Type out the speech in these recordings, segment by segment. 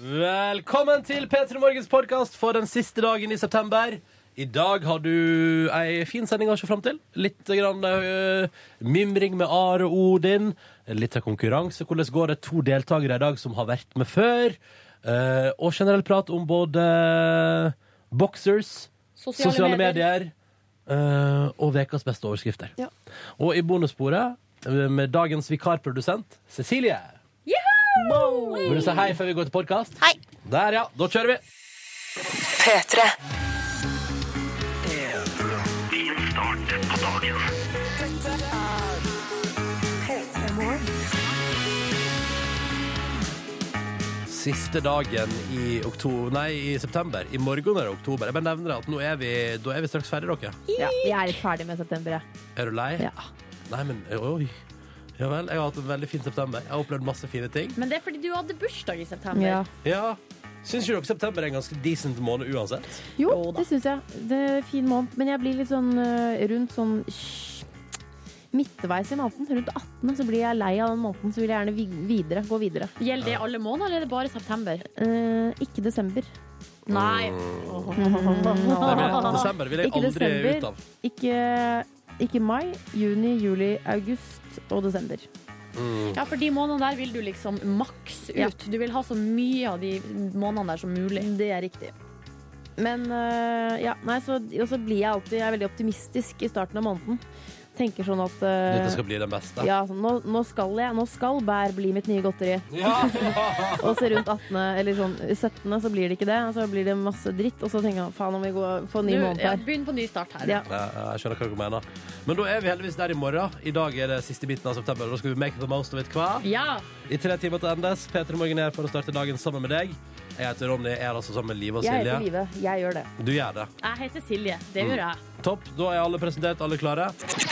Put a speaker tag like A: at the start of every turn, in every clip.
A: Velkommen til P3 Morgens podkast for den siste dagen i september. I dag har du ei fin sending å se fram til. Litt grann, eh, mimring med Are og Odin. Litt av konkurranse. Hvordan går det? To deltakere i dag som har vært med før. Eh, og generell prat om både boxers,
B: Sosiale,
A: sosiale, medier, eh, og ukas beste overskrifter.
B: Ja.
A: Og i bonussporet eh, med dagens vikarprodusent Cecilie. Vil du si hei før vi går til podkast?
B: Hei.
A: Der, ja. Da kjører vi.
C: P3.
A: Siste dagen i, oktober, nei, i september. I morgen er det oktober. Jeg bare nevner det at nå er vi, da er vi straks ferdig, dere.
D: Ja, vi er litt ferdig med september, jeg.
A: Er du lei?
D: Ja.
A: Nei, men eh, oi. Ja vel. Jeg har hatt en veldig fin september. Jeg har opplevd masse fine ting.
B: Men det er fordi du hadde bursdag i september.
D: Ja.
A: Ja. Syns ikke dere september er en ganske decent måned uansett?
D: Jo,
B: Jo da.
D: det syns jeg. Det er en fin måned. Men jeg blir litt sånn øh, rundt sånn sj- midtveis i måneden. Rundt 18. Så blir jeg lei av den måneden, så vil jeg gjerne vi- videre, gå videre.
B: Gjelder det alle måneder, eller er det bare september?
D: Eh, ikke desember.
A: Mm.
B: Nei.
A: Nei, men desember vil jeg
D: Ikke
A: aldri
D: desember.
A: ut av.
D: Ikke, ikke mai, juni, juli, august og desember.
A: Mm.
B: Ja, for de månedene der vil du liksom maks ut.
D: Ja. Mm,
B: Du vil ha så mye av de månedene der som mulig.
D: Det er riktig. Men øh, ja, nei, så, og så blir jeg alltid jeg er veldig optimistisk i starten av måneden. Tenker sånn at øh,
A: Dette skal bli den beste.
D: ja, sånn, nå, nå skal jeg, nå skal bær bli mitt nye godteri. Og så rundt 18. eller sånn 17. så blir det ikke det. Og så blir det masse dritt. Og så tenker jeg faen om vi går for ny
B: Du,
D: måned
B: ja,
D: her.
B: begynn på ny start her.
D: Ja.
A: Ja, jeg skjønner hva du mener. Men da er vi heldigvis der i morgen. I dag er det siste biten av september. og Da skal vi make the most of it hva?
B: Ja.
A: I tre timer til endes. P3 Morgen er for å starte dagen sammen med deg. Jeg heter Ronny, jeg er altså sammen med Live og
D: Jeg heter
A: Silje.
D: Live. Jeg gjør det.
A: Du gjør det.
B: Jeg heter Silje. Det
A: Mm.
B: gjør jeg.
A: Topp. Da er alle presentert, alle klare.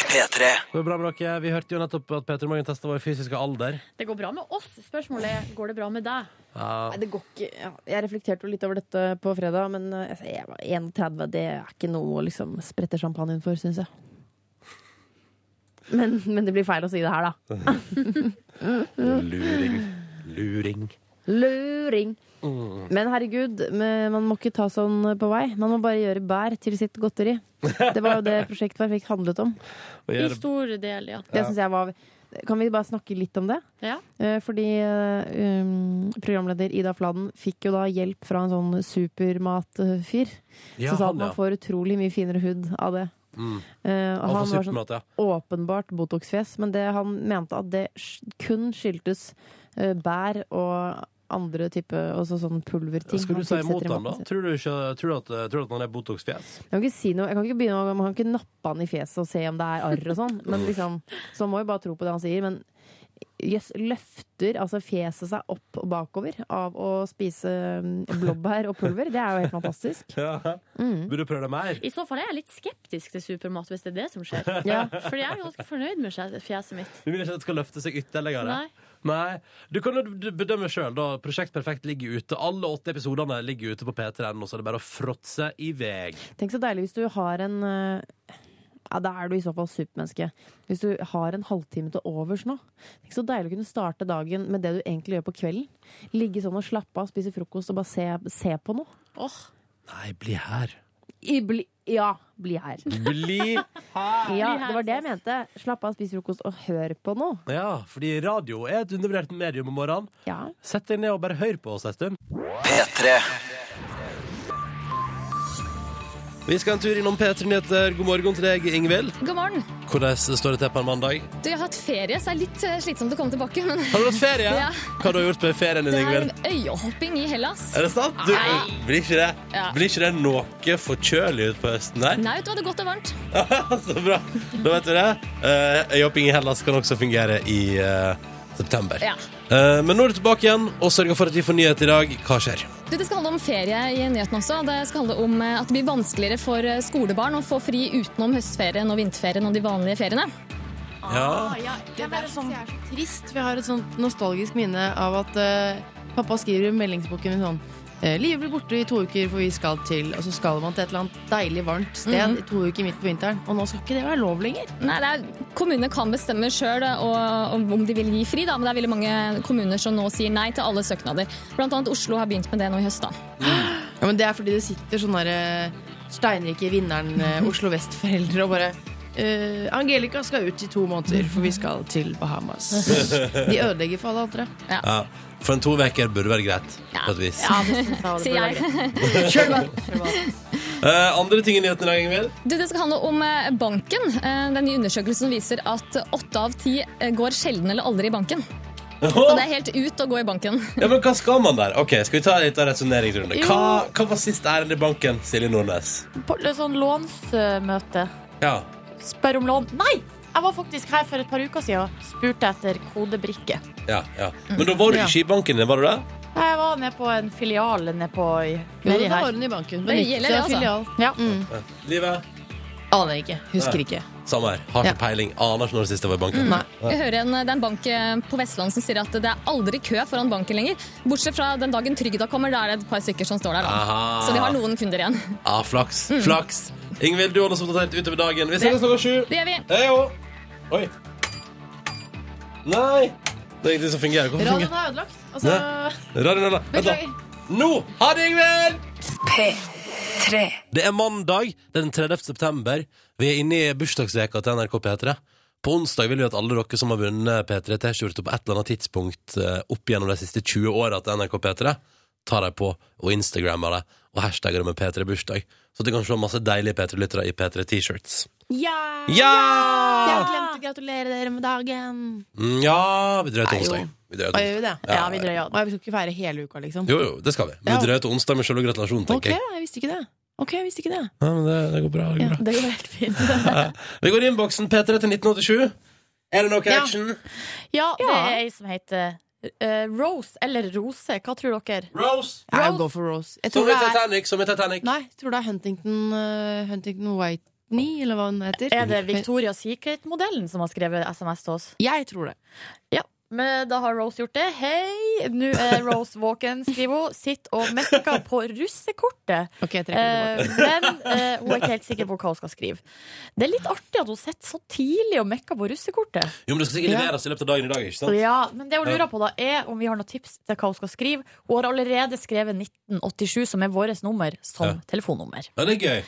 C: P3.
A: Går det bra med dere? Vi hørte jo nettopp at P3 Morgen testa vår fysiske alder.
B: Det går bra med oss. Spørsmålet er går det bra med deg.
A: Ja,
D: Nei, det går ikke ja, Jeg reflekterte jo litt over dette på fredag, men eh, altså, jeg var 31, det er ikke noe å liksom sprette champagnen for, syns jeg. Men, men det blir feil å si det her, da.
A: Luring. Luring.
D: Luring.
B: Mm.
D: Men herregud, men man må ikke ta sånn på vei. Man må bare gjøre bær til sitt godteri. Det var jo det prosjektet Perfekt handlet om.
A: Og
B: I
A: gjør det-
B: stor del, ja.
D: Det synes jeg var Kan vi bare snakke litt om det?
B: ja.
D: Eh, Fordi eh, um, programleder Ida Fladen fikk jo da hjelp fra en sånn supermatfyr.
A: Ja,
D: som sa
A: han,
D: at
A: ja.
D: man får utrolig mye finere hud av det.
A: Mm.
D: Eh, og
A: Han
D: han
A: får
D: var sånn
A: supermat, ja.
D: åpenbart Botox-fjes, men det, han mente at det sk- kun skyldtes eh, bær og andre type også sånn pulverting.
A: Skal du
D: han
A: si
D: tilsetter
A: imot
D: i
A: ham, da?
D: maten sin.
A: Tror du, ikke, tror du, at, eh, tror du at han er Botox-fjes?
D: Jeg kan ikke si noe, jeg kan ikke begynne å, man kan ikke nappe han i fjeset og se om det er arr og sånn, men liksom, så man må jo bare tro på det han sier, men jøss, løfter altså fjeset seg opp og bakover av å spise mm, blåbær og pulver, det er jo helt fantastisk.
A: Ja.
D: Mm.
A: Burde du prøve det mer?
B: I så fall er jeg litt skeptisk til supermat, hvis det er det som skjer.
D: Ja.
B: For jeg er ganske fornøyd med skje- fjeset mitt.
A: Du vil ikke at det skal løfte seg ytterligere?
B: Nei.
A: Nei. Du kan jo d- bedømme sjøl, da. Prosjekt Perfekt ligger ute. Alle åtte episodene ligger ute på p3.no, så det er bare å fråtse i vei.
D: Tenk så deilig hvis du har en eh, Ja, da er du i så fall supermenneske. Hvis du har en halvtime til overs nå. Tenk så deilig å kunne starte dagen med det du egentlig gjør på kvelden. Ligge sånn og slappe av, spise frokost og bare se, se på noe.
B: Åh,
A: Nei, bli her.
D: I bli, ja, bli her.
A: Bli
D: Ja,
B: her,
D: det var det jeg
B: sis.
D: mente. Slapp av, spis frokost og hør på noe.
A: Ja, fordi radio er et undervurdert medium om morgenen.
D: Ja.
A: Sett deg ned og bare hør på oss en stund.
C: P3.
A: Vi skal en tur innom P3 Nyheter. God morgen til deg, Ingvild.
E: God morgen.
A: Hvordan står det til på en mandag?
E: Du, jeg har hatt ferie, så det er litt eh, slitsomt å komme tilbake. Men
A: Har du hatt ferie?
E: Ja.
A: Hva har du gjort på ferien din,
E: det er
A: Ingvild?
E: en øyehopping i Hellas.
A: Er det sant? Du,
E: Nei.
A: blir ikke det,
E: Ja.
A: blir ikke det noe forkjølig ut på høsten der?
E: Nei, vet du hva, det er godt og varmt.
A: Så bra. Da vet du det. Eh, Øyhopping i Hellas kan også fungere i eh, september.
E: Ja.
A: Eh, men nå er du tilbake igjen og sørger for at vi får nyhet i dag. Hva skjer?
E: Du, det skal handle om ferie i nyhetene også. Det skal handle om eh, at det blir vanskeligere for eh, skolebarn å få fri utenom høstferien og vinterferien og de vanlige feriene.
A: Ja.
B: ah, ja.
D: Det er sånn jeg er så trist, for jeg har et sånt nostalgisk minne av at eh, pappa skriver i meldingsboken min sånn Eh, Livet blir borte i to uker, for vi skal til Og så skal man til et eller annet deilig, varmt sted i to uker midt på vinteren. Og nå skal ikke det være lov lenger.
E: Nei, det er, Kommunene kan bestemme sjøl om de vil gi fri, da, men det er veldig mange kommuner som nå sier nei til alle søknader. Blant annet Oslo har begynt med det nå i høst. da.
D: Ja, men det er fordi det sitter sånne der, eh, steinrike vinneren eh, Oslo Vest-foreldre og bare eh, Angelica skal ut i to måneder, for vi skal til Bahamas. De ødelegger for alle andre.
A: Ja. For en to uker burde være greit, på et vis.
F: Ja, det synes jeg også
E: Sier
F: burde
E: jeg.
F: være lov.
A: Eh, andre ting i nyheten i dag, Ingvild?
E: Du, det skal handle om eh, banken. Eh, Den nye undersøkelsen viser at åtte av ti eh, går sjelden eller aldri i banken. Og det er helt ut å gå i banken.
A: Ja, men hva skal man der? Ok, Skal vi ta litt av resonneringsrunde?
B: Jo.
A: Hva, hva var sist ærend i banken, Silje Nordnes?
B: På et sånn lånsmøte.
A: Ja.
B: Spør om lån. Nei! Jeg var faktisk her for et par uker siden og spurte etter kodebrikke.
A: ja, ja. Men da var du ikke i banken, var du det?
E: Mm.
B: Jeg var nede på en filial nede på i-
D: Jo, Mm,
B: nedi
D: det
B: her.
D: var hun i banken.
E: Det gjelder det, altså.
B: Ja.
A: Livet?
D: Aner ikke. Husker ikke.
A: Samme her. Har ikke peiling. Aner ikke når det siste var i banken.
D: Nei.
E: Jeg hører en, det er en bank eh, på Vestland som sier at det er aldri kø foran banken lenger. Bortsett fra den dagen trygda kommer, da er det et par stykker som står der. Da.
A: Aha.
E: Så de har noen kunder igjen.
A: Ah, flaks. Flaks. Ingvild, du holder oss oppdatert utover dagen. Vi ses klokka sju.
E: Det gjør vi.
A: Hei jo. Oi. Nei. Det er ingenting som fungerer. Hvorfor
D: Radioen
A: fungerer
D: er ødelagt. Altså,
A: Radioen er da. Vent da.
D: Beklager.
A: Nå ha det, Ingvild!
C: P3
A: Det er mandag den 30. september. Vi er inne i bursdagsveka til NRK P3. På onsdag vil vi at alle dere som har vunnet P3 T-skjorte på et eller annet tidspunkt eh, opp gjennom de siste 20 åra til NRK P3, tar dem på og instagrammer det og hashtagger det med P3 bursdag. Så du kan se masse deilige P3-lyttere i P3 T-shirts. Ja!
D: Jeg
A: Ja!
D: glemte å gratulere dere med dagen.
A: Mm, ja Vi drøyer til
D: Nei, jo.
A: onsdag. Vi drøyer
D: Hva
A: til
D: gjør vi det?
A: Ja, vi
D: drøyer. Og vi skal ikke feire hele uka, liksom?
A: Jo, jo, det skal vi. Men
D: Ja.
A: vi drøyer til onsdag med selve gratulasjonen,
D: Ok,
A: tenker jeg.
D: jeg visste ikke det. Ok, jeg visste ikke det.
A: Ja, men det, det går bra. Det går bra.
D: Det går helt fint.
A: Vi går i innboksen P3 til 1987. Er det noe
B: Ja.
A: action?
B: ja, det er ei som heter eh, Rose eller Rose. Hva tror dere?
A: Rose!
D: Jeg går for Rose. Jeg
A: Som
D: tror
A: i
D: det er,
A: Titanic, som i Titanic.
D: nei, jeg tror det er Huntington, eh, Huntington Whitney, eller hva hun heter.
B: Er det Victoria Secret-modellen som har skrevet SMS til oss?
D: Jeg tror det.
B: Ja, men da har Rose gjort det. Hei, nå er Rose våken, skriver hun. Sitt og mekker på russekortet.
D: Ok, jeg trekker det tilbake.
B: Eh, men eh, hun er ikke helt sikker på hva hun skal skrive. Det er litt artig at hun sitter så tidlig og mekker på russekortet.
A: Jo, men Det skal sikkert
D: Ja.
A: leveres i løpet av dagen i dag. ikke sant?
B: Ja, men det hun lurer på da er om vi har noen tips til hva hun skal skrive. Hun har allerede skrevet 1987, som er vårt nummer, som
A: Ja.
B: telefonnummer.
A: Ja, det er gøy.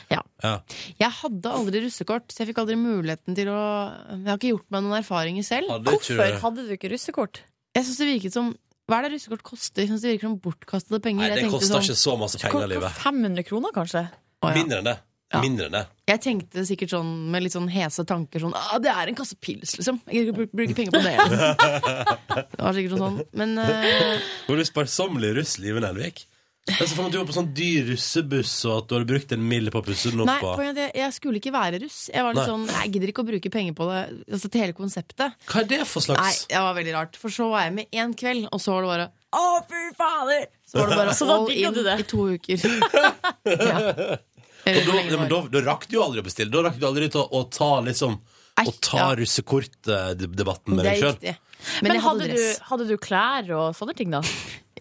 B: Ja.
D: Jeg hadde aldri russekort, så jeg fikk aldri muligheten til å Jeg har ikke gjort meg noen erfaringer selv.
A: Hadde ikke
B: Hvorfor
A: du-
B: hadde du ikke russekort?
D: Jeg synes det virket som Hva er det russekort koster? Jeg synes det virker som bortkastede penger.
A: Nei, det
D: Jeg tenkte
A: koster
D: sånn-
A: ikke så masse penger,
B: Kort på
A: livet.
B: 500 kroner, kanskje?
D: Å, ja.
A: Mindre enn det.
D: Ja.
A: Mindre enn det.
D: Jeg tenkte sikkert sånn med litt sånn hese tanker sånn ah, Det er en kasse pils, liksom. Jeg gidder ikke å bruke penger på det. Liksom. det var sikkert noe sånn. Men eh,
A: Hvor du sparsommelig russ, Live Nelvik. Jeg ser for meg at du var på sånn dyr russebuss, og at du hadde brukt en mil på å pusse den
D: nei,
A: opp. og-
D: poenget er det, jeg skulle ikke være russ. Jeg var litt
A: Nei.
D: sånn Nei, jeg gidder ikke å bruke penger på det. Altså til hele konseptet.
A: Hva er det for
D: Nei,
A: slags
D: det var veldig rart. For så var jeg med én kveld, og så var det bare Å, fy fader! Så var det bare
B: Så da
D: all
B: digget
D: in
B: du det.
D: i to uker. ja. Jeg
A: Og
D: vet ikke hvor
A: da,
D: lenge
A: ja,
D: det
A: men
D: var.
A: da, da rakk du jo aldri å bestille. Da rakk du aldri til å, å ta liksom
D: Nei,
A: Å ta
D: ja.
A: russekortdebatten med
D: Det
A: deg
D: er
A: sjøl.
D: riktig. Men,
B: Men
D: jeg hadde,
B: hadde,
D: dress.
B: du, hadde du klær og sånne ting, da?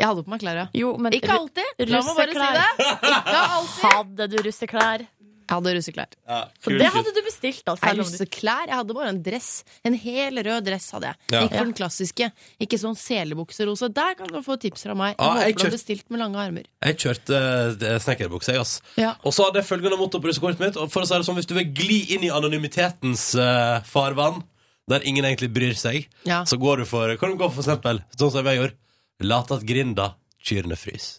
D: Jeg hadde på meg klær, ja.
B: Jo, men
D: Ikke alltid. La meg bare si
B: russeklær.
D: det. Ikke alltid.
B: Hadde du russeklær?
D: Jeg hadde russeklær.
A: Ja,
B: Så det hadde du bestilt, da.
D: Jeg,
B: Selv om du...
D: russeklær. jeg hadde bare en dress. En hel rød dress hadde jeg.
A: Ja.
D: Ikke for den klassiske. Ikke sånn selebukserose. Der kan du få tips fra meg. Jeg
A: Ah, jeg
D: håper du
A: kjøpt-
D: har bestilt med lange armer.
A: Jeg kjørte eh, snekkerbukse, jeg, ass.
D: Ja.
A: Og så hadde jeg følgende motto på russekortet mitt. Og for å si det sånn, Hvis du vil gli inn i anonymitetens eh, farvann, der ingen egentlig bryr seg,
D: Ja.
A: så går du for Kan du gå for, for eksempel, sånn som jeg gjorde, lat at grinda kyrne frys.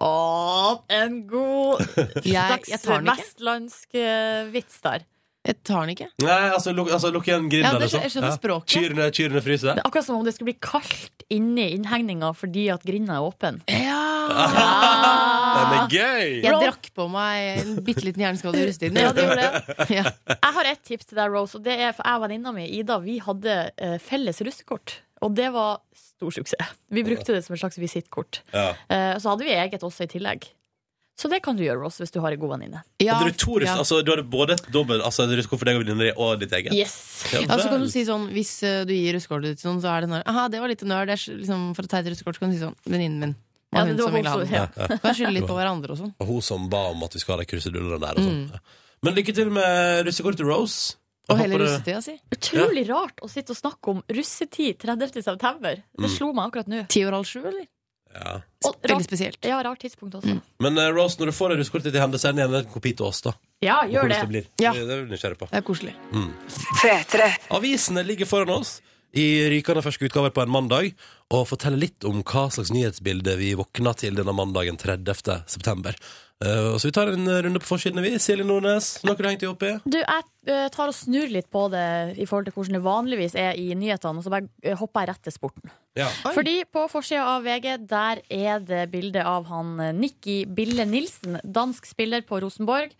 B: Å, en god
D: Jeg, jeg
B: slags
D: tar den ikke.
B: vestlandsk eh, vits der.
D: Jeg tar den ikke.
A: Nei, altså lukk altså, lukk igjen
D: Ja,
A: grinda,
D: det skjø- jeg skjønner språket.
A: Kyrne, kyrne fryse.
B: Det er akkurat som om det skulle bli kaldt inni innhegninga fordi at grinda er åpen.
D: Ja.
A: Den er gøy!
D: Jeg
B: Roll.
D: drakk på meg en bitte liten hjerneskade i russetiden.
B: Ja, det gjorde det.
D: Ja.
B: Jeg har ett tips til deg, Rose. Og det er for Jeg og venninna mi Ida vi hadde eh, felles russekort. Og det var stor suksess. Vi brukte det som et slags visittkort.
A: Ja.
B: Eh, Så hadde vi eget også i tillegg. Så det kan du gjøre, Rose, hvis du har en god venninne.
D: Ja,
A: Hadde du to russ,
D: ja.
A: altså, du hadde både et dobbelt altså, et russekort for deg og venninna di og ditt eget?
B: Yes.
A: Ja,
D: Ja, så kan
A: vel.
D: du si sånn, Hvis eh, du gir russekortet til noen, så er det sånn Aha, det var litt nerd. det er s- Liksom, for å ta et russekort så kan du si sånn Venninnen min. var
B: Ja,
D: hun
B: det var
D: som ville ha
B: hun som-
D: den. Kan skylde litt på hverandre og sånn.
A: Og hun som ba om at vi skal ha de krusedullene der. Og
B: Mm.
A: sånn. Men lykke til med russekortet Rose. Jeg
D: Og hele
A: håper det-
D: russetida si.
B: Utrolig rart å sitte og snakke om russetid 30. september. Det
A: Mm.
B: slo meg akkurat nå.
D: Ti år halv sju, eller?
A: Ja.
B: Og
D: Veldig
B: rart,
D: spesielt.
B: ja, rart tidspunkt også.
A: Men eh, Rose, når du får det russekortet til henne, send igjen en kopi til oss, da.
B: Ja,
A: Og
B: gjør
A: hvordan
B: det.
A: Det, blir.
D: Ja.
A: det, det er vi nysgjerrig på.
D: Det er koselig.
C: P3.
A: Avisene ligger foran oss i rykende ferske utgaver på en mandag, og forteller litt om hva slags nyhetsbilde vi våkna til denne mandagen 30. september. Eh, så vi tar en runde på forsidene, vi. Silje Nordnes, noe du hengte deg opp i?
B: Du, jeg eh, tar og snur litt på det i forhold til hvordan det vanligvis er i nyhetene, og så bare eh, hopper jeg rett til sporten.
A: Ja.
D: Oi.
B: Fordi på forsida av VG, der er det bilde av han eh, Nikki Bille Nilsen, dansk spiller på Rosenborg.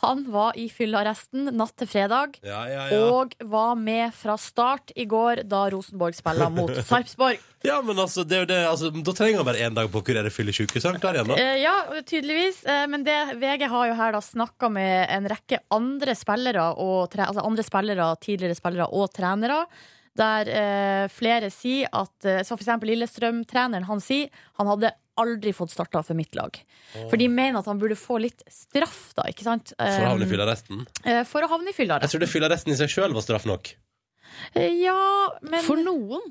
B: Han var i fyllearresten natt til fredag.
A: Ja, ja, ja.
B: Og var med fra start i går da Rosenborg spilla mot Sarpsborg.
A: ja, men altså, det er jo det, altså, da trenger han bare én dag på å kurere fyllesyke, så er han klar igjen, da.
B: Eh, ja, tydeligvis. Eh, men det, VG har jo her da snakka med en rekke andre spillere, og tre, altså andre spillere, tidligere spillere og trenere. Der eh, flere sier at eh, Så for eksempel Lillestrøm-treneren, han sier han hadde aldri fått starta for mitt lag. For de mener at han burde få litt straff, da, ikke sant?
A: For å havne i fyllearresten.
B: Eh, for å havne i fylla,
A: Jeg
B: rett.
A: trodde fyllearresten i seg sjøl var straff nok.
B: Eh, ja, men
D: For noen.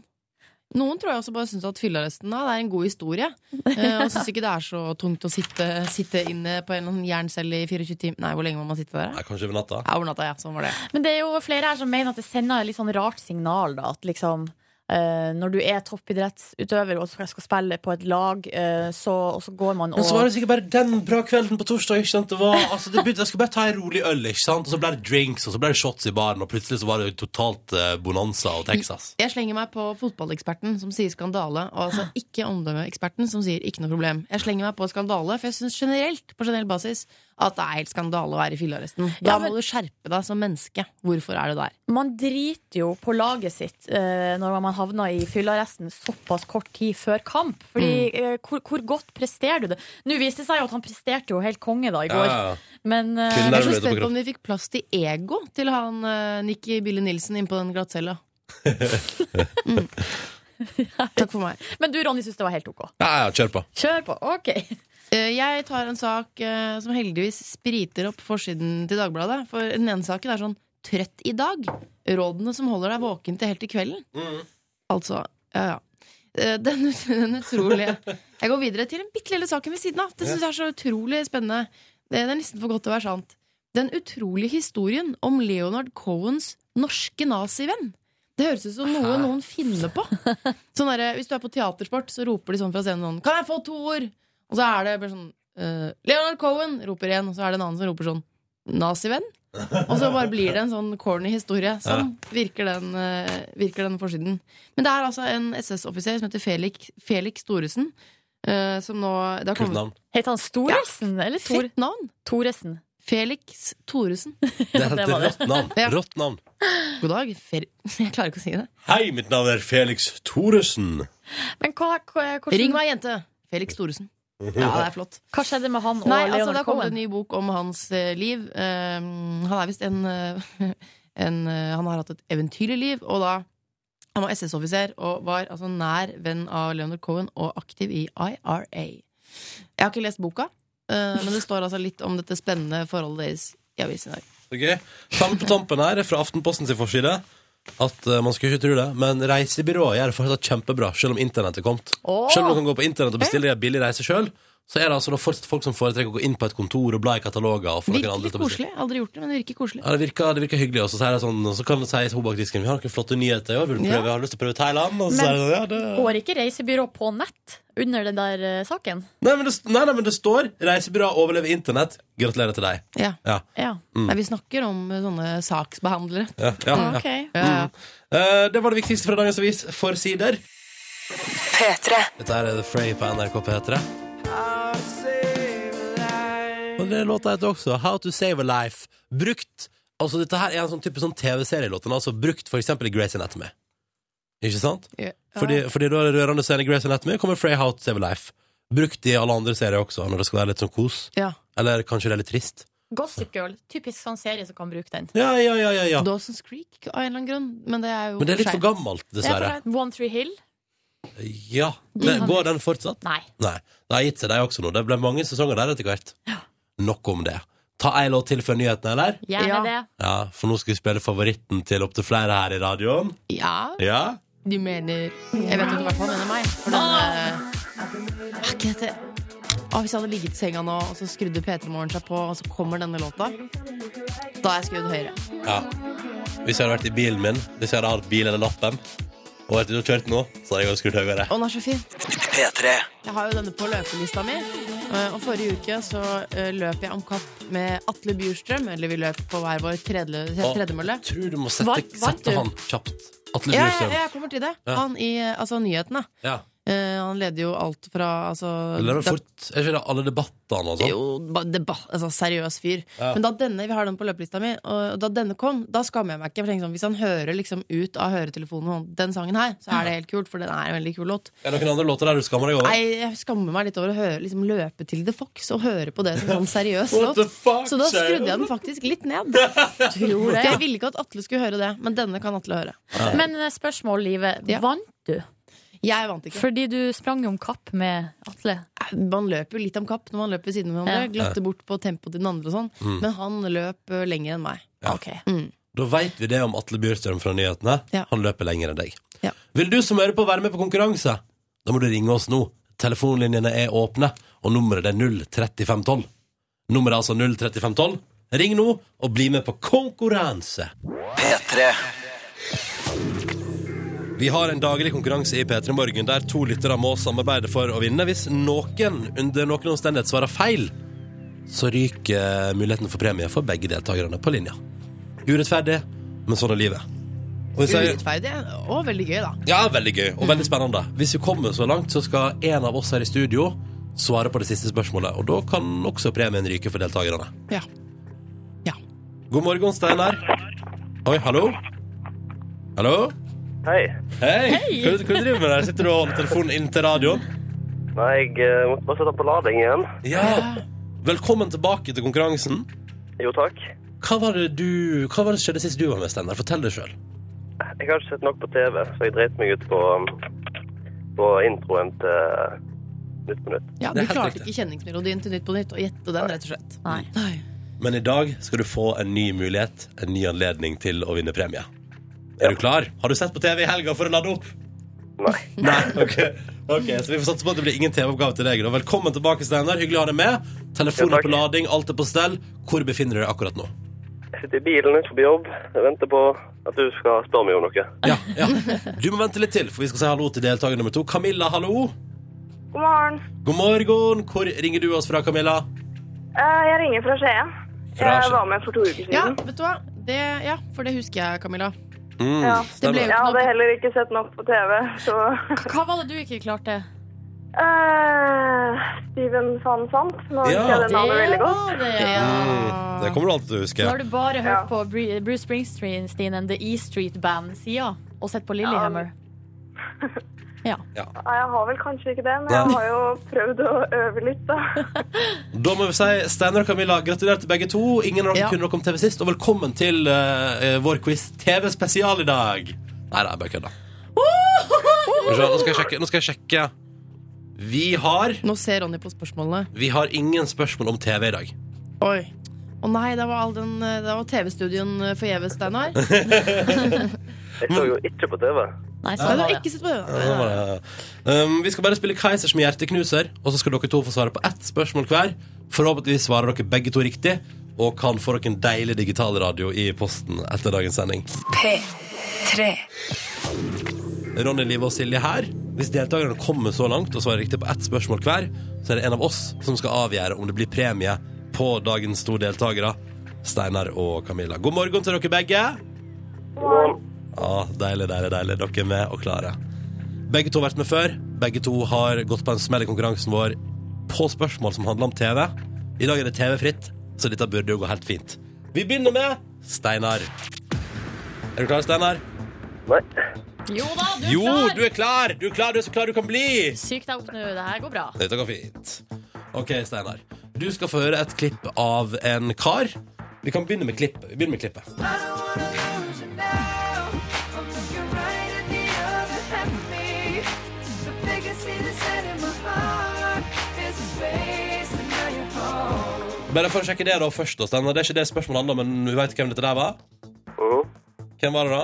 D: Noen tror jeg også bare syns at fyllearresten da, det er en god historie. Eh, og syns ikke det er så tungt å sitte, sitte inne på en eller annen jerncelle i 24 timer Nei, hvor lenge må man sitte der? da?
A: Nei, kanskje over natta.
D: Ja, over natta, ja. Sånn var det.
B: Men det er jo flere her som mener at det sender et litt sånn rart signal, da. At liksom eh, når du er toppidrettsutøver og skal skal spille på et lag, eh, så, og så går man
A: Men så var
B: og
A: det sikkert bare den bra kvelden på torsdag. ikke sant? Det var, altså, det begynte, jeg skulle bare ta en rolig øl, ikke sant? og så ble det drinks og så ble det shots i baren. Og plutselig så var det jo totalt eh, bonanza og Texas.
D: Jeg slenger meg på fotballeksperten som sier skandale, og altså ikke omdømmeeksperten som sier ikke noe problem. Jeg slenger meg på skandale, for jeg syns generelt på generell basis at det er helt skandale å være i fyllearresten. Da
B: Ja, men-
D: må du skjerpe deg som menneske. Hvorfor er du der?
B: Man driter jo på laget sitt eh, når man havner i fyllearresten såpass kort tid før kamp. Fordi
A: Mm.
B: eh, hvor, hvor godt presterer du det? Nå viste det seg jo at han presterte jo helt konge da i går,
A: Ja, ja.
B: men eh,
A: Fyllearresten.
D: Jeg er
A: Nærmere
D: så
A: ute på
D: spent på om de fikk plass til ego til han uh, Nikki Bille Nilsen inne på den glattcella. mm. Takk for meg.
B: Men du Ronny syns det var helt OK.
A: Ja, ja, kjør på.
B: Kjør på. OK.
D: Eh, jeg tar en sak eh, som heldigvis spriter opp forsiden til Dagbladet. For den ene saken er sånn 'Trøtt i dag'. Rådene som holder deg våken til helt til kvelden.
A: Mm.
D: Altså, ja ja. Eh, Den, den utrolige Jeg går videre til en bitte lille saken ved siden av. Det synes jeg er så utrolig spennende. Det, det er nesten for godt til å være sant. Den utrolige historien om Leonard Cohens norske nazivenn. Det høres ut som noe noen finner på. Sånn derre, Hvis du er på teatersport, så roper de sånn fra scenen sånn 'Kan jeg få to ord?' Og så er det bare sånn eh, 'Leonard Cohen!' roper én, og så er det en annen som roper sånn 'Nazivenn'. Og så bare blir det en sånn corny historie. Sånn virker den, eh, virker den forsiden. Men det er altså en SS-offiser som heter Felix, Felix Thoresen, eh, som nå det har
A: Kult
D: kommet
A: navn.
B: Heter han Storelsen eller Tor
D: Fett navn!
B: Toresen?
D: Felix Thoresen.
A: Det er et
B: var det.
A: rått navn.
D: Ja.
A: Rått navn.
D: God dag. Fer jeg klarer ikke å si det.
A: Hei, mitt navn er Felix Thoresen.
B: Men hva, hva, hvordan-
D: Ring meg, jente! Felix Thoresen. Ja, det er flott.
B: Hva skjedde med han og
D: Nei, altså,
B: Leonard
D: da kom det en
B: Cohen?
D: ny bok om hans eh, liv. Ehm, han er visst en, eh, en eh, Han har hatt et eventyrlig liv, og da Han var SS-offiser og var altså nær venn av Leonard Cohen og aktiv i IRA. Jeg har ikke lest boka, eh, men det står altså litt om dette spennende forholdet deres i avisen i dag.
A: Ok, Samme på tampen her fra Aftenposten sin forside. At eh, man skulle ikke tro det, men reisebyrået gjør det fortsatt kjempebra, selv om internettet er kommet.
B: Åh!
A: Selv om du kan gå på internett og bestille deg billig reise sjøl, så er det altså da fortsatt folk som foretrekker å gå inn på et kontor og bla i kataloger. Og få noen
D: Virker
A: andre
D: litt
A: til å bestille.
D: koselig. Aldri gjort det, men det virker koselig.
A: Ja, det virker, det virker hyggelig. Og så, er det sånn, og så kan det sies hun bak disken Vi har noen flotte nyheter i år. Vil du prøve?
D: Ja.
A: Har du lyst til å prøve Thailand? Og så
B: Men-
A: er det sånn, ja, det...
B: Går ikke reisebyrå på nett under den der eh, saken?
A: Nei, men det, nei, nei, men det står 'Reisebyrå overlever internett'. Gratulerer til deg.
D: Ja.
A: Ja.
B: Ja.
D: Nei, vi snakker om eh, sånne saksbehandlere.
A: ja, ja, ja.
B: Ok.
D: Ja, ja.
A: Eh, det var det viktigste fra dagens avis for sider.
C: P3.
A: Dette er The Fray på NRK P3. Og det låta heter også How to Save a Life. Brukt Altså, dette her er en sånn type sånn TV-serielåt. Den er altså brukt for eksempel i Grace Anatomy. Ikke sant?
D: Ja.
A: Fordi, fordi da er det rørende scene i Grace Anatomy kommer Frey How to Save a Life. Brukt i alle andre serier også, når det skal være litt sånn kos.
D: Ja.
A: Eller kanskje det er litt trist.
B: Gossip Girl. Typisk sånn serie som kan bruke den.
A: Ja, ja, ja, ja, ja.
D: Dawson's Creek av en eller annen grunn, men det er jo
A: Men det er litt
D: skeivt.
A: for gammelt, dessverre.
B: One Tree Hill.
A: Ja. Det, går den fortsatt?
B: Nei.
A: Nei. Det har gitt seg, de også nå. Det ble mange sesonger der etter hvert. Nok om det. Ta ei låt til før nyhetene, eller?
B: Gjerne
D: Ja.
B: det.
A: Ja, for nå skal vi spille favoritten til opptil flere her i radioen.
D: Ja,
A: Ja.
D: du mener Jeg vet at du i hvert fall mener meg. For den eh, Er ikke dette Å, Ah, Hvis jeg hadde ligget i senga nå, og så skrudde P3 Morgen seg på, og så kommer denne låta, da er jeg skrudd høyere.
A: ja. Hvis jeg hadde vært i bilen min, hvis jeg hadde hatt bil eller lappen, og vært ute og kjørt nå, så hadde jeg også skrudd høyere.
D: Å, den er så fin. Jeg har jo denne på løpelista mi. eh, Og forrige uke så eh, løp jeg om kapp med Atle Bjurstrøm, eller vi løp på hver vår tredle,
A: Å,
D: tredemølle.
A: Tror du må
B: Vant-
A: sette,
B: vant du?
A: sette han kjapt. Atle
D: Ja, ja,
A: Bjurstrøm.
D: ja, jeg kommer til det.
A: Ja.
D: Han i eh, altså, nyhetene.
A: Ja.
D: Eh, han leder jo alt fra altså,
A: Eller er det
D: da-
A: fort, er ikke det alle debattene og sånn?
D: Jo, ba- det ba, altså, seriøs fyr.
A: Ja.
D: Men da denne, vi har den på løpelista mi, og da denne kom, da skammer jeg meg ikke. For jeg tenker sånn, hvis han hører liksom ut av høretelefonen den sangen her, så er det helt kult, for den er en veldig kul låt.
A: Er det noen andre låter der du skammer deg over?
D: Nei, jeg skammer meg litt over å høre, liksom, løpe til The Fox og høre på det som sånn seriøs
A: What
D: låt.
A: the fuck,
D: Så da
A: sier jeg?
D: skrudde jeg den faktisk litt ned. For jeg ville ikke at Atle skulle høre det, men denne kan Atle høre.
B: Men eh, spørsmål, Live.
D: Ja.
B: Vant du?
D: Jeg vant ikke.
B: Fordi du sprang jo om kapp med Atle.
D: Man løper jo litt om kapp når man løper ved siden av hverandre. Glatter bort på tempoet til den andre og sånn.
A: Mm.
D: Men han løp ø, lenger enn meg.
A: Ja.
B: Ok.
A: Da veit vi det om Atle Bjørstrøm fra nyhetene.
D: Ja.
A: Han løper lenger enn deg.
D: Ja.
A: Vil du som hører på være med på konkurranse? Da må du ringe oss nå. Telefonlinjene er åpne, og nummeret det er 03512. Nummeret er altså 03512. Ring nå og bli med på konkurranse. Vi har en daglig konkurranse i P3 Morgen der to lyttere må samarbeide for å vinne. Hvis noen under noen omstendighet svarer feil, så ryker muligheten for premie for begge deltakerne på linja. Urettferdig, men sånn er livet. Og hvis jeg,
D: Urettferdig og veldig gøy, da.
A: ja, veldig gøy og veldig spennende. Hvis vi kommer så langt, så skal en av oss her i studio svare på det siste spørsmålet. Og da kan også premien ryke for deltakerne.
D: Ja. Ja.
A: God morgen, Steinar. Oi, hallo? Hallo?
G: Hei.
A: Hei! Hva, hva driver du med der? Sitter du og holder telefonen inn til radioen?
G: Nei, jeg eh, måtte bare sette den på lading igjen.
A: Ja. Velkommen tilbake til konkurransen.
G: Jo, takk.
A: Hva var det du Hva var det som skjedde sist du var med, Steinar? Fortell det sjøl.
G: Jeg har ikke sett nok på TV, så jeg dreit meg ut på, um, på introen til eh, Nytt på Nytt.
D: Ja,
A: Det
D: du
A: er helt
D: klarte
A: riktig.
D: ikke kjenningsmelodien til Nytt på Nytt og gjette den, rett og slett.
B: Nei.
A: Men i dag skal du få en ny mulighet, en ny anledning til å vinne premie. Er du klar? Har du sett på TV i helga for å lade opp?
G: Nei.
A: Nei, ok. Ok, Så vi får satse på at det blir ingen TV-oppgave til deg. da. Velkommen tilbake, Steinar. Hyggelig å ha deg med. Telefonen er
G: Ja, takk.
A: på lading, alt er på stell. Hvor befinner du deg akkurat nå?
G: Jeg sitter i bilen utenfor jobb. Jeg venter på at du skal spørre meg om noe.
A: Ja, ja. Du må vente litt til, for vi skal si hallo til deltaker nummer to. Camilla, hallo.
H: God morgen.
A: God morgen. Hvor ringer du oss fra, Camilla?
H: Eh, Jeg ringer fra Skien.
A: Fra
H: Jeg
A: Skien.
H: var med for to uker siden.
D: Ja, vet du hva? Det, ja, for det husker jeg, Camilla.
A: Mm,
H: Ja.
A: stemmer
D: ble jo-
A: det.
H: Jeg hadde heller ikke sett nok på TV, så
B: Hva var det du ikke klarte?
H: Eh, Steven van Sant. Nå husker
A: Ja.
H: jeg det navnet veldig godt.
B: var det, ja.
A: Mm, det kommer du alltid til å
B: Nå
A: huske.
B: har du bare hørt
H: Ja.
B: på Bru- Bruce Springsteen and The E Street Band-sida, og sett på Lillehammer.
H: Nei, jeg har vel kanskje ikke det, men jeg
A: Nei.
H: har jo prøvd å øve litt, da.
A: Da må vi si Steinar og Camilla, gratulerer til begge to. Ingen av dere
D: Ja.
A: kunne noe om TV sist, og velkommen til eh, eh, vår quiz TV-spesial i dag. Nei, nei, jeg bare kødda. Skal vi se, Nå skal jeg sjekke. Nå skal jeg sjekke. Vi har
D: Nå ser Ronny på spørsmålene.
A: Vi har ingen spørsmål om TV i dag.
D: Oi. Å nei, det var, all den, eh, det var TV-studioen eh, forgjeves, Steinar.
G: Jeg så jo ikke på TV.
B: Nei,
D: Nei,
B: sånn
D: du
B: var
D: har
B: det.
D: ikke sett på det.
A: Um, vi skal bare spille Keisers med hjerteknuser, og så skal dere to få svare på ett spørsmål hver. Forhåpentligvis svarer dere begge to riktig, og kan få dere en deilig digital radio i posten etter dagens sending.
C: P3.
A: Ronny, Liv og Silje her. Hvis deltakerne kommer så langt og svarer riktig på ett spørsmål hver, så er det en av oss som skal avgjøre om det blir premie på dagens to deltakere, Steinar og Camilla. God morgen til dere begge. Ja, deilig, deilig, deilig. Dere er med og klare. Begge to har vært med før. Begge to har gått på en smell i konkurransen vår på spørsmål som handler om TV. I dag er det TV-fritt, så dette burde jo gå helt fint. Vi begynner med Steinar. Er du klar, Steinar?
G: Nei.
B: Jo da, du er
A: Jo,
B: klar!
A: du er klar! Du er klar, du er så klar du kan bli!
B: Syk deg opp nå, det her går bra.
A: Dette går fint. OK, Steinar. Du skal få høre et klipp av en kar. Vi kan begynne med klippet. Vi begynner med klippet.
I: Right at the other end me.
A: Bare for å sjekke det da først, da, Steinar. Det er ikke det spørsmålet handler om, men vi vet hvem dette der var?
G: Mhm.
A: Hvem var det da?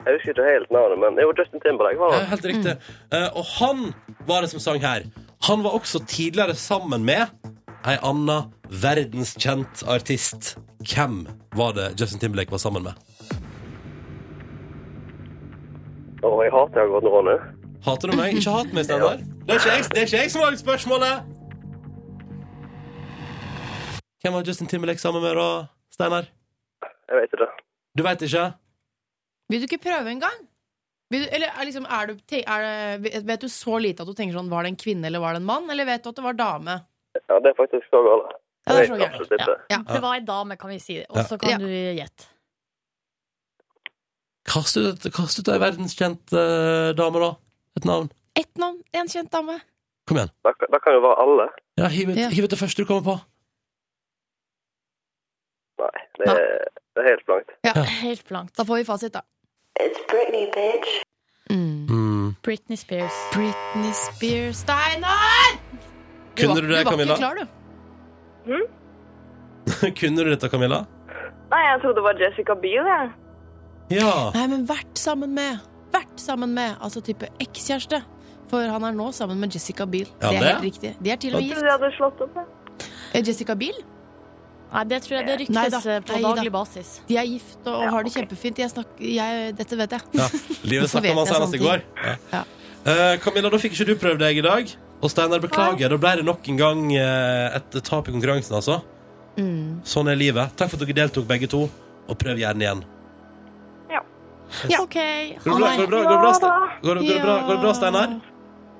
G: Jeg husker ikke helt navnet, men jo, Justin Timberlake var
A: Ja,
G: det.
A: helt riktig. Eh, og han var det som sang her. Han var også tidligere sammen med ei anna verdenskjent artist. Hvem var det Justin Timberlake var sammen med?
G: Og jeg hater Jørgen Ronny.
A: Hater du meg? Ikke hat meg, Steinar. Det, er ikke jeg- det er ikke jeg som har spørsmålet! Hvem var Justin Timberlake sammen med, da, Steinar?
G: Jeg vet ikke.
A: Du veit ikke?
D: Vil du ikke prøve en gang? Vil du, eller er liksom, er du, te- er det, vet du så lite at du tenker sånn Var det en kvinne eller var det en mann? Eller vet du at det var dame?
G: Ja, det er faktisk så galt.
D: Ja, det
G: Jeg
D: er
G: vet
D: så gærent.
G: absolutt ikke.
B: Det var ei dame, kan vi si. Og så
D: Ja.
B: kan du gjette.
A: Kast ut, kast ut ei verdenskjent eh, dame, da. Et navn.
D: Ett navn, en kjent dame.
A: Kom igjen.
G: Da, da kan jo være alle.
A: Ja, hiv ut,
D: Ja.
A: hiv ut det første du kommer på.
G: Nei, det er, det er helt blankt.
B: Helt blankt.
D: Da får vi fasit, da.
H: It's Britney, bitch.
D: Mm.
A: Mm.
B: Britney Spears.
D: Britney Spears Steinar!
A: Kunne
D: var-
A: du det,
D: Du var
A: Camilla?
D: ikke klar, du.
A: Kunne du dette, Camilla?
H: Nei, jeg trodde det var Jessica Biel, jeg.
A: Ja.
D: Nei, men vært sammen med. Vært sammen med. Altså type ekskjæreste. For han er nå sammen med Jessica Biel.
A: Ja,
D: det er
A: det.
D: helt riktig. De er til og
H: Jeg
D: med gift.
H: trodde jeg hadde slått opp. jeg.
D: Eh, Jessica Biel?
B: Nei, det tror jeg det
D: Nei
B: ryktes
D: da.
B: eh, på
D: Nei da.
B: daglig basis.
D: De er gift og har det kjempefint. Jeg snak, jeg, dette vet jeg.
A: ja. Livet snakka om han
D: Hvorfor vet jeg
A: senest altså i
D: sånne
A: går. Ja. Eh, Camilla, da fikk ikke du prøvd deg i dag. Og Steinar, beklager. Da ble det nok en gang eh, et tap i konkurransen, altså.
D: Mm.
A: Sånn er livet. Takk for at dere deltok, begge to. Og prøv gjerne igjen.
B: Ja.
A: Går
B: OK.
A: det bra, går det bra, går det bra, Ste- går det, går det bra, går det bra Steinar?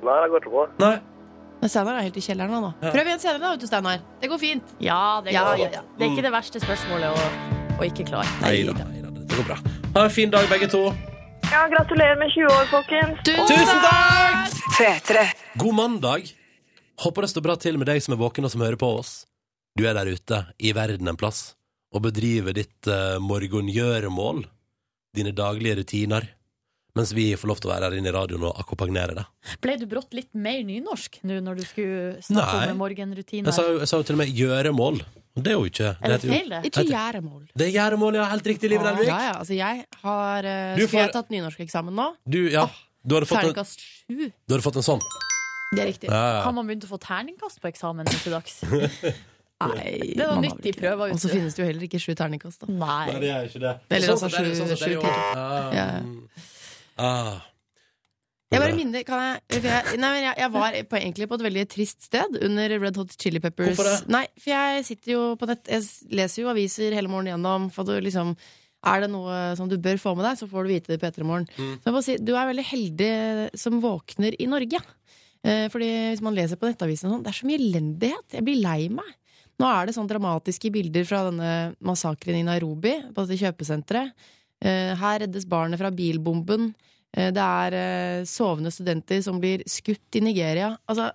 G: Nei, det går ikke bra.
A: Nei?
D: Men Steinar er helt i kjelleren han, nå.
A: Ja.
D: Prøv igjen senere, da, vet du, Steinar. Det går fint.
B: Ja, det, går
D: Ja,
B: fint.
D: ja, ja.
B: det er ikke det verste spørsmålet å, å ikke klare.
A: Nei da. Det går bra. Ha en fin dag, begge to.
H: Ja, gratulerer med 20 år, folkens.
A: Tusen takk!
C: P3.
A: God mandag. Håper det står bra til med deg som er våken og som hører på oss. Du er der ute, i verden en plass, og bedriver ditt uh, morgengjøremål, dine daglige rutiner, mens vi får lov til å være her inne i radioen og akkompagnere det.
B: Ble du brått litt mer nynorsk nå når du skulle
A: Nei.
B: snakke om
A: Jeg
B: morgenrutiner?
A: sa, jo- jeg sa jo til og med gjøremål. og Det er jo ikke
B: Er Altså, det
A: heter jo-
B: feil, det?
D: Ikke gjerdemål.
A: Det er gjøremål, ja. Helt riktig, Liv
D: Ja,
A: Nelvik.
D: ja, altså jeg har eh,
A: Du
D: Skulle jeg
A: får-
D: tatt nynorskeksamen nå?
A: Du, ja. Du hadde fått en,
D: Terningkast sju.
A: du hadde fått en sånn.
D: Det er riktig.
A: Ja, ja.
B: Kan man begynne å få terningkast på eksamen nå til dags?
D: Nei,
B: Det var
D: man
B: nytt
D: har vel
B: i
D: ikke
B: prøven, vet
D: det. Og så
B: du.
D: finnes det jo heller ikke sju terningkast, da.
A: Nei,
B: Nei.
A: det er jo ikke det.
D: Eller
A: Sånn
D: altså,
A: sett er det-
D: sju-
A: sånn sett er det jo-
D: sju til.
A: Ah,
D: Ja.
A: ah.
D: Jeg bare minner, kan jeg, for jeg Nei, men jeg, jeg var på, egentlig på et veldig trist sted under Red Hot Chili Peppers.
A: Hvorfor det?
D: Nei, for jeg sitter jo på nett Jeg s- leser jo aviser hele morgenen gjennom. For du liksom Er det noe som du bør få med deg, så får du vite det på Ettermorgen.
A: Mm.
D: Så jeg må si, du er veldig heldig som våkner i Norge. Eh, Fordi hvis man leser på nettavisen og sånn, det er så mye elendighet. Jeg blir lei meg. Nå er det sånn dramatiske bilder fra denne massakren i Nairobi, på dette kjøpesenteret. Eh, Her reddes barnet fra bilbomben. Eh, Det er eh, sovende studenter som blir skutt i Nigeria. Altså,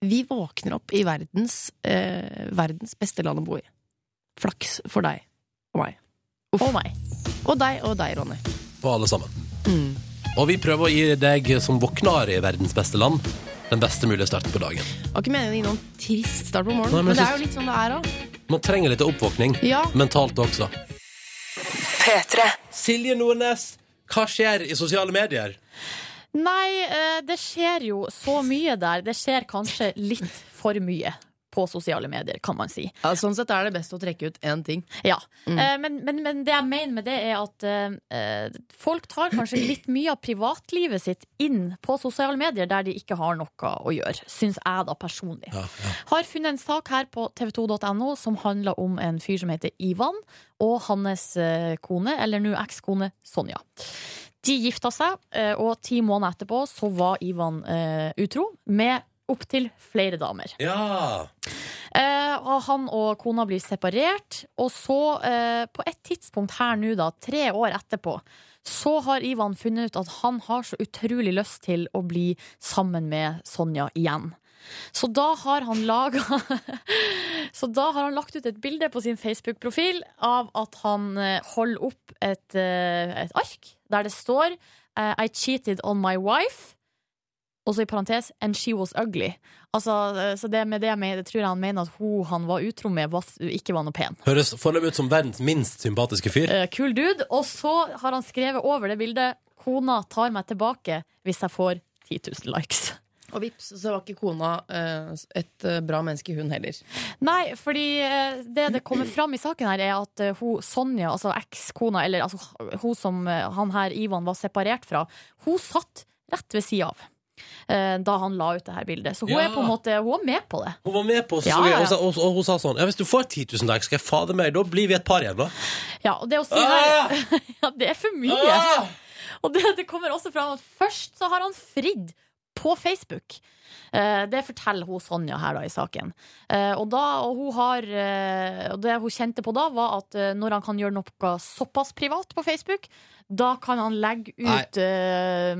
D: vi våkner opp i verdens, eh, verdens beste land å bo i. Flaks for deg og meg. Uff.
B: Og meg.
D: Og deg og deg, Ronny.
A: på alle sammen.
D: Mm.
A: Og vi prøver å gi deg som våkner i verdens beste land, den beste mulige starten på dagen.
D: Det var ikke meningen å gi noen trist start på morgenen,
A: Nei, men
D: men, det
A: jeg
D: er jo litt sånn det er òg.
A: Man trenger litt oppvåkning.
D: Ja.
A: Mentalt også.
C: P3.
A: Silje Nordnes, hva skjer i sosiale medier?
B: Nei, eh, det skjer jo så mye der. Det skjer kanskje litt for mye på sosiale medier, kan man si.
D: Ja, sånn sett er det best å trekke ut én ting.
B: Ja. Eh, Men, men, men det jeg mener med det, er at eh, eh, folk tar kanskje litt mye av privatlivet sitt inn på sosiale medier der de ikke har noe å gjøre, syns jeg da personlig. Har funnet en sak her på tv2.no som handler om en fyr som heter Ivan, og hans eh, kone, eller nå ekskone, Sonja. De gifta seg, eh, og ti måneder etterpå så var Ivan eh, utro med opptil flere damer.
A: Ja.
B: Eh, og han og kona blir separert, og så, eh, på et tidspunkt her nå, da, tre år etterpå, så har Ivan funnet ut at han har så utrolig lyst til å bli sammen med Sonja igjen. Så da har han laga Så da har han lagt ut et bilde på sin Facebook-profil av at han eh, holder opp et, eh, et ark der det står eh, I cheated on my wife. Og så i parentes 'and she was ugly'. Altså, eh, så det med det jeg mener, tror jeg han mener at hun han var utro med, var, s- ikke var noe pen.
A: Høres foreløpig ut som verdens minst sympatiske fyr.
B: Eh, Kul dude. Og så har han skrevet over det bildet 'Kona tar meg tilbake hvis jeg får 10 000 likes'.
D: Og vips, så var ikke kona eh, et eh, bra menneske, hun heller.
B: Nei, fordi eh, det det kommer fram i saken her, er at eh, hun Sonja, altså ekskona, eller altså hun som eh, han her Ivan var separert fra, hun satt rett ved sida av. eh, Da han la ut det her bildet. Så hun
A: Ja.
B: er på en måte Hun er med på det.
A: Hun var med på oss,
B: Ja, ja, ja.
A: Og, sa- og, og hun sa sånn ja, Hvis du får 10 000 likes, skal jeg fader meg, da blir vi et par igjen, da.
B: Ja, og det å si
A: Ah!
B: der ja, Det er for mye.
A: Ah!
B: Og det, det kommer også fram at først så har han fridd på Facebook. Eh, det forteller hun Sonja her da i saken. Eh, og, da, og, hun har, eh, og det hun kjente på da, var at eh, når han kan gjøre noe såpass privat på Facebook, da kan han legge ut eh,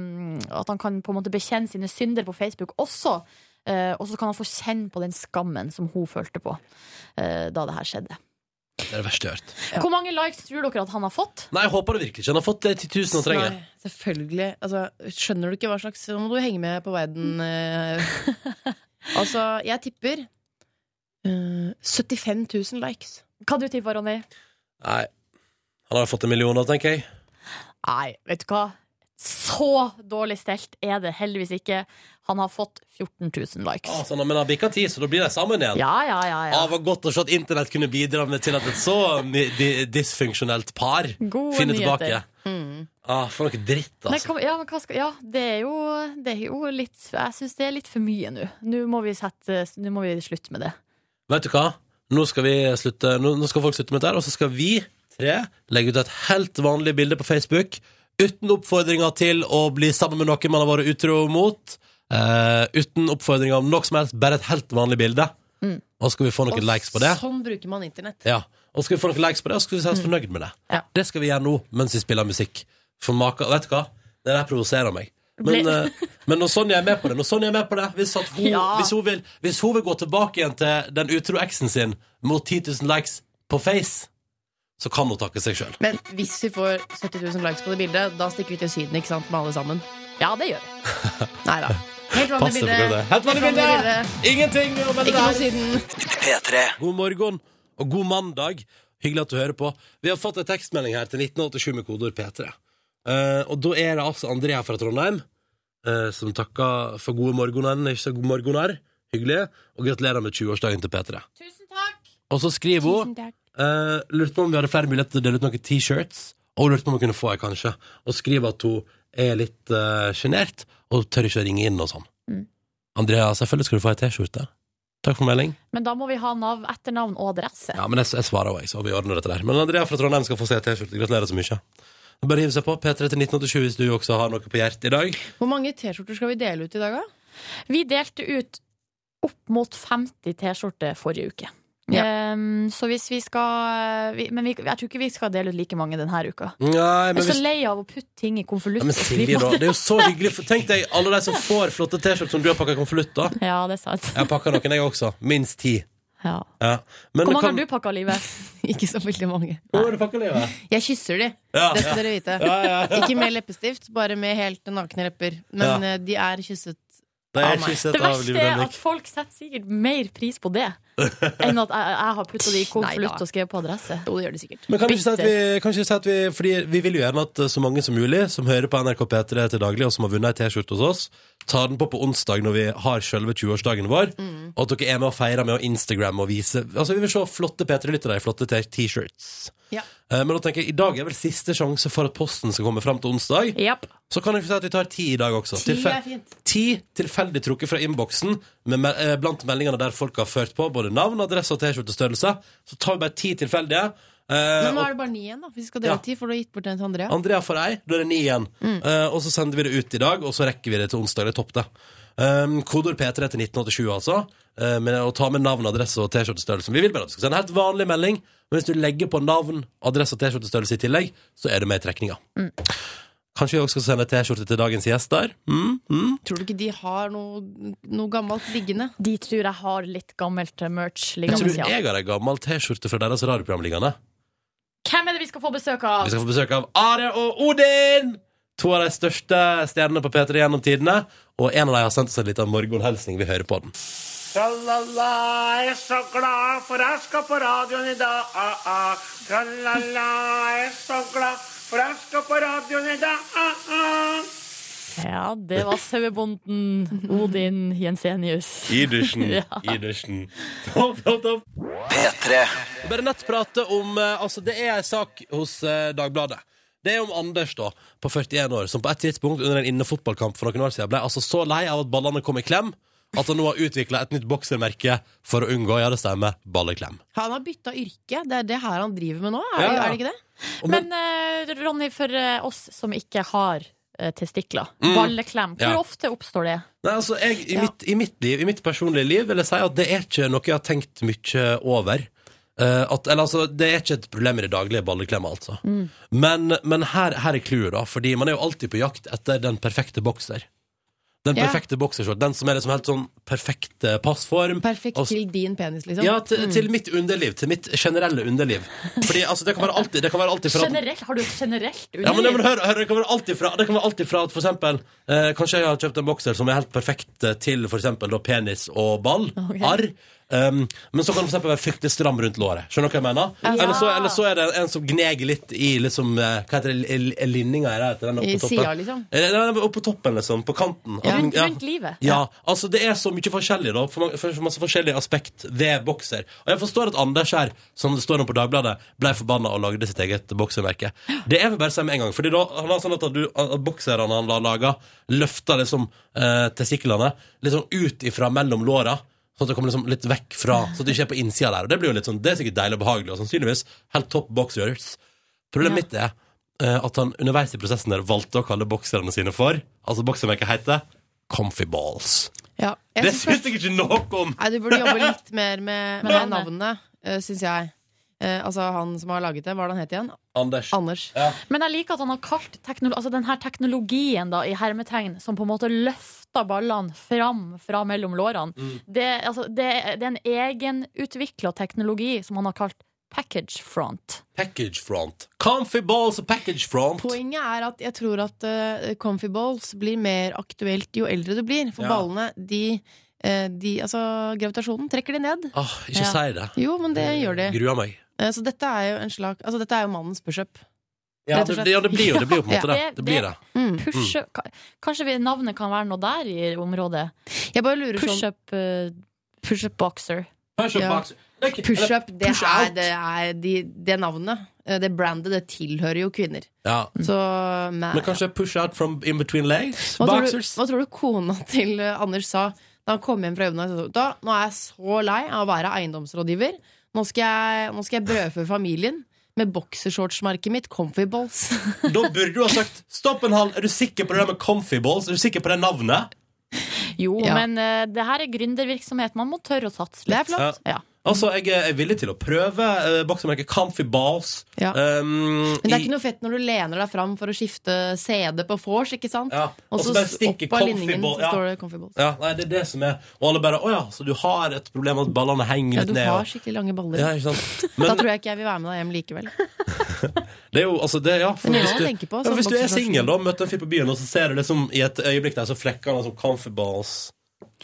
B: At han kan på en måte bekjenne sine synder på Facebook også. Eh, og så kan han få kjenne på den skammen som hun følte på eh, da det her skjedde.
A: Det er det verste jeg har hørt.
B: Hvor mange likes tror dere at han har fått?
A: Nei, jeg håper det virkelig ikke. Han har fått eh, det 10 000 han trenger.
D: Nei, selvfølgelig. Altså, skjønner du ikke hva slags Nå må du henge med på verden. eh. altså, jeg tipper eh, 75 000 likes.
B: Hva du tipper, Ronny?
A: Nei. Han har fått en million nå, tenker jeg.
B: Nei, vet du hva? Så dårlig stelt er det heldigvis ikke. Han har fått 14 000 likes.
A: Ah, så han, men han bikka 10, så da blir de sammen igjen.
B: Ja, ja, ja.
A: Ja.
B: ja.
A: var godt å se at internett kunne bidra med til at et så mi- di- dysfunksjonelt par
B: Gode
A: finner tilbake.
B: nyheter.
A: Ah, for noe dritt,
B: Nei,
A: altså.
B: hva- ja, men hva skal, ja, det er jo, det er jo litt Jeg syns det er litt for mye nå. Nå må vi, sette, nå må vi slutte med det.
A: Vet du hva? Nå skal, vi slutte, nå, nå skal folk slutte med dette, her, og så skal vi tre legge ut et helt vanlig bilde på Facebook uten oppfordringer til å bli sammen med noen man har vært utro mot. Eh, uten oppfordringer om noe som helst, bare et helt vanlig bilde.
B: Mm.
A: Og så skal vi få noen likes på det.
D: sånn bruker man internett.
A: Ja. Og så skal vi få noen likes på det, og så skal vi se oss fornøyd med det.
B: Ja.
A: Det skal vi gjøre nå mens vi spiller musikk. For maka, vet du hva? Det der provoserer meg. Men,
B: Ble-
A: eh, men når Sonja er med på det, når Sonja er med på det hvis, at hun,
B: Ja.
A: hvis, hun vil, hvis hun vil gå tilbake igjen til den utro eksen sin mot 10 000 likes på Face, så kan hun takke seg sjøl.
D: Men hvis vi får 70 000 likes på det bildet, da stikker vi til Syden ikke sant, med alle sammen.
B: Ja, det gjør vi.
D: Nei da. Helt vanlig
A: Passe på
D: bilde.
A: det. Helt vanlig bilde. Ingenting å melde
D: Ikke noe
A: der.
D: Syden.
C: P3.
A: God morgen og god mandag. Hyggelig at du hører på. Vi har fått en tekstmelding her til 1987 med kodeord P3. Eh, og da er det altså Andrea fra Trondheim eh, som takker for gode morgenen, ikke så god morgener. Hyggelig. Og gratulerer med 20-årsdagen til P3.
B: Tusen takk.
A: Og så skriver hun eh, Lurte på om vi hadde flere muligheter til å dele ut noen T-shirts. Og hun lurte på om hun kunne få ei, kanskje. Og skriver at hun er litt eh, sjenert og tør ikke å ringe inn og sånn.
B: Mm.
A: Andrea, selvfølgelig skal du få ei T-skjorte. Takk for melding.
B: Men da må vi ha navn, etternavn og adresse.
A: Ja, men jeg, jeg svarer også, jeg, så vi ordner dette der. Men Andrea fra Trondheim skal få se T-skjorte. Gratulerer så mye. Bare hiv seg på. P3 til 1987 hvis du også har noe på hjertet i dag.
D: Hvor mange T-skjorter skal vi dele ut i dag, da?
B: Vi delte ut opp mot 50 T-skjorter forrige uke. Ehm, så hvis vi skal vi, Men vi, jeg tror ikke vi skal dele ut like mange denne uka.
A: Nei,
B: Jeg
A: men
B: er så
A: hvis...
B: lei av å putte ting i konvolutt.
A: Ja, men
B: og
A: Silje,
B: slippe-
A: da. Det er jo så hyggelig. For, tenk deg alle de som får flotte T-skjorter som du har pakka konvolutt av.
B: Ja, det er sant.
A: Jeg har pakka noen, jeg også. Minst ti.
B: Ja.
A: Ja. Men
B: Hvor mange har
A: kan-
B: du pakka, Live?
D: Ikke så veldig mange.
A: Hvor har du pakka Leo?
D: Jeg kysser de,
A: Ja,
D: det
A: ja.
D: skal dere vite.
A: Ja, ja.
D: Ikke med leppestift, bare med helt nakne lepper. Men eh, de er kysset.
A: Det
D: Av
A: er
D: meg.
A: kysset
B: Det
A: av
B: verste
A: Liv
B: er at
A: Nelvik.
B: folk setter sikkert mer pris på det enn at jeg, jeg har putta det i
D: Nei
B: konvolutt
D: da.
B: og skrevet på adresse.
D: Jo, det gjør de sikkert.
A: Men kan vi ikke si at vi, kan vi ikke si at vi Fordi vi vil jo gjerne at eh, så mange som mulig som hører på NRK P3 til daglig, og som har vunnet ei T-skjorte hos oss, tar den på på onsdag når vi har selve 20-årsdagen vår.
D: Mm.
A: Og at dere er med og feirer med å Instagram og vise Altså Vi vil se flotte P3-lyttere i flotte t- T-shirts.
D: Ja.
A: Eh, Men da tenker jeg, i dag er vel siste sjanse for at posten skal komme fram til onsdag.
B: Japp.
A: Så kan jeg si at vi tar ti i dag også.
D: Ti
A: Tilfe-
D: er fint.
A: Ti tilfeldig trukket fra innboksen med me- eh, blant meldingene der folk har ført på både navn, adresse og T-skjortestørrelse. Så tar vi bare ti tilfeldige. eh,
D: Men nå
A: og-
D: er det bare ni igjen, da. Hvis vi skal
A: Ja.
D: dele ut ti, for du har gitt bort en til Andrea.
A: Andrea får ei, da er det ni igjen. Eh, og så sender vi det ut i dag, og så rekker vi det til onsdag. Det er topp, det. Um, Kodord P3 til 1987, altså. Eh, men å ta med navn, adresse og T-skjortestørrelse. Vi vil bare at du skal sende en helt vanlig melding, men hvis du legger på navn, adresse og T-skjortestørrelse i tillegg, så er du med i trekninga. Kanskje vi også skal sende T-skjorte til dagens gjest der? Mm, mm.
D: Tror du ikke de har noe, noe gammelt liggende?
B: De tror jeg har litt gammelt merch
A: Jeg tror
B: liggende. ja.
A: jeg har ei gammel T-skjorte fra deres radioprogram liggende.
B: Hvem er det vi skal få besøk av?
A: Vi skal få besøk av Are og Odin! To av de største stjernene på P3 gjennom tidene. Og en av dem har sendt oss en liten morgenhilsning. Vi hører på den.
J: Ah, Ah,
B: Ja, det var sauebonden Odin Jensenius.
A: Idersen. Idersen. Topp, topp, topp.
I: P3.
A: Bare nett prate om eh, Altså, det er en sak hos eh, Dagbladet. Det er om Anders, da, på 41 år, som på et tidspunkt under en innefotballkamp for noen år siden ble altså så lei av at ballene kom i klem, at han nå har utvikla et nytt boksermerke for å unngå ja, det stemmer, balleklem.
D: Han har bytta yrke. Det er det her han driver med nå, er,
A: Ja, ja.
D: er det ikke det?
A: Og
B: Men eh, Ronny, for eh, oss som ikke har eh, testikler, balleklem, hvor
A: Mm. Ja.
B: ofte oppstår det?
A: Nei, altså, jeg, i, mitt, i mitt liv, i mitt personlige liv, vil jeg si at det er ikke noe jeg har tenkt mye over. Eh, at, eller altså, det er ikke et problem i det daglige balleklemmet, altså.
D: Mm.
A: Men, men her, her er clouet, da. Fordi man er jo alltid på jakt etter den perfekte bokser. Den
D: Ja.
A: perfekte boksershort. Den som er liksom helt sånn perfekt eh, passform.
D: Perfekt
A: Og s-
D: til din penis, liksom.
A: Ja, til, til mitt underliv. Til mitt generelle underliv. Fordi altså, det kan være alltid, det kan være alltid fra
B: Generelt, har du et generelt
A: ja, men,
B: underliv?
A: det- men hør, hør, det kan være alt ifra, det kan være alt ifra at for eksempel eh, Kanskje jeg har kjøpt en bokser som er helt perfekt eh, til for eksempel da, penis og ball. Arr. Um, men så kan det for eksempel være fryktelig stram rundt låret. Skjønner du hva jeg mener? Eller, så, eller så er det en som gneger litt i liksom eh, Hva heter det? l- l- Linninga her? heter den oppe
D: I
A: på
D: sida,
A: toppen?
D: liksom.
A: Eh, Nei, nei, oppe på toppen, liksom. På kanten.
D: Ja.
A: Altså,
B: Rundt, rundt livet.
A: ja, altså det er så mye forskjellig da For, mange, for masse forskjellige aspekt ved bokser Og jeg forstår at Anders her, som det står om på Dagbladet Ble forbannet og lagde sitt eget boksermerke Det er vel bare å si med en gang Fordi da, han har sånn at, du, at bokserne han har laget Løfter liksom eh, testiklene Litt sånn ut ifra mellom låra Sånn at det kommer liksom litt vekk fra Sånn at det ikke er på innsida der Og det blir jo litt sånn, det er sikkert deilig og behagelig Og sannsynligvis helt topp boksers Problemet mitt er eh, at han underveis i prosessen der Valgte å kalle bokserne sine for Altså boksermerket heter Comfy balls
D: Ja. Jeg
A: det
D: synes
A: syns jeg ikke noe om!
D: Nei, du burde jobbe litt mer med, med
B: navnet.
D: navnet, uh, syns jeg. Eh, altså han som har laget det, hva er det han het igjen?
A: Anders.
D: Anders.
B: Men jeg liker at han har kalt teknolo altså den her teknologien da, i hermetegn som på en måte løfter ballene fram fra mellom lårene. Det, altså, det, det er en egenutvikla teknologi som han har kalt package front.
A: Package front. Comfy balls og package front.
D: Poenget er at jeg tror at eh, comfy balls blir mer aktuelt jo eldre du blir. For
A: Ja.
D: ballene, de, eh, de Altså, gravitasjonen trekker de ned.
A: Åh, ikke
B: Ja.
A: si det.
D: Jo, men det gjør de.
A: Gruer meg.
D: Eh, så dette er jo en slag Altså, dette er jo mannens pushup.
A: Ja,
D: Rett og
A: det,
D: slett.
A: ja, det blir jo det blir jo på en
D: Ja.
A: måte det.
B: Det-
A: det, blir det.
D: Mm.
B: Pushe, ka- Kanskje vi- navnet kan være noe der i området?
D: Jeg bare lurer sånn
B: Pushup uh, Pushup boxer.
A: Push-up
D: Ja.
A: box. Det er ikke-
D: sånn, Pushup, det,
A: push
D: er-
A: out.
D: det er de, det navnet. eh, Det brandet, det tilhører jo kvinner.
A: Ja.
D: Så eh, man,
A: Mm. Men kanskje push out from in between legs?
D: Hva tror, du,
A: Boxers?
D: hva tror du kona til eh, Anders sa da han kom hjem fra jobben? Han sa, Da, nå er jeg så lei av å være eiendomsrådgiver. Nå skal jeg, nå skal jeg brødfø familien med boksershortsmerket mitt, Comfy Balls.
A: da burde du ha sagt stopp en halv. Er du sikker på det der med comfy balls? Er du sikker på det navnet?
B: Jo,
D: Ja.
B: men eh, det her er gründervirksomhet. Man må tørre å satse
D: Det
B: litt.
D: er flott.
B: Ja.
A: Altså, jeg er er villig til å prøve eh, boksemerket Comfy Balls.
D: Ja.
A: Um,
D: Men det er
A: i-
D: ikke noe fett når du lener deg fram for å skifte CD på vors, ikke sant?
A: Ja,
D: Og
A: og så
D: så
A: bare
D: s-
A: stikker
D: opp av
A: Comfy
D: linningen
A: Ball-
D: så
A: ja.
D: står det Comfy Balls.
A: ja, nei, det er det som er Og alle bare 'Å ja, så du har et problem med at ballene henger
D: Ja,
A: litt
D: du
A: ned'?
D: har
A: og-
D: skikkelig lange baller.
A: ja, ikke sant?
D: da
A: Men,
D: tror jeg ikke jeg vil være med deg hjem likevel.
A: Det er jo, altså det, ja, for
D: Men
A: hvis
D: jeg
A: du,
D: tenker på
A: ja,
D: sånn
A: hvis du er
D: boksershorts.
A: singel og møter en fyr på byen, og så ser du liksom i et øyeblikk der, så flekker han sånn comfy balls.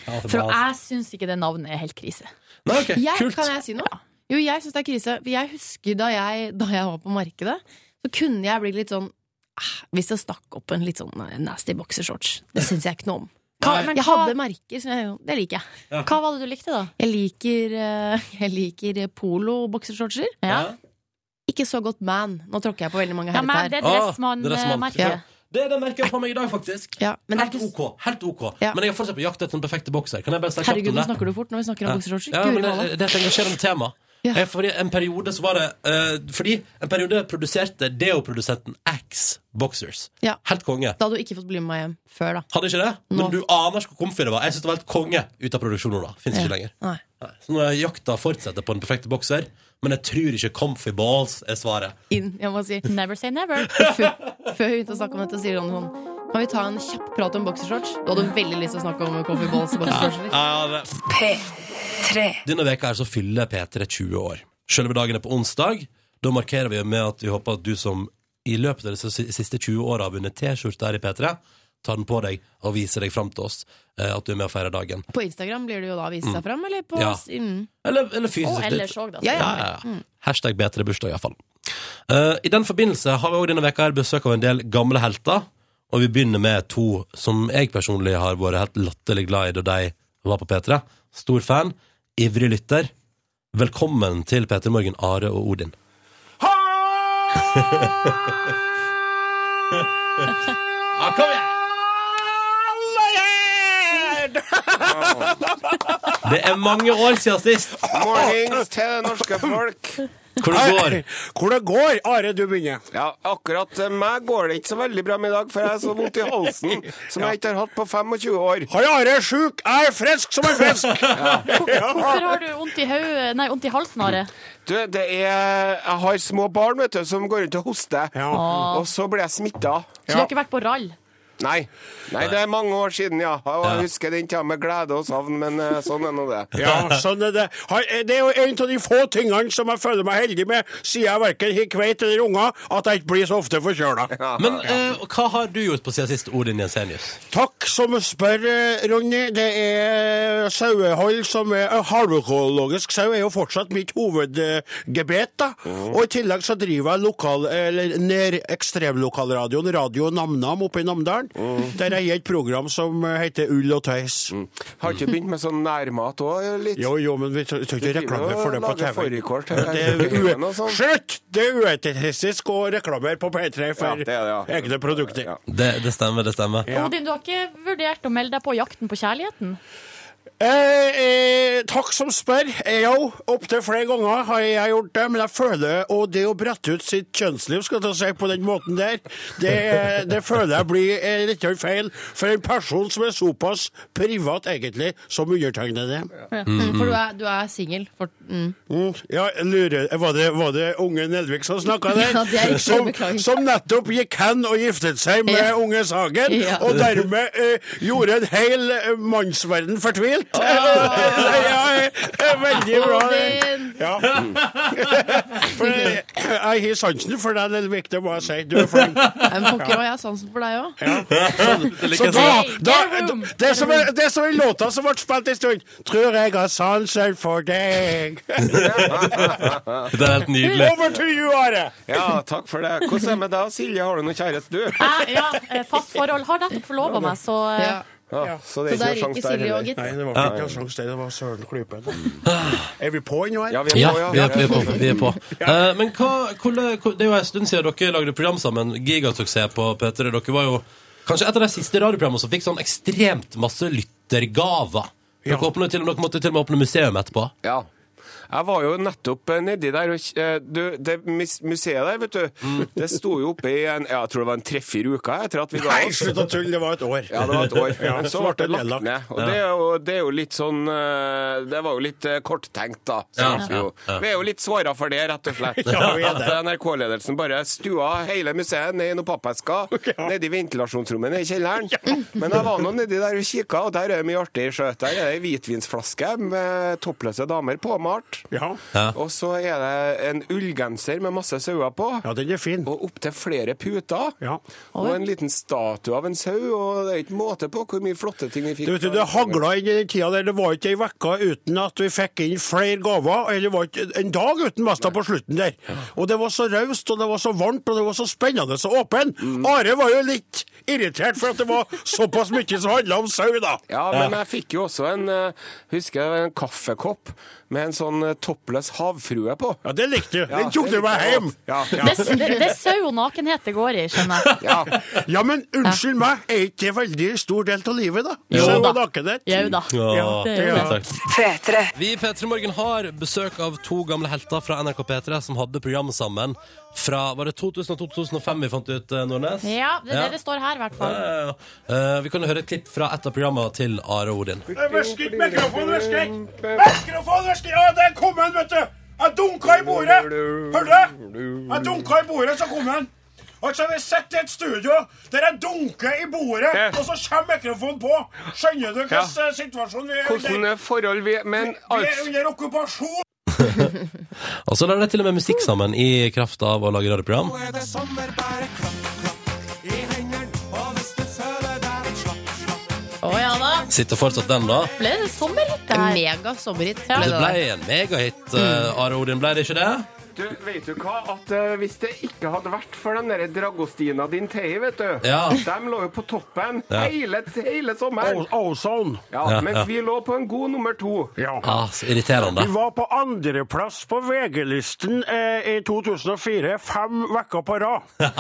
A: Comfy
B: For
A: balls.
B: jeg syns ikke det navnet er helt krise.
A: Nei, ok,
D: Jeg,
A: kult.
D: kan jeg si noe? Jo, jeg syns det er krise. For jeg husker da jeg, da jeg var på markedet, så kunne jeg bli litt sånn «Ah, Hvis det stakk opp en litt sånn eh, nasty boxershorts. Det syns jeg ikke noe om.
A: Hva-
B: men
D: jeg
B: hva-
D: hadde merker, så jeg, det liker jeg.
B: Hva var det du likte, da?
D: Jeg liker, eh, jeg liker polo-boksershortser.
A: Ja.
D: Ikke så godt man. Nå tråkker jeg på veldig mange
B: Ja, men
D: herrer.
B: det uh, er
A: Ah,
D: eh,
B: Dressmann-merket.
A: Ja. Det er det merket jeg har på meg i dag, faktisk.
D: Ja, men det er
A: Helt
D: ikke
A: OK. helt ok
D: Ja.
A: Men jeg er fortsatt på jakt etter den perfekte bokser. Kan jeg bare si kjapt
D: Herregud,
A: om
D: nå
A: det?
D: snakker du fort når vi snakker om boksershortser.
A: Ja, men
D: Guri
A: eh, det,
D: malla.
A: det er et engasjerende tema.
D: Ja.
A: Eh, Fordi en periode så var det eh, Fordi en periode produserte Deo-produsenten Axe Boxers.
D: Ja.
A: Helt konge.
D: Da hadde du ikke fått bli med meg hjem før, da.
A: Hadde ikke det?
D: Nå.
A: Men du aner ikke hvor comfy det var. Jeg synes det var helt konge ut av produksjonen da. Finnes ikke lenger.
D: Nei.
A: Nei. Så nå er jakta fortsetter på den perfekte bokser, men jeg tror ikke comfy balls er svaret.
D: Inn, jeg må si.
B: Never say never.
D: før, før vi begynte å snakke om dette, sier Ronny sånn Kan vi ta en kjapp prat om boksershorts? Du hadde veldig lyst til å snakke om Coffee Balls og boksershorts.
C: P3.
A: Denne veka her så fyller P3 20 år. Selve dagen er på onsdag. Da markerer vi med at vi håper at du som i løpet av de siste 20 åra har vunnet T-skjorte her i P3, ta den på deg og vise deg fram til oss eh, at du er med og feirer dagen.
D: På Instagram blir det jo da vist seg fram, eller? På
A: Ja.
D: mm.
A: Eller, eller fysisk.
B: Og ellers òg, da.
D: ja, ja.
A: Ja, ja, ja. Hashtag bedre bursdag, iallfall. Uh, I den forbindelse har vi også denne veka her besøk av en del gamle helter. Og vi begynner med to som jeg personlig har vært helt latterlig glad i da de var på P3. Stor fan, ivrig lytter. Velkommen til P3 Morgen, Are og Odin. ja, Ah, kom igjen! Det er mange år siden sist.
I: Mornings til det norske folk.
A: Hvor det går.
J: Hvor det går? Are, du begynner.
I: Ja, akkurat eh, meg går det ikke så veldig bra med i dag, for jeg har så vondt i halsen som jeg ikke har hatt på 25 år.
J: Hei, Are er sjuk. Jeg er frisk som en fisk.
B: Hvorfor har du vondt i hodet Nei, vondt i halsen, Are?
I: Du, det er Jeg har små barn, vet du, som går rundt og hoster.
J: Ja.
I: Og så blir jeg smitta.
B: Så du har ikke vært på rall?
I: Nei. Nei, det er mange år siden, ja. Og jeg husker den tida med glede og savn, men eh, sånn er nå det.
J: Ja, sånn er det. Har- Det er jo en av de få tingene som jeg føler meg heldig med, siden jeg verken har kveit eller unger, at jeg ikke blir så ofte forkjøla.
A: Men eh, hva har du gjort på siden sist, Odin Jensenius?
J: Takk som spør, eh, Ronny. Det er sauehold som er eh, Halvøkologisk sau er jo fortsatt mitt hovedgebet. da. Og i tillegg så driver jeg lokal, eller nær ekstremlokalradioen Radio Namnam oppe i Namdalen. Der jeg gir et program som eh, heter Ull og tøys.
I: Har ikke begynt med sånn nærmat òg, litt?
J: Jo, jo, men vi tør tør ikke reklame for det på
I: Lage
J: TV.
I: fårikål til
J: Det er
I: frokosten
J: ue-
I: og sånn.
J: Slutt! Det er uetisk å reklamere på P3
I: Ja,
J: for
I: det er det, ja.
J: egne produkter.
I: Ja.
A: Det, det stemmer, det stemmer.
J: Ja.
B: Odin, du har ikke vurdert å melde deg på Jakten på kjærligheten?
J: Eh, eh, takk som spør. Eh, Jo, opptil flere ganger har jeg gjort det, men jeg føler og det å brette ut sitt kjønnsliv skal jeg til å si, på den måten der, det, det føler jeg blir eh, litt feil for en person som er såpass privat egentlig som undertegnede.
D: Mm, For du er, du er singel. for- Mm.
J: Mm, ja, jeg lurer, var, det, var det unge Nelvik som snakka der?
D: Ja, det er riktig,
J: som,
D: beklager.
J: som nettopp gikk hen og giftet seg med
D: Ja.
J: unge Sagen,
D: Ja.
J: og dermed eh, gjorde en hel eh, mannsverden fortvilt. ja, eh, veldig bra.
D: Odin.
J: Ja. For, eh, jeg har sansen for deg, Nelvik, det må jeg si. Du er flink.
D: Men pokker, og jeg har sansen for deg òg.
J: Så da, da, det, som er, det som er låta som ble spilt en stund, tror jeg har sansen for deg.
A: Det er helt nydelig.
J: Over to you, Are!
I: ja, takk for det. Hvordan er det med deg, Silje? Har du noen kjæreste, du?
B: Jeg, ja, eh, fast forhold. Har nettopp forlova meg, så eh,
D: Ja.
I: Ja, så det
D: Så
I: er
D: der
I: ikke
D: gikk ikke
I: noe sjans der
D: Silje òg,
I: heller.
D: gitt.
J: Nei, det var ikke noe sjanse. Det var Søren Klype. Er vi på ennå her?
I: Ah. Ja, vi er
A: Ja,
I: på,
A: vi er, vi er på. Vi er på. Eh, men hva, hvordan- hvor- det er jo en stund siden dere lagde program sammen. Gigasuksess på P3. Dere var jo kanskje et av de siste radioprogrammene som fikk sånn ekstremt masse lyttergaver. Dere,
J: Ja.
A: åpnet til, dere måtte til og med åpne museum etterpå.
I: Ja. Jeg var jo nettopp eh, nedi der og eh, du, Det mis- museet der, vet du, det sto jo oppe i en, ja, jeg tror det var en tre-fire uker etter at vi ga
J: Nei,
I: oss.
J: slutt å tulle. Det var et år.
I: Ja, det var et år.
J: Ja,
I: så ble det lagt ned. Og det er, jo, det er jo litt sånn eh, Det var jo litt eh, korttenkt, da.
A: Ja,
I: Så vi, jo,
A: ja, ja.
I: vi er jo litt svara for det, rett og slett.
J: Ja, vi er det.
I: At eh, NRK-ledelsen bare stua hele museet ned i noen pappesker, nedi ventilasjonsrommene i kjelleren. Men jeg var nå nedi der og kikka, og der er det mye artig skjøt. Der er det ei hvitvinsflaske med toppløse damer påmalt.
J: Ja.
I: Og så er det en ullgenser med masse sauer på.
J: ja, den er fin.
I: Og opptil flere puter.
J: Ja.
I: Og en liten statue av en sau. Og det er ikke måte på hvor mye flotte ting vi fikk.
J: Du vet, jo, det hagla inn i den tida der det var ikke ei uke uten at vi fikk inn flere gaver. Eller det var ikke en dag uten, mest da på slutten der. Og det var så raust, og det var så varmt, og det var så spennende og åpent.
I: Mm.
J: Are var jo litt irritert for at det var såpass mye som handla om sau, da.
I: Ja, men jeg fikk jo også en eh, husker jeg, en kaffekopp med en sånn eh, toppløs havfrue på.
J: Ja, det likte du.
I: Ja,
J: Den tok du
I: det
J: med
I: likte jeg
J: hjem.
I: godt. Ja, ja.
B: det, det, det er sau og nakenhet det går i, skjønner jeg.
I: ja.
J: Ja, men unnskyld meg, er ikke det veldig stor del av livet, da?
B: Jo
J: Sau og
B: da.
J: nakenhet.
B: Jau da.
A: Ja,
B: det er jo
A: ja.
J: det.
C: P3.
A: Vi i P3 Morgen har besøk av to gamle helter fra NRK P3 som hadde program sammen fra Var det 2000 og 2005 vi fant ut, eh, Nordnes?
B: Ja, det er det det står her, i hvert
A: Ja,
B: fall.
A: ja, ja. Eh, vi kan jo høre et klipp fra et av programmene til Are og Odin.
J: Virker ikke mikrofonen, virker ikke! Mikrofonen virker Ja, der kom den, vet du! Jeg dunka i bordet! Hørte du? Jeg dunka i bordet, så kom den. Altså, Vi sitter i et studio der jeg dunker i bordet, og så kommer mikrofonen på. Skjønner du hvilken
I: Ja.
J: situasjon vi er
I: Hvordan
J: under?
I: eh, forhold vi
J: Vi
I: Men
J: er
I: alt
J: under okkupasjon!
A: Og så lager de til og med musikk sammen i kraft av å lage radioprogram.
I: er det sommer, bare klapp, klapp i hendene. Og hvis du føler deg
A: Sitter fortsatt den, da?
D: Ble det sommerhit? Mega sommerhit.
A: Men det ble en megahit, eh, Are Odin. Ble det ikke det?
I: Du, vet du hva? At eh, Hvis det ikke hadde vært for den der Dragostina din Tei, vet du
A: Ja.
I: De lå jo på toppen
A: Ja.
I: hele, hele sommeren.
J: Ozone.
I: Ja,
A: Ja,
I: mens
A: ja.
I: vi lå på en god nummer to.
J: Ja.
A: Ah, så irriterende.
J: Vi var på andreplass på VG-listen eh, i 2004, fem uker på rad.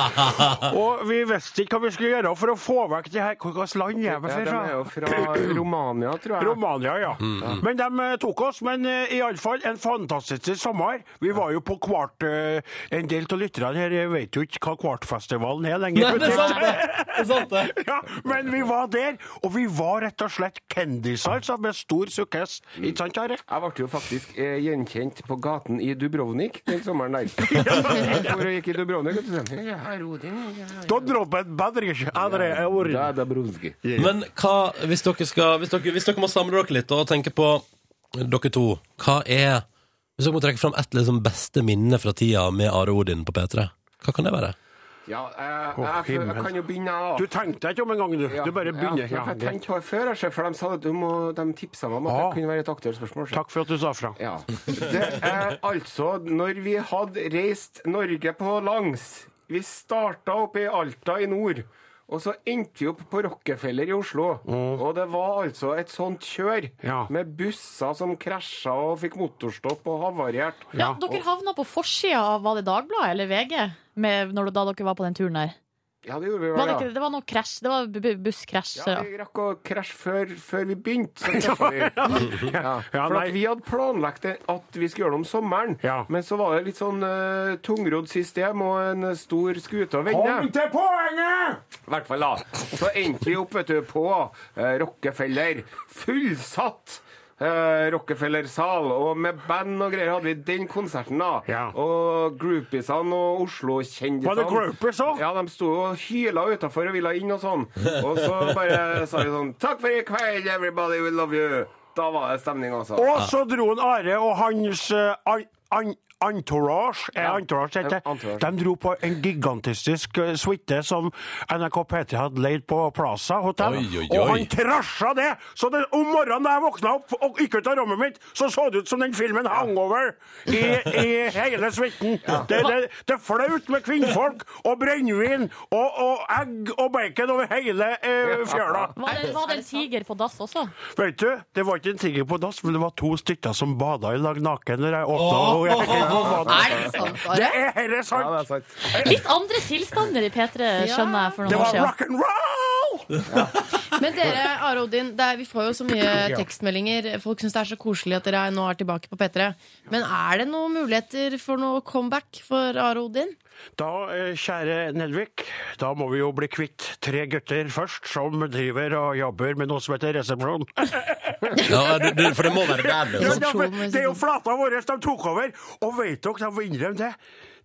J: Og vi visste ikke hva vi skulle gjøre for å få vekk de her Hvilket land er vi
I: Ja, de
J: fra?
I: er jo fra Romania, tror jeg.
J: Romania, ja.
A: Mm.
J: Men de eh, tok oss. Men eh, i alle fall en fantastisk sommer. Vi var jo på kvart... eh, En del av lytterne her eh, vet jo ikke hva Kvartfestivalen er lenger.
A: Nei, det er sant, det. Det er sant, det.
J: Ja, men vi var der, og vi var rett og slett kendiser altså, med stor sukkes. Ikke sant, Are?
I: Jeg ble jo faktisk eh, gjenkjent på gaten i Dubrovnik den sommeren der. Jeg for og gikk i Dubrovnik, og så sa han, ja, Rodin, ja, ja.
J: Da dropper bedre andre ord.
I: Da er det Bronski.
A: Men hva, hvis dere, skal, hvis, dere, hvis dere må samle dere litt og tenke på dere to, hva er Hvis dere må trekke fram et liksom beste minne fra tida med Are Odin på P3, hva kan det være?
I: Ja, eh, jeg,
J: Å,
I: jeg, jeg,
J: himmel.
I: kan jo begynne, jeg, da.
J: Du tenkte ikke om en gang, du. Du bare begynner. Ja,
I: Ja, for jeg
J: greit.
I: tenkte på det før, jeg, for de sa at du må, de tipsa meg om at
J: Ah.
I: det kunne være et aktuelt spørsmål. så-
J: Takk for at du sa fra.
I: Ja. Det er altså når vi hadde reist Norge på langs. Vi starta oppe i Alta i nord. Og så endte vi opp på Rockefeller i Oslo. Og det var altså et sånt kjør
J: Ja.
I: med busser som krasja og fikk motorstopp og havarerte.
B: Ja, dere havna på forsida av var det Dagbladet eller VG med, når, da dere var på den turen der.
I: Ja, det gjorde vi
B: Var det,
I: vel,
B: ikke,
I: ja.
B: det var noe krasj. Det var bu- bu- busskrasj.
I: Ja, vi rakk å krasje før, før vi begynte. Så krasja vi. Ja.
J: Ja,
I: For
J: nei.
I: at vi hadde planlagt det, at vi skulle gjøre det om sommeren,
J: Ja.
I: men så var det litt sånn uh, tungrodd system og en eh, stor skute å vende.
J: Kom til poenget!
I: I hvert fall da. Så endte vi opp vet du, på eh, Rockefeller. Fullsatt! eh, Rockefeller-sal, og med band og greier hadde vi den konserten, da.
J: Ja.
I: Og groupiesene og Oslo-kjendisene.
J: Var det groupies også?
I: Ja, de sto og hyla utafor og ville inn og sånn. Og så bare sa vi sånn Takk for i kveld, everybody, we love you. Da var det stemning, altså.
J: Og så dro han Are og hans eh, an, an, entourage, er
I: Ja.
J: entourage heter
I: Ja, entourage.
J: de dro på en gigantistisk eh, suite som NRK P3 hadde leid på Plaza hotell.
A: Oi, oi,
J: Og
A: oi.
J: han krasja det! Så det, om morgenen da jeg våkna opp og gikk ut av rommet mitt, så så det ut som den filmen Hangover i, i hele suiten. Det, det, det er flaut med kvinnfolk og brennevin og, og egg og bacon over hele eh, fjøla.
B: Var det, var det en tiger på dass også?
J: Vet du, det var ikke en tiger på dass, men det var to stykker som bada i lag naken når jeg åpna og jeg fikk øye på badet.
D: Er det sant, Are?
J: Det er herre
I: Ja, det
J: sant!
I: er sant.
B: Litt andre tilstander i P3, skjønner jeg, for
J: Det
B: noen år
J: var
B: siden.
J: rock and roll!
D: Men dere, Are Odin, det er, vi får jo så mye tekstmeldinger. Folk syns det er så koselig at dere er- nå er tilbake på P3. Men er det noen muligheter for noe comeback for Are Odin?
J: Da, eh, kjære Nelvik, da må vi jo bli kvitt tre gutter først, som driver og jobber med noe som heter resepsjon.
A: Ja, du, du, for det må være der,
J: Ja,
A: liksom.
J: ja, men det er jo flata vår de tok over! Og vet dere, de må innrømme det.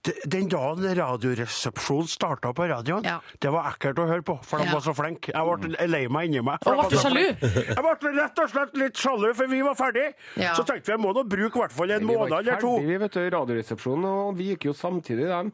J: De- Den dagen Radioresepsjonen starta på radioen,
D: Ja.
J: det var ekkelt å høre på, for de
D: Ja.
J: var så flinke. Jeg ble lei meg inni meg. for
B: Og ble
J: de var så
B: sjalu.
J: flinke. Jeg ble rett og slett litt sjalu, for vi var ferdig.
D: Ja.
J: Så tenkte vi jeg må nå bruke i hvert fall en
I: Vi var
J: måned
I: ikke
J: eller to.
I: ferdig, vi, vet du, Radioresepsjonen, og vi gikk jo samtidig, dem.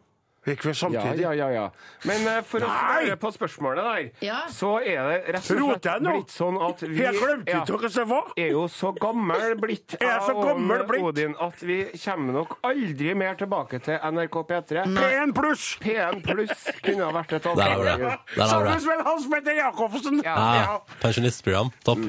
J: Gikk vi samtidig?
I: Ja, ja, ja, ja. Men eh, for å
J: Nei!
I: svare på spørsmålet der,
D: Ja.
I: så er det rett og
J: Roter
I: slett
J: jeg nå?
I: blitt sånn at vi
J: Jeg glemte
I: ja,
J: ikke hva det var!
I: er jo så gammel blitt
J: Er jeg så
I: av
J: gammel
I: Åne
J: blitt?
I: Odin at vi kommer nok aldri mer tilbake til NRK P3.
J: P1 pluss!
I: P1 pluss kunne ha vært et
A: Der har du det.
I: alternativ.
A: Der har du det.
J: Sammen med Hans Petter Jacobsen!
A: Ja, Ah, pensjonistprogram. Topp.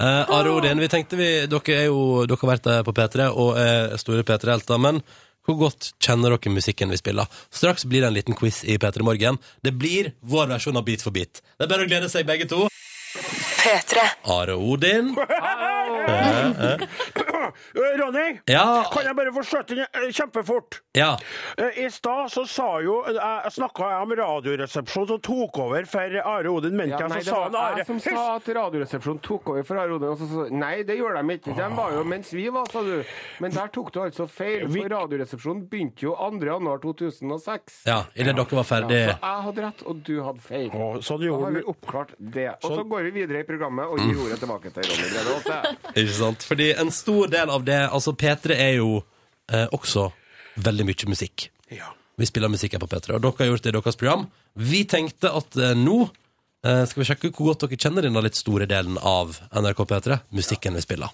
A: Eh, Are Odin, vi tenkte vi, dere, er jo, dere har vært der på P3 og er store P3-helter, men hvor godt kjenner dere musikken vi spiller? Straks blir det en liten quiz i P3 Morgen. Det blir vår versjon av Beat for beat. Det er bare å glede seg, begge to.
C: P3.
A: Are Odin.
J: Eh, Ronny,
A: Ja.
J: kan jeg bare få skjøte inn eh, kjempefort?
A: Ja.
J: Eh, I stad så sa jo øh, Jeg snakka om Radioresepsjonen som tok over for Are Odin Mentia.
I: Ja, nei,
J: så
I: det
J: sa
I: var
J: han Are
I: jeg som sa at Radioresepsjonen tok over for Are Odin. Og så, så, nei, det gjorde de ikke. De var jo mens vi var, sa du. Men der tok du altså feil,
J: Vi-
I: for Radioresepsjonen begynte jo 2. januar 2006.
A: ja Idet dere var ferdig.
I: Så Altså, jeg hadde rett, og du hadde feil.
J: Å, sånn
I: Da har
J: gjorde
I: vi
J: vi.
I: oppklart det. Og så går vi videre i programmet og gir ordet tilbake til Ronny Brede Aase.
A: Ikke sant? Fordi en stor del av det Altså, P3 er jo eh, også veldig mye musikk.
J: Ja.
A: Vi spiller musikk her på P3, og dere har gjort det i deres program. Vi tenkte at eh, nå Eh, skal vi sjekke hvor godt dere kjenner denne litt store delen av NRK P3? Musikken vi spiller.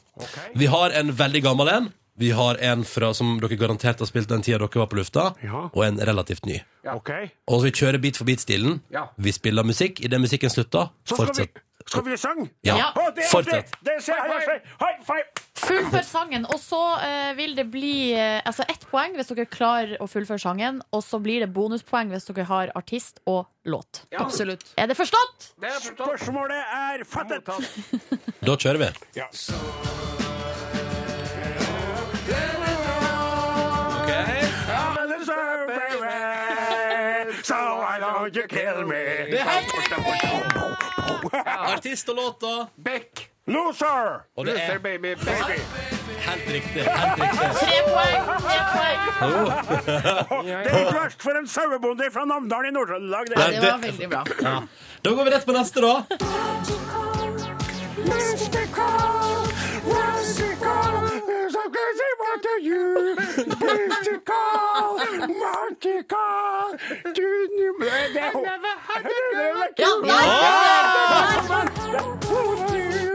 A: Vi har en veldig gammel en. Vi har en fra, som dere garantert har spilt den tida dere var på lufta, og en relativt ny.
J: OK.
A: Og vi kjører bit for bit-stilen.
J: Ja.
A: Vi spiller musikk. Idet musikken slutter,
J: Så skal
A: fortsett.
J: vi Skal vi synge?
A: Ja.
J: Å, det-
A: Fortsett.
J: det- det- se, her, her, se. High five!
B: Fullfør sangen, og så eh, vil det bli eh, altså ett poeng hvis dere klarer å fullføre sangen. Og så blir det bonuspoeng hvis dere har artist og låt.
D: Absolutt.
B: Er det forstått?
J: Spørsmålet er fattet!
A: Da kjører vi.
J: Ja.
I: Oh,
A: Det er helt Artist og låta.
I: Beck.
J: Loser!
A: Og det er
I: Loser, baby, baby.
A: helt riktig. Helt riktig. Oh.
B: Tre poeng! Tre poeng.
J: Det er ikke verst for en sauebonde fra Namdalen i Nord-Trøndelag.
A: Nei, det- Det var
J: veldig bra.
A: Ja. Da går vi rett på neste, da.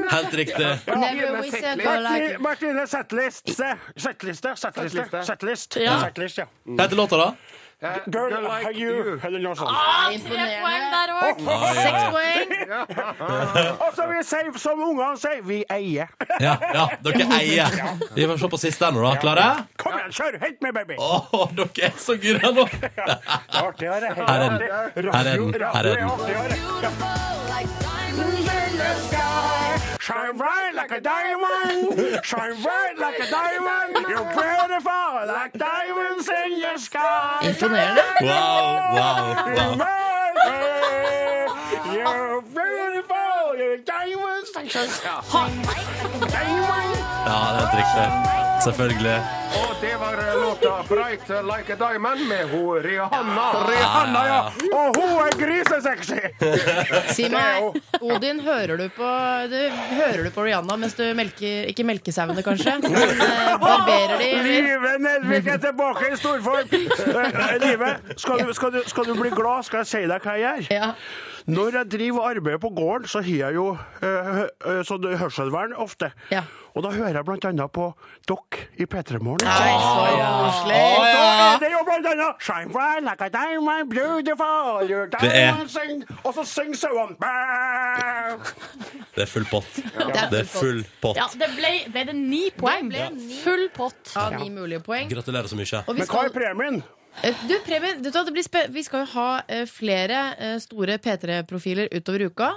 A: Helt riktig.
D: Never we said go like it.
J: Martine Settlist. se. Settliste. Settliste. Settlist.
B: Ja.
J: Settlist, ja.
A: Hva heter låta, da?
I: Eh,
J: Girl, like you. Eller noe sånt.
B: Ah, Tre poeng der òg.
D: Seks poeng.
J: Og så vi sier som ungene sier, vi eier.
A: Ja, ja, dere eier. Vi får se på siste ennå, da. Klare?
J: Kom igjen, kjør! Hent meg, baby!
A: Å, dere er så gira nå.
J: Det er artigere.
A: Her er den. Her er den. Her er den.
J: Shine bright like a diamond, shine bright like a diamond. You're beautiful like diamonds in your sky.
D: Imponerende.
A: Wow, wow, wow.
J: You're beautiful, you're diamonds.
A: Ja, det er helt riktig. Selvfølgelig.
I: Og det var eh, låta 'Bright Like a Diamond' med ho Rihanna.
J: Rihanna, ja.
A: Ah,
J: Og hun er grisesexy.
D: Si meg, Odin, hører du på, du, hører du på Rihanna mens du melker Ikke melkesauene, kanskje? Men eh, barberer de? eller?
J: Live Nelvik er tilbake i storform. Eh, Live, skal du, skal, du, skal du bli glad, skal jeg si deg hva jeg gjør.
D: Ja.
J: Når jeg driver og arbeider på gården, så har jeg jo eh, hø- eh, sånn hørselvern ofte.
D: Ja.
J: Og da hører jeg blant annet på dere i P3 Morgen.
D: Nei, så koselig.
J: Og da er det jo blant annet Shine bright like a diamond, beautiful You're
A: Det er-
J: diamond sing Og så synger sauene Bæ!
A: Det er full pott.
D: Ja.
A: Det er full pott.
B: Ja, det ble, ble det ni poeng. Full pott.
D: Ja, ni mulige poeng.
A: Gratulerer så mye.
D: Og vi
J: Men hva
D: skal,
J: er premien?
D: eh, du, Preben, vet du, hva, det blir spe vi skal jo ha eh, flere eh, store P3-profiler utover uka.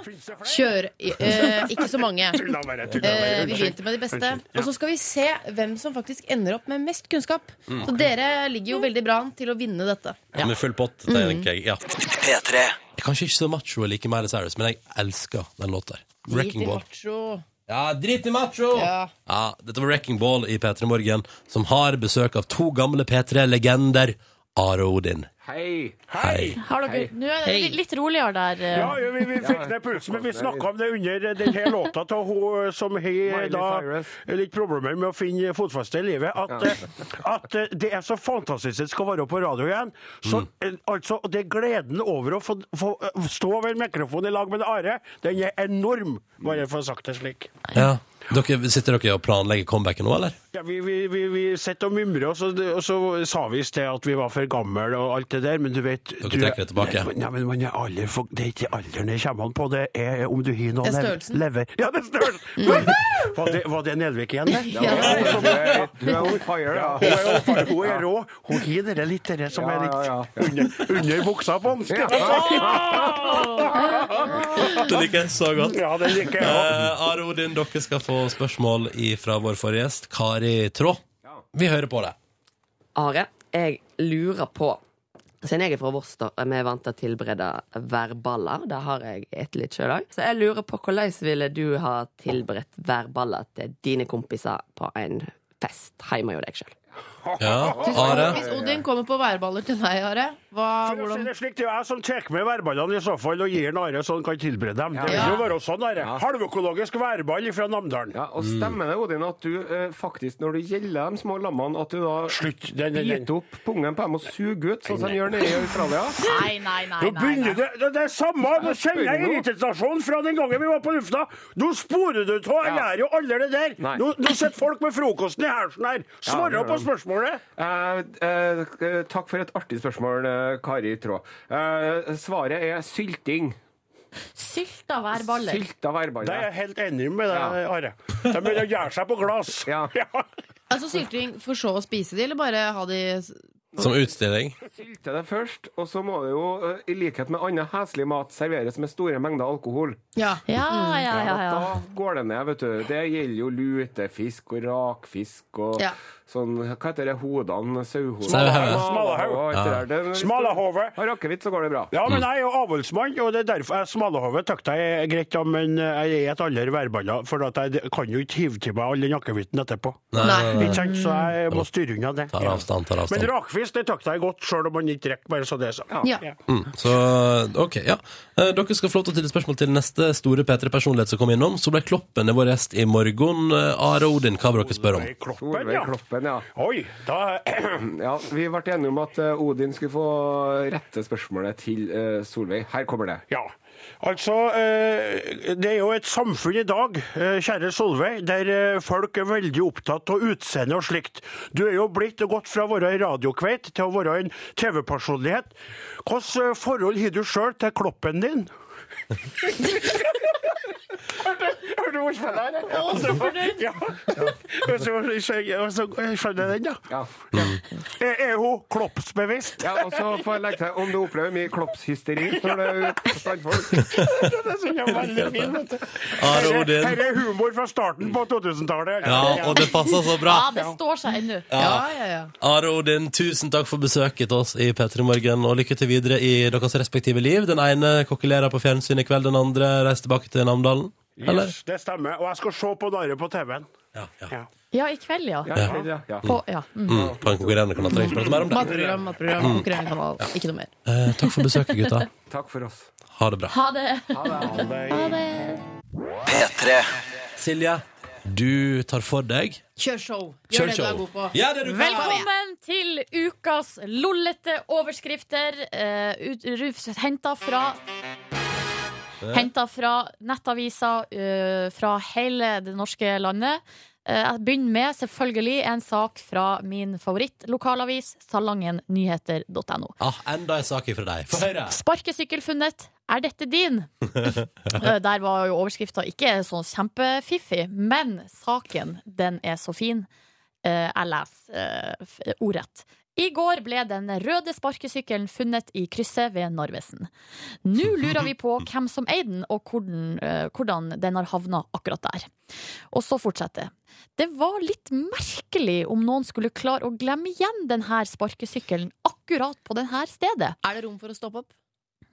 D: Kjør eh, Ikke så mange.
J: Tulla bare, tulla
D: Eh,
J: bare
D: vi begynte med de beste.
J: Unnskyld. Ja.
D: Og så skal vi se hvem som faktisk ender opp med mest kunnskap.
A: Mm.
D: Så dere ligger jo veldig bra an til å vinne dette.
A: Med full pott, det tenker jeg. Ja. Jeg er kanskje ikke så macho og liker Miley Cyrus, men jeg elsker den låta. her. Wrecking Ball.
D: Macho.
A: Ja, drit i macho!
D: Ja.
A: Ja, dette var Wrecking Ball i P3 Morgen, som har besøk av to gamle P3-legender, Are og Odin.
I: Hei.
A: Hei.
B: Har dere, nå er det litt- litt roligere der. eh.
J: Ja, jo, vi, vi fikk ned pulsen, men vi snakket om det under denne låta til hun eh, som har da
I: Cyrus.
J: litt problemer med å finne fotfeste i livet, at, eh, at eh, det er så fantastisk å være på radio igjen. Så eh, altså, det er gleden over å få, få eh, stå ved en mikrofon i lag med Are, den er enorm, bare for å ha sagt det slik.
A: Ja. Dere, sitter dere og planlegger comebacket nå, eller?
J: Ja, vi vi, vi, vi sitter og mumrer, og så, og så sa vi i sted at vi var for gamle og alt det der, men du vet du
A: trekker det tilbake.
J: Nei, men man er alder for, Det er ikke alderen det kommer an på, det er om du har noe
D: Det er
J: lev-
D: størrelsen. Mm.
J: lever. Ja, det er størrelsen! Var, det, var det Nelvik igjen, det?
I: Du er du er on fire,
J: Ja, hun,
I: ja.
J: er, jo far- hun er rå. Hun har det litt det som
I: Ja,
J: er litt
I: ja, ja.
J: Under, under buksa på den.
A: Det liker jeg så godt.
J: Ja, det liker jeg òg.
A: Eh, Are og Odin, dere skal få spørsmål fra vår forrige gjest, Kari Trå. Vi hører på det.
K: Are, jeg lurer på Siden jeg er fra Vårster, og vi er vant til å tilberede værballer, det har jeg et litt sjøl òg, så jeg lurer på hvordan ville du ha tilberedt værballer til dine kompiser på en fest hjemme hos deg sjøl?
A: Ja,
D: Hvis-
A: Are.
D: Hvis Odin kommer på værballer til deg, Are hva,
J: For å si
D: hvordan,
J: det slik, det er jeg som tar med værballene i så fall og gir den Are så han kan tilberede dem. Det vil jo være sånn, Are. Halvøkologisk værball fra Namdalen.
I: Ja, og stemmer det, Odin, at du eh, faktisk, når du gjeller de små lammene, at du da
J: Slutt,
I: biter opp pungen på dem og suger ut, sånn som de gjør nede i Australia?
B: Nei, nei, nei. nei, nei.
J: Nå begynner det, det, det er samme, nå kjenner jeg irritasjonen fra den gangen vi var på lufta. Nå sporer du av, jeg lærer jo aldri det der.
I: Nei.
J: Nå, nå sitter folk med frokosten i hersen her. Svar
I: Ja, det gjør
J: på
I: de.
J: spørsmålet.
I: Eh, eh, eh, takk for et artig spørsmål, eh, Kari Traa. Eh, svaret er sylting.
B: Sylta værballer.
I: Sylta værballer.
J: Det er jeg helt enig med deg, Are. De begynner å gjøre seg på glass. Ja.
D: altså sylting for så å spise de, eller bare ha de
A: Som utstilling.
I: Sylte det først, og så må det jo, eh, i likhet med annen heslig mat, serveres med store mengder alkohol.
D: Ja,
B: ja, Ah, ja, ja,
I: og
B: ja.
I: Da går det ned, vet du. Det gjelder jo lutefisk og rakfisk og
B: Ja.
I: sånn Hva heter det hodene? Sauehodet?
J: Smalahove.
I: og alt det der. Det- hvis du
J: Smalahove.
I: Har rakkevidt, så går det bra.
J: Ja, men jeg er jo avholdsmann, og det er derfor jeg smalahove takta er greit, ja, men jeg spiser aldri værballer, for at jeg kan jo ikke hive til meg all den akkevitten etterpå.
A: Nei, nei, nei.
J: Ikke sant? Så jeg må styre unna det.
A: Tar avstand, tar avstand.
J: Men rakfisk det takta jeg godt, sjøl om man ikke rekker, bare så det er sagt.
D: Ja.
A: Mm, så, ok, ja. Eh, Dere skal få lov til å stille spørsmål til neste store P3-personlighet som kom innom. Så ble Kloppen vår gjest i morgen. Eh, Are Odin, hva vil dere spørre om?
I: Solveig
J: ja.
I: Kloppen, ja.
J: Oi, da
I: ja, Vi ble enige om at eh, Odin skulle få rette spørsmålet til eh, Solveig. Her kommer det.
J: Ja. Altså, eh, det er jo et samfunn i dag, eh, kjære Solveig, der eh, folk er veldig opptatt av utseende og slikt. Du er jo blitt og gått fra å være en radiokveit til å være en TV-personlighet. Hvilket forhold har du sjøl til kloppen din? Hørte du ordspillet her? Jeg var så fornøyd. Ja. Og så- og så- og så- Jeg skjønner den, ja. Er, er hun kloppsbevisst?
I: Ja, og så får jeg legge til om du opplever mye kloppshysteri når du er ute blant folk.
J: Det synes jeg var veldig fint, vet du.
A: Are
J: Her
A: Odin.
J: er- her er humor fra starten på 2000-tallet.
A: Ja, og det passer så bra.
B: Ja, det står seg ennå.
A: Ja.
D: ja, ja.
A: Are Odin, tusen takk for besøket til oss i P3 Morgen, og lykke til videre i deres respektive liv. Den ene kokkelerer på fjernsyn i kveld, den andre reiser tilbake til Namdalen. Eller?
J: Yes, det stemmer. Og jeg skal se på Narre på TV-en.
B: Ja, i kveld, ja.
A: Ja, i kveld,
B: På, ja. Mm.
A: Mm, på en konkurrerende kanal. Trenger ikke prate mer om det.
D: Matprogram, matprogram,
A: Mm.
D: konkurrerende kanal. Ikke noe mer.
A: Eh, takk for besøket, gutta.
I: Takk for oss.
A: Ha det bra.
B: Ha det.
J: Ha det.
B: Ha det.
A: P3. Silje, du tar for deg
D: Kjør show.
A: Kjør
D: Gjør det du
A: show.
D: er god på.
A: Ja, det du kan.
B: Velkommen til ukas lollete overskrifter, uh, henta fra Henta fra nettaviser eh, fra hele det norske landet. Eh, jeg begynner med selvfølgelig en sak fra min favoritt-lokalavis, salangennyheter.no.
A: Ah, enda en sak ifra deg. Få høre.
B: Sparkesykkel funnet. Er dette din? Eh, Der var jo overskrifta ikke så kjempefiffig, men saken, den er så fin. Eh, Jeg leser eh, f- ordrett. I går ble den røde sparkesykkelen funnet i krysset ved Narvesen. Nå lurer vi på hvem som eier den, og hvordan, eh, hvordan den har havna akkurat der. Og så fortsetter det. Det var litt merkelig om noen skulle klare å glemme igjen denne sparkesykkelen akkurat på dette stedet.
D: Er det rom for å stoppe opp?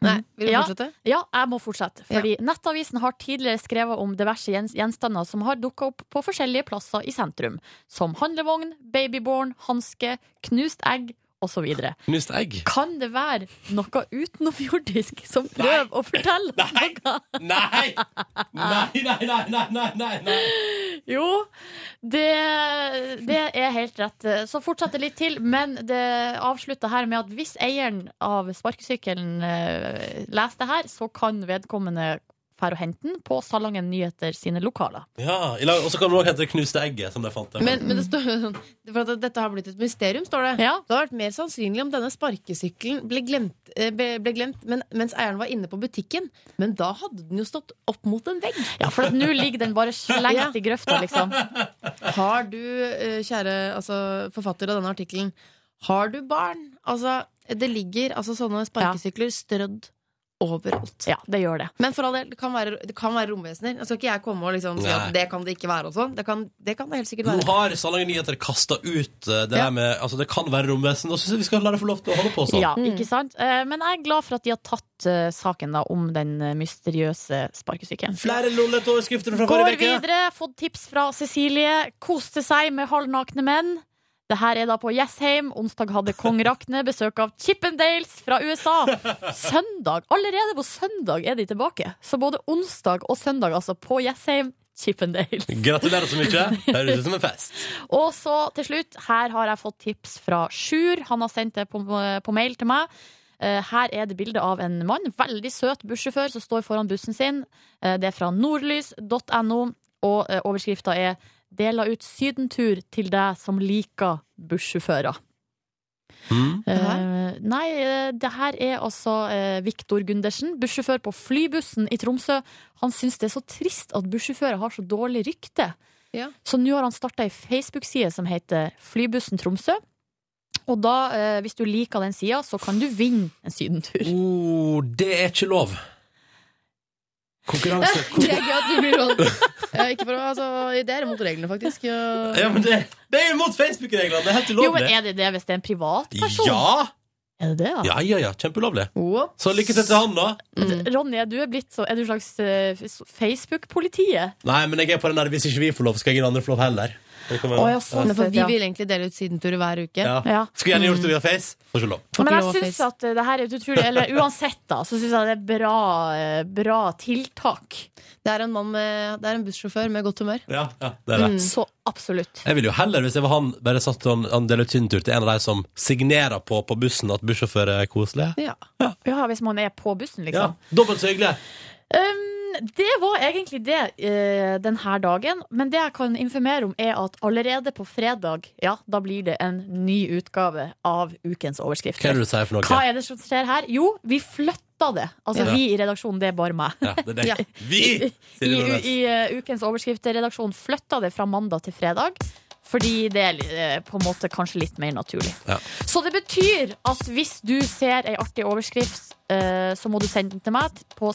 D: Nei, vil du
B: Ja.
D: fortsette?
B: Ja, jeg må fortsette. Fordi Nettavisen har tidligere skrevet om diverse gjens- gjenstander som har dukka opp på forskjellige plasser i sentrum. Som handlevogn, babyborn, hanske, knust egg osv.
A: Knust egg.
B: Kan det være noe utenomjordisk som prøver å fortelle oss noe?
A: Nei! Nei, nei, nei, nei, nei, nei, nei.
B: Jo, det, det er helt rett. Så fortsett det litt til, men det avslutter her med at hvis eieren av sparkesykkelen eh, leser det her, så kan vedkommende fære og hente den på Salangen Nyheter sine lokaler.
A: Ja, i lag- Og så kan du også hente det knuste egget som de fant. der.
D: Men, men det står jo sånn For at dette har blitt et mysterium, står det. Det hadde vært mer sannsynlig om denne sparkesykkelen ble glemt, eh, ble, ble glemt men, mens eieren var inne på butikken. Men da hadde den jo stått opp mot en vegg.
B: Ja, for at nå ligger den bare slengt i grøfta, liksom.
D: Har du, eh, kjære altså, forfatter av denne artikkelen, har du barn? Altså, det ligger altså, sånne sparkesykler strødd overalt.
B: Ja, det gjør det.
D: Men for all del, det kan være, det kan være romvesener. Nå skal ikke jeg komme og liksom si
A: Nei.
D: at det kan det ikke være. Og sånn. det, kan, det kan det helt sikkert
A: Nå
D: være.
A: har Salangen Nyheter kasta ut eh, det der med Altså, det kan være romvesen. Da syns jeg vi skal la det få lov til å holde på sånn.
B: Ja, ikke sant? Eh, Men jeg er glad for at de har tatt eh, saken da om den eh, mysteriøse sparkesykkelen.
A: Flere lollete overskrifter fra
B: Går
A: forrige uke.
B: videre, fått tips fra Cecilie. Koste seg med halvnakne menn. Det her er da på Jessheim. Onsdag hadde kong Rakne besøk av Chippendales fra USA. Søndag, Allerede på søndag er de tilbake. Så både onsdag og søndag, altså, på Jessheim, Chippendales.
A: Gratulerer så mye. Høres ut som en fest.
B: Og så til slutt, her har jeg fått tips fra Sjur. Han har sendt det på, på mail til meg. Eh, Her er det bilde av en mann, veldig søt bussjåfør, som står foran bussen sin. Eh, Det er fra nordlys.no, og eh, overskrifta er 'Dela ut sydentur til deg som liker bussjåfører'. Eh, nei, eh, det her er altså eh, Viktor Gundersen, bussjåfør på flybussen i Tromsø. Han syns det er så trist at bussjåfører har så dårlig rykte. Så nå har han starta ei Facebook-side som heter Flybussen Tromsø. Og da, eh, hvis du liker den sida, så kan du vinne en sydentur.
A: Oh, det er ikke lov. Konkurranse
D: Det er gøy at du blir sånn. Eh, Ikke for å, altså, det er imot reglene, faktisk. Ja.
A: Ja, men det, det er imot Facebook-reglene! Det er helt
B: Jo, men
A: ulovlig.
B: Er det det hvis det er en privatperson?
A: Ja!
B: Er det det, da?
A: Ja, ja, ja. Kjempeulovlig. Så lykke til til han, da. Mm.
B: Ronny, er du, er blitt så, er du slags eh, Facebook-politiet?
A: Nei, men jeg er på den der hvis ikke vi får lov, skal ingen andre få lov heller. Det kan være-
B: sånn,
D: Nei, For vi vil egentlig dele ut sidenturer hver uke.
A: Ja. Skulle gjerne gjort det via Face. Får ikke lov.
B: Men jeg syns at eh, det her er et utrolig Eller uansett, da, så syns jeg det er bra, eh, bra tiltak.
D: Det er en mann med Det er en bussjåfør med godt humør.
A: Ja, ja, det er det.
B: Så absolutt.
A: Jeg ville jo heller, hvis jeg var han, bare satt han, han deler ut sydentur til en av de som signerer på på bussen at bussjåfører er koselige.
B: Ja. hvis man er på bussen,
A: Ja,
B: liksom.
A: Dobbelt så hyggelig.
B: Um, det var egentlig det eh, denne dagen. Men det jeg kan informere om, er at allerede på fredag Ja, da blir det en ny utgave av ukens overskrift.
A: Hva er det du sier for noe?
B: Hva er det som skjer her? Jo, vi flytta det. Altså
A: Ja.
B: vi i redaksjonen, det er bare meg.
A: Ja, det er deg. Vi!
B: I,
A: sier det
B: u-
A: Nordnes.
B: i eh, ukens overskriftredaksjon flytta det fra mandag til fredag. Fordi det er eh, på en måte kanskje litt mer naturlig.
A: Ja.
B: Så det betyr at hvis du ser ei artig overskrift, eh, så må du sende den til meg på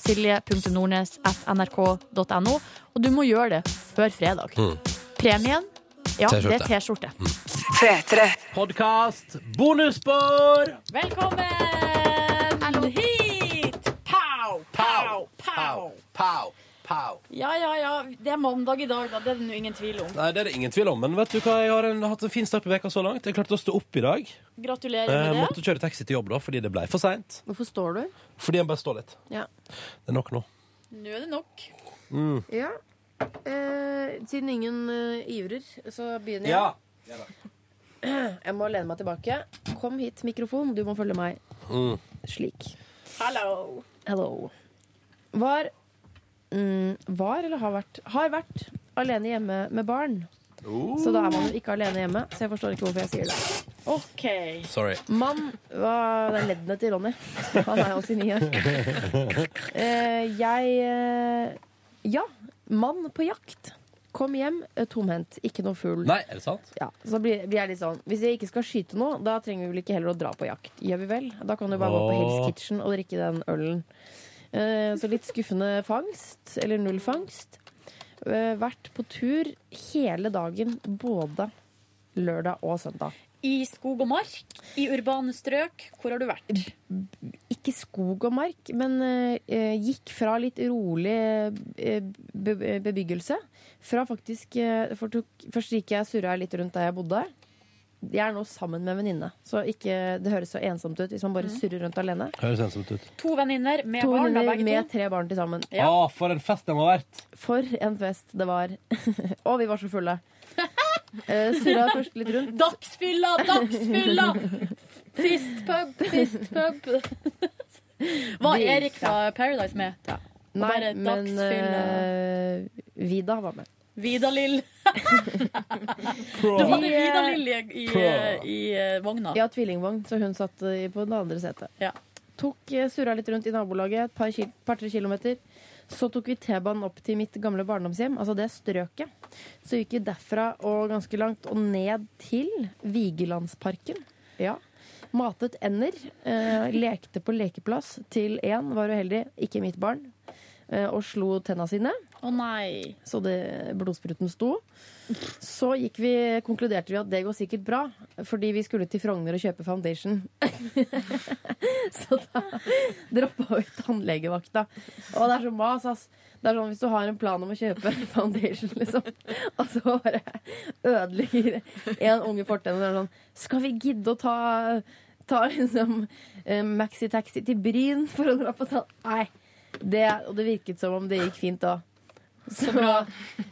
B: silje.nordnes.nrk.no. Og du må gjøre det før fredag.
A: Mm.
B: Premien? Ja, det er
A: T-skjorte. Mm.
B: T-skjorte.
A: Podkast bonusspor!
B: Velkommen hit! Pow, pow, pow.
A: Pow, pow.
B: Ja, ja, ja. Det er mandag i dag, da. Det er det nå ingen tvil om.
A: Nei, det er det ingen tvil om. Men vet du hva, jeg har en, hatt en fin start på veka så langt. Jeg klarte å stå opp i dag.
B: Gratulerer
A: Eh,
B: med det.
A: måtte kjøre taxi til jobb da, fordi det ble for seint.
D: Hvorfor står du?
A: Fordi jeg bare står litt.
D: Ja.
A: Det er nok nå.
B: Nå er det nok.
A: Mm.
D: Eh, siden ingen eh, ivrer, så begynner jeg.
A: Ja.
D: Jeg må lene meg tilbake. Kom hit, mikrofon. Du må følge meg.
A: Mm.
D: Slik.
B: Hello.
D: Hello. Var mm, Var eller har vært Har vært alene hjemme med barn.
A: Oh.
D: Så da er man jo ikke alene hjemme, så jeg forstår ikke hvorfor jeg sier det.
B: OK.
A: Sorry.
D: Mann var Det er leddene til Ronny. Han er 89 år. Eh, jeg eh, Ja. Mann på jakt. Kom hjem eh, tomhendt. Ikke noe fugl.
A: Nei, er det sant?
D: Ja, så blir, blir jeg litt sånn Hvis jeg ikke skal skyte noe, da trenger vi vel ikke heller å dra på jakt. Gjør vi vel? Da kan du bare gå på Hell's
A: Åh.
D: Kitchen og drikke den ølen. Eh, så litt skuffende fangst. Eller null fangst. Eh, vært på tur hele dagen, både lørdag og søndag.
B: I skog og mark, i urbane strøk, hvor har du vært?
D: Ikke skog og mark, men eh, gikk fra litt rolig eh, be bebyggelse. Fra faktisk eh, for tok, Først gikk jeg surra litt rundt der jeg bodde. Jeg er nå sammen med en venninne, så ikke, det høres så ensomt ut hvis man bare surrer rundt alene.
A: Høres ensomt ut.
B: To venninner med
D: To
B: Mm. barn, da,
D: venninner
B: begge
D: med
B: to.
D: tre barn til sammen.
A: Ja. for en fest den må ha vært.
D: For en fest det var. og vi var så fulle. Uh, surra først litt rundt.
B: Dagsfylla, dagsfylla! Fistpub, fistpub. Var
D: Vi-
B: Erik fra Paradise med? Og
D: Nei,
B: bare
D: men
B: dagsfylla.
D: eh, Vida var med.
B: Vida-Lill. Du hadde
D: Vi, eh,
B: Vida-Lill i, i,
D: Pro.
B: i eh, vogna.
D: Ja, tvillingvogn, så hun satt eh, på det andre setet. Tok eh, surra litt rundt i nabolaget, et par-tre kil par, tre kilometer. Så tok vi T-banen opp til mitt gamle barndomshjem, altså det strøket. Så gikk vi derfra og ganske langt og ned til Vigelandsparken. Ja. Matet ender. Eh, lekte på lekeplass til én var uheldig, ikke mitt barn. eh, og slo tenna sine.
B: Å nei
D: Så det, blodspruten sto. Så gikk vi, konkluderte vi at det går sikkert bra, fordi vi skulle til Frogner og kjøpe foundation. så da droppa vi tannlegevakta. Og det er så mas, ass. Det er sånn hvis du har en plan om å kjøpe foundation, liksom, og så bare ødelegger en unge fortenner og er sånn Skal vi gidde å ta Ta liksom eh, maxi-taxi til Bryn for å dra på tann... Nei. Det, og det virket som om det gikk fint da. Så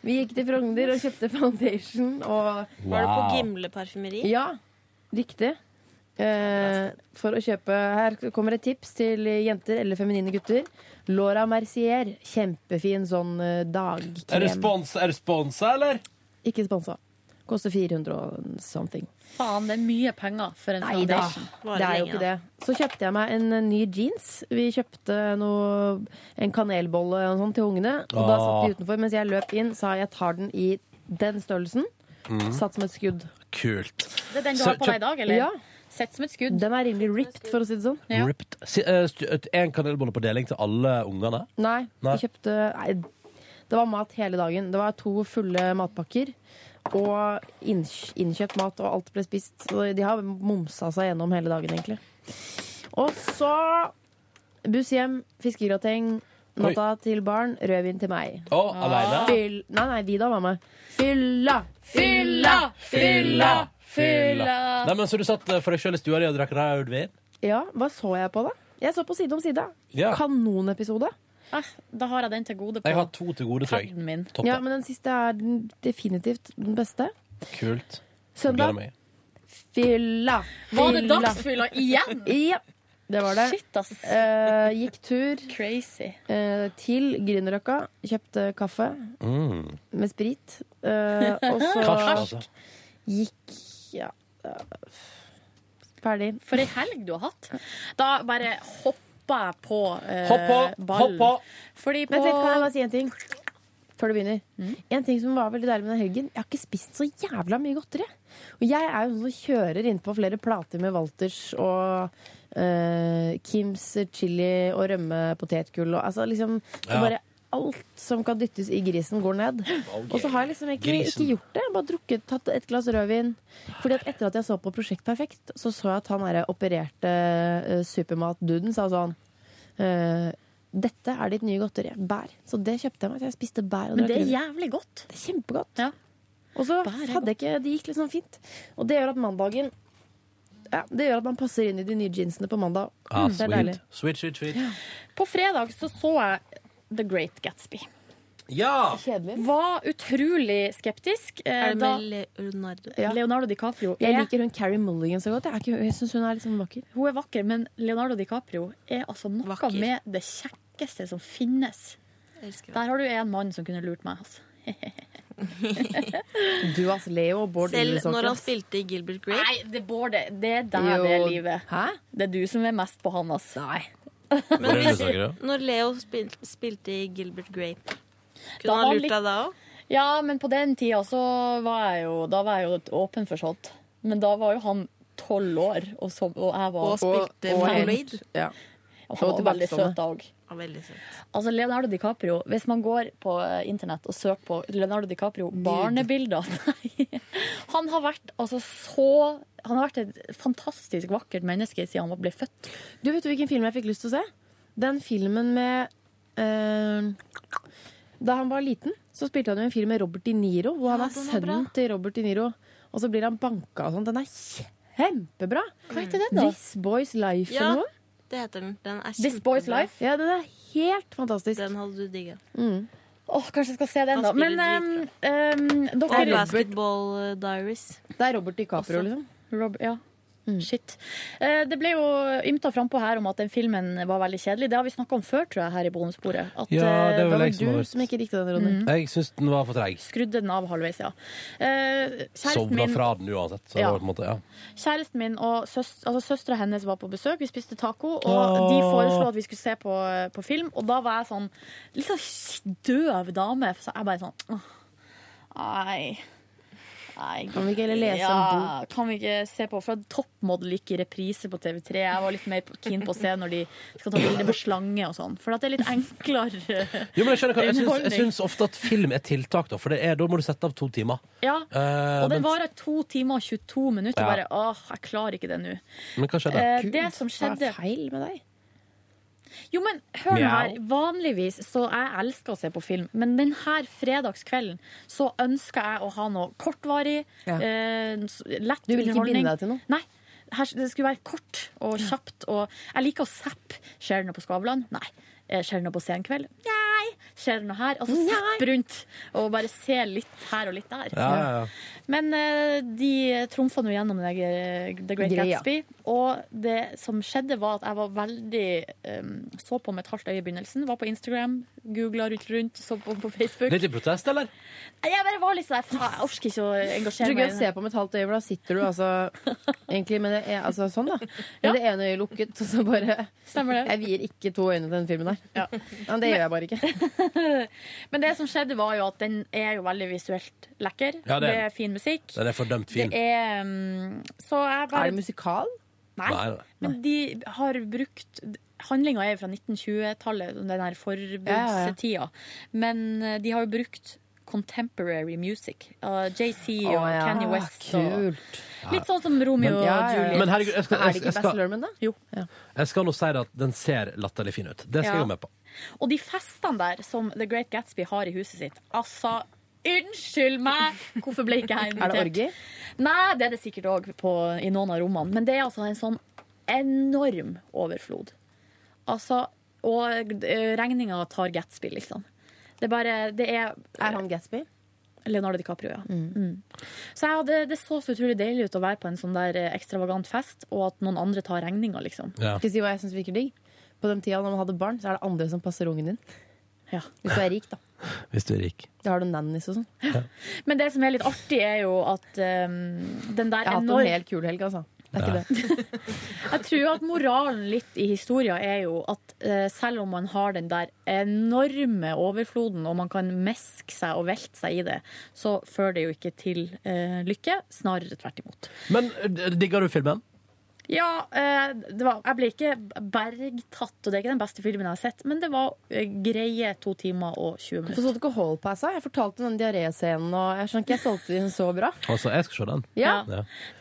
D: vi gikk til Frogner og kjøpte foundation og
L: Var det på Gimle parfymeri?
D: Ja, riktig. Eh, for å kjøpe Her kommer et tips til jenter eller feminine gutter. Laura Mercier. Kjempefin sånn
A: Er
D: eh,
A: det
D: dagkrem.
A: spons, er det sponsa, eller?
D: Ikke sponsa. Koster 400 og something.
B: Faen, det er mye penger for en sånn
D: Nei da,
B: foundation.
D: det er jo ikke det. Så kjøpte jeg meg en eh, ny jeans. Vi kjøpte noe, en kanelbolle og sånn til ungene. Og da satt
A: Ah.
D: de utenfor mens jeg løp inn, sa jeg tar den i den størrelsen.
A: Mhm.
D: Satt som et skudd.
A: Kult.
B: Det er den du
A: Så
B: har
A: kjøp-
B: på deg i dag, eller?
D: Ja.
B: Sett som et skudd.
D: Den er rimelig ripped, for å si det sånn.
A: Ripped. Si, eh, stu- et- En kanelbolle på deling til alle ungene?
D: Nei,
A: Nei.
D: vi kjøpte nei, Det var mat hele dagen. Det var to fulle matpakker. Og innkj- innkjøpt mat, og alt ble spist. Så de har momsa seg gjennom hele dagen, egentlig. Og så buss hjem, fiskegrateng, natta til barn, rødvin til meg.
A: Å, alene?
D: Fyll, nei, nei, de da var med. Fylla!
B: Fylla!
A: Fylla! Nei, men Så du satt eh, for deg sjøl i stua di og drakk rødvin?
D: Ja, hva så jeg på, da? Jeg så på Side om side.
A: Ja.
D: Kanonepisode.
B: Da har jeg den til gode på
A: Jeg har to til gode, tror jeg.
B: Herden min.
A: Topp,
D: Ja, men den siste er den, definitivt den beste.
A: Kult.
D: Søndag.
A: Gleder meg.
D: Fylla.
B: Var det
D: Fylla.
B: dagsfylla igjen?
D: Ja, det var det. Eh, gikk tur eh, til Grünerløkka, kjøpte kaffe
A: Mm.
D: med sprit. eh, og så
A: Karsk, altså.
D: gikk ja, eh, ferdig.
B: For ei helg du har hatt. Da bare hoppa jeg på eh,
D: Hopp på,
B: ballen.
D: hopp på.
B: Fordi på
D: Vent litt, kan jeg bare si en ting? Før du begynner. En ting som var veldig deilig med den helgen, jeg har ikke spist så jævla mye godteri. Og jeg er jo sånn som kjører innpå flere plater med Walters og eh, Kims chili og rømme potetgull og altså liksom det er
B: Ja.
D: bare Alt som kan dyttes i grisen, går ned.
B: Ok.
D: Og så har jeg liksom ikke,
B: Grisen.
D: ikke gjort det. Jeg har Bare drukket, tatt et glass rødvin. Fordi at etter at jeg så på Prosjekt Perfekt, så så jeg at han derre opererte eh, supermatduden sa sånn eh, dette er ditt nye godteri. Bær. Så det kjøpte jeg meg. Så jeg spiste bær. Og
B: Men det er
D: grønn.
B: jævlig godt.
D: Det er kjempegodt. Og så hadde jeg ikke Det gikk liksom fint. Og det gjør at mandagen ja, Det gjør at man passer inn i de nye jeansene på mandag.
A: Ah,
D: Mm, det er deilig.
A: sweet. sweet, sweet, sweet.
B: På fredag så, så jeg The Great Gatsby.
A: Ja!
B: Var utrolig skeptisk. eh,
L: Er det
B: da-
L: med Leonardo?
B: Leonardo DiCaprio
D: Jeg
B: er-
D: liker hun Carrie Mulligan så godt. Jeg, er ikke- jeg syns hun er litt sånn vakker.
B: Hun er vakker, men Leonardo DiCaprio er altså noe med det kjekkeste som finnes. Der har du en mann som kunne lurt meg. Altså.
D: Du, altså, Leo og Bård
L: Selv
D: Ulriksåker,
L: når han
D: ass.
L: spilte i Gilbert Grape?
B: sånn Nei, det, Bård, det, det er deg,
L: Jo.
B: det er livet. Det er du som er mest på han, altså.
L: Men hvis, når Leo spil, spilte i Gilbert Grape,
B: Da
L: kunne
B: var
L: han lurt
B: litt-
L: deg da òg?
B: Ja, men på den tida så var jeg jo, da var jeg jo åpen for sånt. Men da var jo han tolv år, og, så, og jeg var
L: Og spilte Marmalade.
D: Ja.
B: Og han var veldig søt da òg.
L: Veldig søt.
B: Altså Leonardo DiCaprio, Hvis man går på eh, internett og søker på Leonardo DiCaprio barnebilder Nei. Han har vært altså så Han har vært et fantastisk vakkert menneske siden han ble født.
D: Du vet du hvilken film jeg fikk lyst til å se? Den filmen med eh, Da han var liten, så spilte han jo en film med Robert De Niro, hvor han
B: Ja,
D: er
B: den er bra.
D: sønnen til Robert De Niro. Og så blir han banka og sånn. Den er kjempebra!
L: Hva heter den da?
D: This Boys Life
L: Ja,
D: eller noe.
L: det heter den. Den er
D: This Boy's
L: kjempebra.
D: Life? Ja, den er helt fantastisk.
L: Den hadde du digga.
D: Mm.
B: Åh, kanskje jeg skal se den,
L: Han
B: da.
L: spiller
B: Men ehm, ehm,
L: Det er
B: dere
L: Basketball eh, Diaries.
D: Det er Robert DiCaprio,
B: Også.
D: liksom.
B: Robert, ja. Shit. Eh, Det ble jo ymta frampå her om at den filmen var veldig kjedelig. Det har vi snakka om før, tror jeg, her i bonusbordet. At
A: Ja,
B: eh,
A: det er vel
B: var
A: jeg som har
B: du
A: vært-
B: som ikke Mm. likte den, Ronny.
A: Jeg syns den var for treig.
B: Skrudde den av halvveis, ja. Eh, Kjæresten
A: Sovna
B: min,
A: fra den uansett. Så det
B: Ja.
A: var på en måte, ja.
B: kjæresten min og søs- altså søstera hennes var på besøk, vi spiste taco, og
A: Åh.
B: de foreslo at vi skulle se på, på film, og da var jeg sånn litt sånn døv dame, så jeg bare sånn «Åh, Nei. Nei,
D: Kan vi ikke heller lese en
B: ja,
D: bok?
B: Kan vi ikke se på For toppmodell gikk i reprise på TV3. Jeg var litt mer keen på å se når de skal ta bilder med slange og sånn. For at det er litt enklere
A: Jo, men jeg skjønner hva Jeg syns, jeg
B: underholdning.
A: syns ofte at film er tiltak, da, for det er, da må du sette av to timer.
B: Ja,
A: Eh,
B: og den
A: men-
B: varer to timer og 22 minutter.
A: Ja.
B: Bare, åh, jeg klarer ikke det nå.
A: Men hva skjedde?
B: Eh, det som skjedde Hva er feil med deg? Jo, men hør nå her. Vanligvis så jeg elsker å se på film, men denne fredagskvelden så ønsker jeg å ha noe kortvarig,
D: Ja.
B: eh, s- lett
D: Du vil ikke
B: underholdning.
D: binde deg til noe?
B: Nei. Her, det skulle være kort og kjapt. Og jeg liker å zappe. Skjer det noe på Skavlan? Nei. Eh, Skjer det noe på Senkveld? Nei. Skjer det noe her? Altså zapp rundt og bare se litt her og litt der.
A: Ja, ja, ja.
B: Men eh, de trumfa nå gjennom det, eh, The Great
D: Greia.
B: Gatsby. Og det som skjedde, var at jeg var veldig eh, Så på med et halvt øye i begynnelsen. Var på Instagram, googla rundt rundt, så på, på Facebook.
A: Litt i protest, eller?
B: Jeg bare var litt sånn "Faen, Jeg orker ikke å engasjere
D: Du
B: meg.
D: kan se på om et halvt øye, for da sitter du altså egentlig med det, e- altså, sånn, da. Med det ene øyet lukket, og så bare
B: Stemmer det.
D: Jeg vier ikke to øyne til den filmen der. Men det gjør jeg bare ikke.
B: Men det som skjedde, var jo at den er jo veldig visuelt lekker.
A: Ja, det er
B: det,
A: den.
B: er fin musikk.
A: Den er fordømt fin.
B: Det er, mm, så jeg bare
D: Er det musikal?
B: Nei.
A: Nei, nei.
B: Men de har brukt Handlinga er jo fra 1920-tallet, den der forbudstida. Men eh, de har jo brukt contemporary music. Uh, JC og
D: Å, ja.
B: Kanye West.
D: Kult.
B: Og litt sånn som Romeo
A: Men-
B: og
A: Ja, ja, ja.
B: Juliet.
A: Men herregud, jeg skal-
D: Er det
A: jeg
D: ikke
A: skal-
D: Baz Luhrmann, da?
B: Jo.
A: Jeg skal nå si det at den ser latterlig fin ut. Det skal
B: Ja.
A: jeg være med på.
B: Og de festene der som The Great Gatsby har i huset sitt, altså Unnskyld meg! Hvorfor ble ikke jeg invitert?
D: Er det orgi?
B: Nei, det er det sikkert òg i noen av rommene. Men det er altså en sånn enorm overflod. Altså, og eh, regninga tar Gatsby, liksom. Det er bare det er,
D: Er han Gatsby?
B: Leonardo DiCaprio, ja. Mm. Så jeg hadde, det så så utrolig deilig ut å være på en sånn der eh, ekstravagant fest, og at noen andre tar regninga, liksom.
D: Skal jeg si hva jeg syns virker digg? På den tida når man hadde barn, så er det andre som passer ungen din. Hvis du er rik, da.
A: Hvis du er rik.
D: Da har du nannies og sånn.
B: Men det som er litt artig, er jo at eh, den der
D: Jeg har hatt
B: enorm-
D: en helt kul helg, altså. Det er ikke det.
B: Jeg tror at moralen litt i historia er jo at eh, selv om man har den der enorme overfloden, og man kan meske seg og velte seg i det, så fører det jo ikke til eh, lykke. Snarere tvert imot.
A: Men eh, digger du filmen?
B: Ja, eh, det var, jeg ble ikke bergtatt, og det er ikke den beste filmen jeg har sett, men det var eh, greie to timer og 20
D: Hvorfor
B: minutter.
D: så du ikke Hall Pass? da? Jeg fortalte om den diaréscenen, og jeg skjønner ikke jeg solgte den så bra.
A: Altså, jeg skal se den.
D: Ja.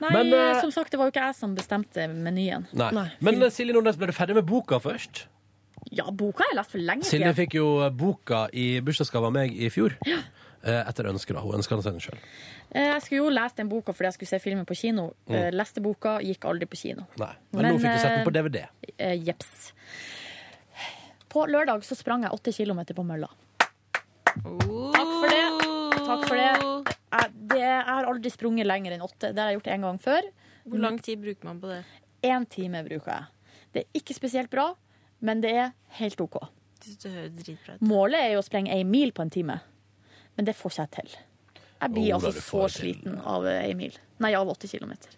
B: Nei,
A: Men, eh,
B: som sagt, det var jo ikke jeg som bestemte menyen.
A: Nei. Men eh, Silje Nordnes, ble du ferdig med boka først?
B: Ja, boka har jeg lest for lenge
A: Silje
B: siden.
A: fikk jo eh, boka i bursdagsgave av meg i fjor. Eh, Etter ønske, da. Hun ønska den seg sjøl.
B: Eh, Jeg skulle jo lese den boka fordi jeg skulle se filmen på kino.
A: Mm.
B: Eh, Leste boka, gikk aldri på kino.
A: Nei. Men, nå fikk du sett den på DVD.
B: eh, Jeps. På lørdag så sprang jeg åtte kilometer på mølla. Takk for det. Takk for det. Jeg, det. jeg har aldri sprunget lenger enn åtte. Det har jeg gjort en gang før.
L: Hvor lang tid bruker man på det?
B: Én time bruker jeg. Det er ikke spesielt bra, men det er helt OK.
L: Du synes det høres dritbra ut.
B: Målet er jo å sprenge ei mil på en time, men det får ikke jeg til. Jeg blir
L: Oh, da,
B: altså
L: du
B: så
L: får det
B: sliten av ei mil. Nei, av åtte kilometer.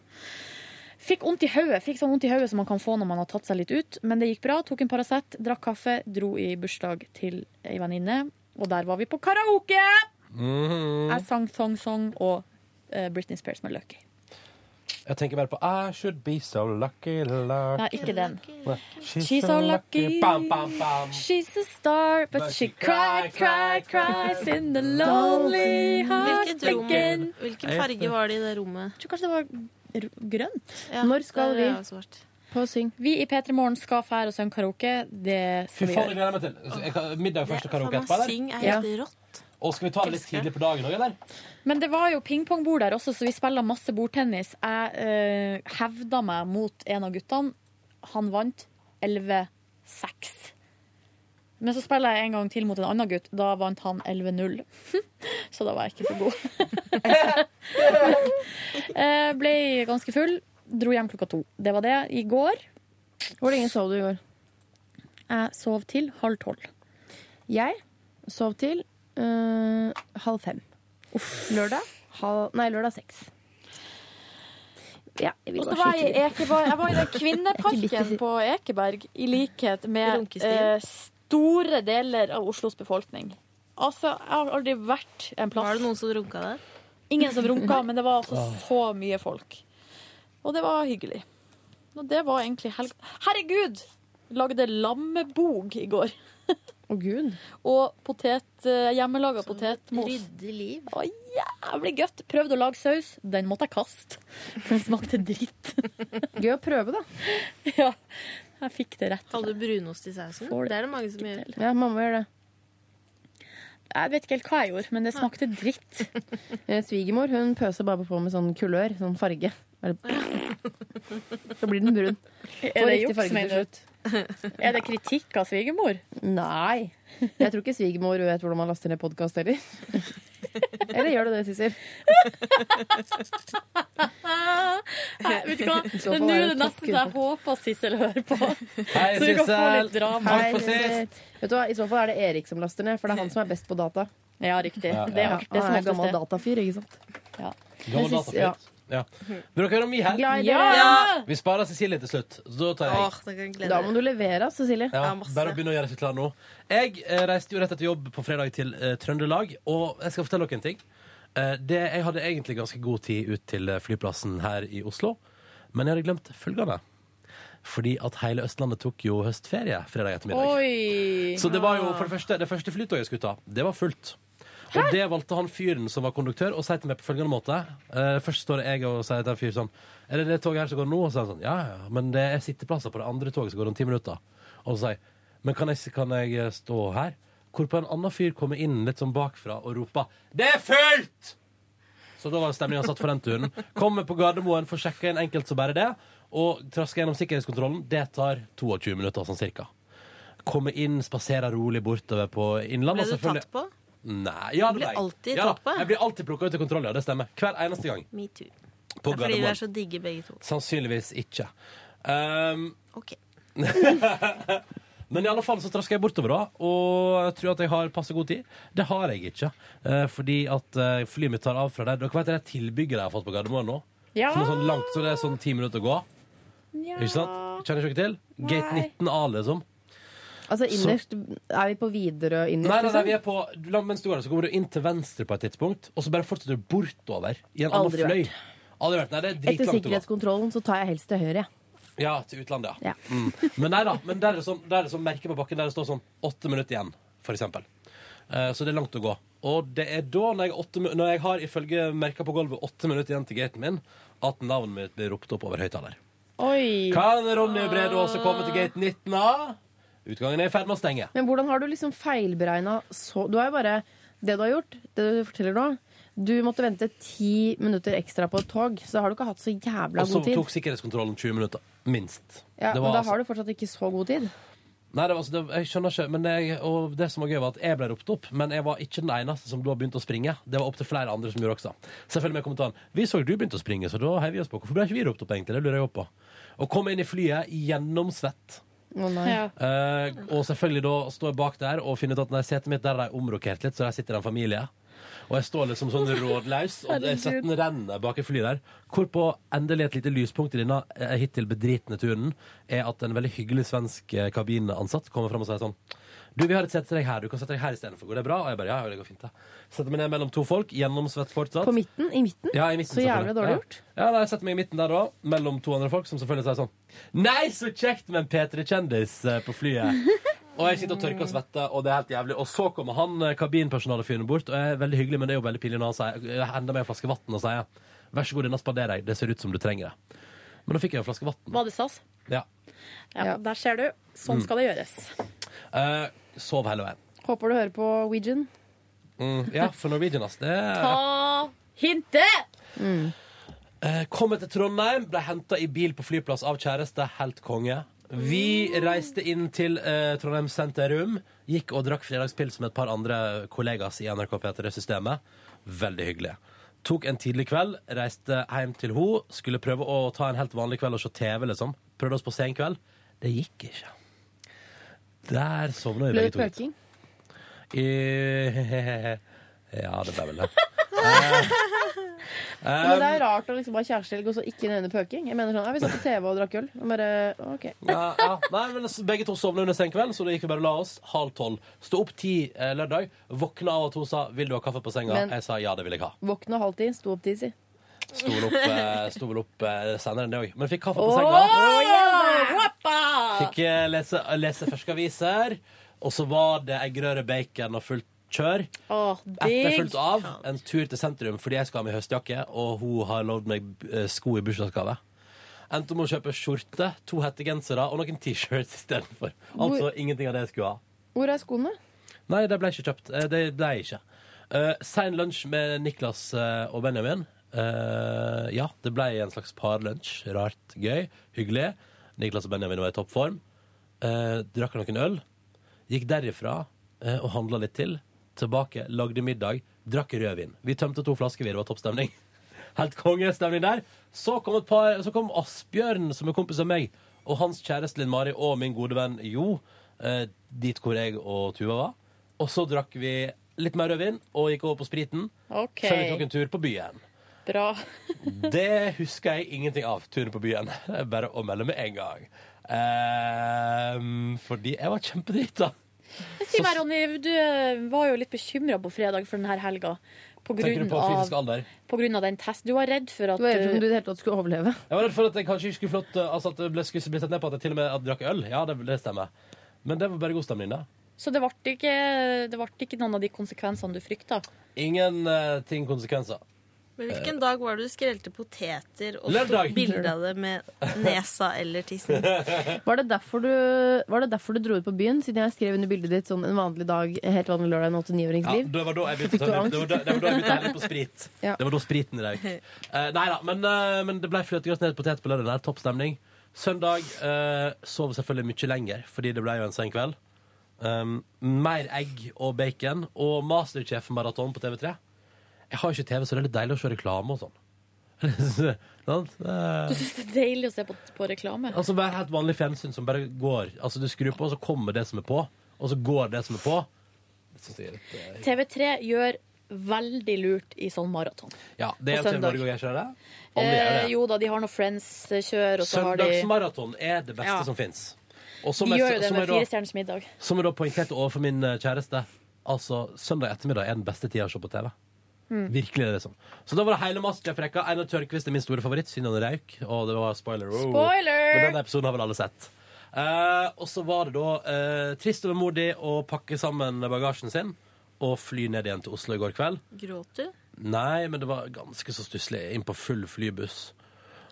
B: Fikk vondt i hodet, fikk sånn vondt i hodet som man kan få når man har tatt seg litt ut. Men det gikk bra. Tok en Paracet, drakk kaffe, dro i bursdag til ei venninne. Og der var vi på karaoke!
L: Mhm.
B: Jeg sang Thong Song og eh, Britney Spears med Lucky.
A: Jeg tenker bare på I should be so lucky, lucky.
B: Nei, ikke den.
A: Nei.
B: She's so lucky.
A: Bam, bam, bam.
B: She's a star, but she cried, cried, cries in the lonely
L: Hvilket rom,
B: heartbreaking.
L: hvilken farge var det i det rommet?
B: Jeg tror kanskje det var r- grønt.
L: Ja, Når skal det er vi? jo svart.
D: på syng?
B: Vi i P3 Morgen skal fære og synge karaoke. Det
A: Fy
B: skal vi
A: faen, jeg
B: gjøre.
A: gleder meg til. Så jeg kan- Middag først og karaoke
B: faen,
A: etterpå,
B: syng er
A: eller?
B: helt
L: rått.
A: Og skal vi ta det litt tidlig på dagen òg, eller?
B: Men det var jo pingpongbord der også, så vi spiller masse bordtennis. Jeg eh, hevda meg mot en av guttene. Han vant 11-6. Men så spiller jeg en gang til mot en annen gutt. Da vant han 11-0. Så da var jeg ikke så god. Eh, Ble ganske full. Dro hjem klokka to. Det var det i går.
D: Hvor lenge sov du i går?
B: Jeg sov til halv tolv.
D: Jeg sov til øh, halv fem. Lørdag halv Nei, lørdag seks. Ja, jeg vil
B: Og så
D: bare
B: var jeg, i
D: skyte det.
B: Altså, Ekeberg, jeg var i den kvinneparken på Ekeberg, i likhet med
L: Runkestil.
B: eh, store deler av Oslos befolkning. Altså, jeg har aldri vært en plass
L: Var det noen som runka der?
B: Ingen som runka, men det var altså så mye folk. Og det var hyggelig. Og det var egentlig helg... Herregud! Lagde lammebog i går.
F: Å, gud.
B: Og potet, eh, hjemmelaga potetmos.
L: Rydde liv.
B: Å, jævlig godt. Prøvde å lage saus. Den måtte jeg kaste. For den smakte dritt.
F: Gøy å prøve,
B: da. Ja. Jeg fikk det rett.
L: Hadde du brunost i sausen?
B: Får det
L: Det er det mange som gjør.
F: Ja, mamma gjør det.
B: Jeg vet ikke helt hva jeg gjorde, men det smakte dritt.
F: Eh, Svigermor hun pøser bare på med sånn kulør, sånn farge. Bare- Så blir den brun.
B: Er
F: Får
B: det
F: riktig
B: juks,
F: farge til
B: mener
F: slutt.
B: du? Er det kritikk av svigermor?
F: Nei. Jeg tror ikke svigermor vet hvordan man laster ned podkast heller. Eller gjør du det, Sissel?
B: Ah, Nei, vet du hva?
F: I
B: Det
F: så
B: er
F: fall
B: nå
F: er
B: det
F: det
B: nesten så jeg håper Sissel hører på.
A: Hei,
B: Så vi kan få
A: Sissel.
B: litt drama.
A: Takk for sist.
F: Vet du hva, I så fall er det Erik som laster ned, for det er han som er best på data.
B: Ja, riktig.
A: Ja, Det er ja. artig
F: Han
A: som
F: er en gammel
A: oftest det.
F: datafyr, ikke sant?
A: Gammel
F: Jeg synes-
A: datafritt. Ja. Vil dere høre om min helg?
F: Glad i dere. Ja!
A: Vi sparer Cecilie til slutt. Så da tar jeg.
F: Da må du levere, altså, Silje.
A: Ja, bare begynne å gjøre seg klar nå. Jeg eh, reiste jo rett etter jobb på fredag til eh, Trøndelag, og jeg skal fortelle dere en ting. Eh, det, jeg hadde egentlig ganske god tid ut til eh, flyplassen her i Oslo, men jeg hadde glemt følgende. Fordi at hele Østlandet tok jo høstferie fredag ettermiddag.
B: Oi!
A: Så det var jo for det første Det første flytoget jeg skulle ta, det var fullt. Og det valgte han fyren som var konduktør, og sa til meg på følgende måte eh, Først står jeg og sier til en fyr sånn Er det det toget her som går nå? Og så er han sånn Ja, ja, ja, men det er sitteplasser på det andre toget som går om ti minutter. Og så sier jeg Men kan jeg, kan jeg stå her? Hvorpå en annen fyr kommer inn litt sånn bakfra og roper Det er fullt! Så da var stemninga satt for den turen. Kommer på Gardermoen, får sjekka inn enkelt som bare det. Og trasker gjennom sikkerhetskontrollen. Det tar 22 minutter, sånn cirka. Komme inn, spasere rolig bortover på Innlandet.
L: Ble du
A: selvfølgelig-
L: tatt på?
A: Nei. Ja, det
L: Du
A: ble
L: blir
A: jeg.
L: alltid
A: ja, da.
L: tatt på.
A: Jeg blir alltid plukka ut i kontroll, ja. Det stemmer. Hver eneste gang.
L: Metoo.
A: På
L: Det er fordi vi
A: Gardermoen.
L: er så digge begge to.
A: Sannsynligvis ikke. Um,
L: Ok.
A: Men i alle fall så trasker jeg bortover da, og jeg tror at jeg har passe god tid. Det har jeg ikke, eh, fordi at eh, flyet mitt tar av fra der. Dere vet det tilbygget jeg har fått på Gardermoen nå?
B: Ja.
A: Som er sånn langt, så det er sånn ti minutter å gå. Ikke sant? Kjenner dere til? Gate
F: Nei.
A: 19A, liksom.
F: Altså
A: Så-
F: innerst Er vi på Widerøe innerst?
A: Nei, nei, nei,
F: liksom?
A: vi er på du- la- Mens du går der, så kommer du inn til venstre på et tidspunkt, og så bare fortsetter du bortover i en annen
F: Aldri
A: fløy. Aldri vært. Nei, det er
F: Etter
A: dritlangt å gå.
F: sikkerhetskontrollen så tar jeg helst til høyre. jeg.
A: Ja, til utlandet, ja. Mm. Men nei da, men der er det sånn, der er det sånn merke på bakken der det står sånn åtte minutter igjen, for eksempel. Eh, så det er langt å gå. Og det er da, når jeg, har åtte, min- når jeg har ifølge merka på gulvet åtte minutter igjen til gaten min, at navnet mitt blir ropt opp over høyttaler.
B: Oi.
A: Kan Ronny Brede Aase komme
F: Ah.
A: til gate 19A? Utgangen er i ferd med å stenge.
F: Men hvordan har du liksom feilberegna så Du har jo bare Det du har gjort, det du forteller nå Du måtte vente ti minutter ekstra på et tog, så har du ikke hatt så jævla
A: Og så
F: god tid.
A: tok sikkerhetskontrollen 20 minutter. Minst.
F: Ja,
A: Det
F: men
A: var
F: da
A: altså-
F: har du fortsatt ikke så god tid.
A: Nei, det var, altså, det, jeg skjønner ikke, men jeg, og det som var gøy var at jeg ble ropt opp, men jeg var ikke den eneste som da begynte å springe. Det var opptil flere andre som gjorde også. Selvfølgelig med kommentaren Vi så du begynte å springe, så da heier vi oss på. Hvorfor ble ikke vi ropt opp, egentlig? Det lurer jeg også på. Og kom inn i flyet gjennomsvett.
F: Å nei.
B: Ja.
A: Eh, og selvfølgelig da står jeg bak der og finner ut at nei, setet mitt der er de omrokert litt, så der sitter det en familie. Og jeg står liksom sånn rådløs, og
M: Herregud.
A: svetten renner bak i flyet der. Hvorpå endelig et lite lyspunkt i denne eh, hittil bedritne turen er at en veldig hyggelig svensk eh, kabinansatt kommer fram og sier sånn Du, vi har et sete til deg her. Du kan sette deg her istedenfor. Går det bra? Og jeg bare ja, ja, det går fint, det. Setter meg ned mellom to folk, gjennomsvett fortsatt.
F: På midten? I midten?
A: Ja, i midten
F: så jævlig
A: selvfølgelig.
F: dårlig
A: Ja.
F: gjort.
A: Ja, da, Jeg setter meg i midten der da, mellom to andre folk, som selvfølgelig sier sånn Nei, så kjekt med en P3-kjendis eh, på flyet. Og jeg sitter og tørker og svetter, og det er helt jævlig. Og så kommer han eh, kabinpersonalefyren bort, og er veldig hyggelig, men det er jo veldig pinlig når han sier, eh, hender meg en flaske vann og sier Vær så god, denne spanderer jeg. Det ser ut som du trenger det. Men da fikk jeg en flaske vann.
B: Var det SAS?
A: Ja.
B: Ja, Der ser du.
A: Mm.
B: Sånn skal det gjøres.
A: Eh, sov hele veien.
F: Håper du hører på Weegan.
A: Mm, ja, for Norwegian, ass. Det
B: Ta hintet!
A: Eh, Kom til Trondheim, ble henta i bil på flyplass av kjæreste, helt konge. Vi reiste inn til eh, Trondheim sentrum, gikk og drakk fredagspils med et par andre kollegas i NRK P3-systemet. Veldig hyggelig. Tok en tidlig kveld, reiste hjem til ho, skulle prøve å ta en helt vanlig kveld og se TV, liksom. Prøvde oss på sen kveld. Det gikk ikke. Der sovna vi
F: Ble det
A: begge to.
F: pøking?
A: I... Ja, det ble vel det.
D: Men det er rart å liksom ha kjærestehelg og så ikke nevne pøking. Jeg mener sånn, ja, Vi satt på TV og drakk øl. Og Bare, ok
A: Ja, ja. Nei, men s- Begge to sovna under senkveld, så det gikk vi bare og la oss halv tolv. Stå opp ti eh, lørdag. Våkna av at hun sa 'Vil du ha kaffe på senga?'
D: Men-
A: Jeg sa ja, det vil jeg ha.
D: Våkna halv ti, sto opp ti, si.
A: Sto vel opp, eh, sto vel opp eh, senere enn det òg. Men fikk kaffe på
D: Åh,
A: senga.
D: yeah!
A: Fikk eh, lese, lese ferske aviser. Og så var det eggerøre, bacon og fullt kjør.
B: Åh, digg.
A: Etterfulgt av en tur til sentrum fordi jeg skal ha meg høstjakke, og hun har lovd meg eh, sko i bursdagsgave. Endte med å kjøpe skjorte, to hettegensere og noen T-shirts istedenfor. Altså
D: Hvor-
A: ingenting av det jeg skulle ha.
D: Hvor er skoene?
A: Nei, det ble ikke kjøpt. Eh, Det ble jeg ikke. Eh, sein lunsj med Niklas eh, og Benjamin. Eh, ja, det ble en slags parlunsj. Rart, gøy, hyggelig. Niklas og Benjamin var i toppform. Eh, drakk noen øl. Gikk derifra eh, og handla litt til. Tilbake, lagde middag, drakk rødvin. Vi tømte to flasker, vi. Det var toppstemning. Helt kongestemning der. Så kom, et par, så kom Asbjørn, som er kompis av meg, og hans kjæreste Linn Mari og min gode venn Jo, eh, dit hvor jeg og Tuva var. Og så drakk vi litt mer rødvin og gikk over på spriten.
B: OK.
A: Før vi tok en tur på byen.
B: Bra.
A: Det husker jeg ingenting av, turen på byen. Det er Bare å melde med en gang. Ehm, fordi jeg var kjempedrita.
B: Si meg, Ronny, du eh, var jo litt bekymra på fredag for denne helga. På
A: Tenker
B: grunn,
A: du på
B: av,
A: fysisk alder?
B: på grunn av den testen. Du var redd for at
D: Du var redd for om du i
B: uh,
D: det hele tatt skulle overleve.
A: Jeg var redd for at jeg kanskje ikke skulle flott, altså at det ble, skulle bli sett ned på at jeg til og med at jeg drakk øl. Ja, det, det stemmer. Men det var bare god stemning, da.
B: eh, Så det ble ikke, det ble ikke noen av de konsekvensene du frykta.
A: Ingen eh, ting konsekvenser.
L: Men hvilken dag var det du skrelte poteter og
A: Eh. Lørdag.
L: tok bilde av det med nesa eller tissen?
D: Var det, derfor du, var det derfor du dro ut på byen? Siden jeg skrev under bildet ditt sånn en vanlig dag, helt vanlig lørdag, en 89-årings
A: Ja,
D: liv.
A: det var da jeg begynte
D: Fikk
A: å
D: du
A: ta-
D: angst?
A: det var da det var da jeg begynte å helle på sprit.
D: Ja.
A: Det var da spriten røyk. Uh, nei da, men, eh, men det ble fløtegratinert potet på lørdag. der, Topp stemning. Søndag eh, sov selvfølgelig mye lenger, fordi det ble jo en sen kveld. Um, mer egg og bacon og Masterchef-maraton på TV3. Jeg har ikke TV, så det er litt deilig å se reklame og sånn. Sant?
B: Du
A: Eh,
B: syns det er deilig å se på, på reklame?
A: Altså Bare helt vanlig fjernsyn som bare går. Altså Du skrur på, og så kommer det som er på. Og så går det som er på. Det synes jeg er litt eh,
B: TV3 gjør veldig lurt i sånn maraton.
A: Ja, det
B: På
A: er TV
B: søndag.
A: Norge og jeg kjører det. Om det
B: Eh,
A: gjør det.
B: jo da, de har noe Friends-kjør, og så har de
A: Søndagsmaraton er det beste
B: Ja.
A: som fins.
B: De gjør jo det med Fire
A: da,
B: stjerners middag.
A: som jeg da poengterte overfor min eh, kjæreste, altså søndag ettermiddag er den beste tida å se på TV.
B: Mm.
A: Virkelig er det sånn. Så da var det hele Masterchef-rekka. Einar Tørnquist er min store favoritt, siden han røyk. Og det var spoiler. Oh.
B: Spoiler!
A: Men den episoden har vel alle sett. Eh, og så var det da eh, trist og vemodig å pakke sammen bagasjen sin og fly ned igjen til Oslo i går kveld.
L: Gråt du?
A: Nei, men det var ganske så stusslig. Inn på full flybuss.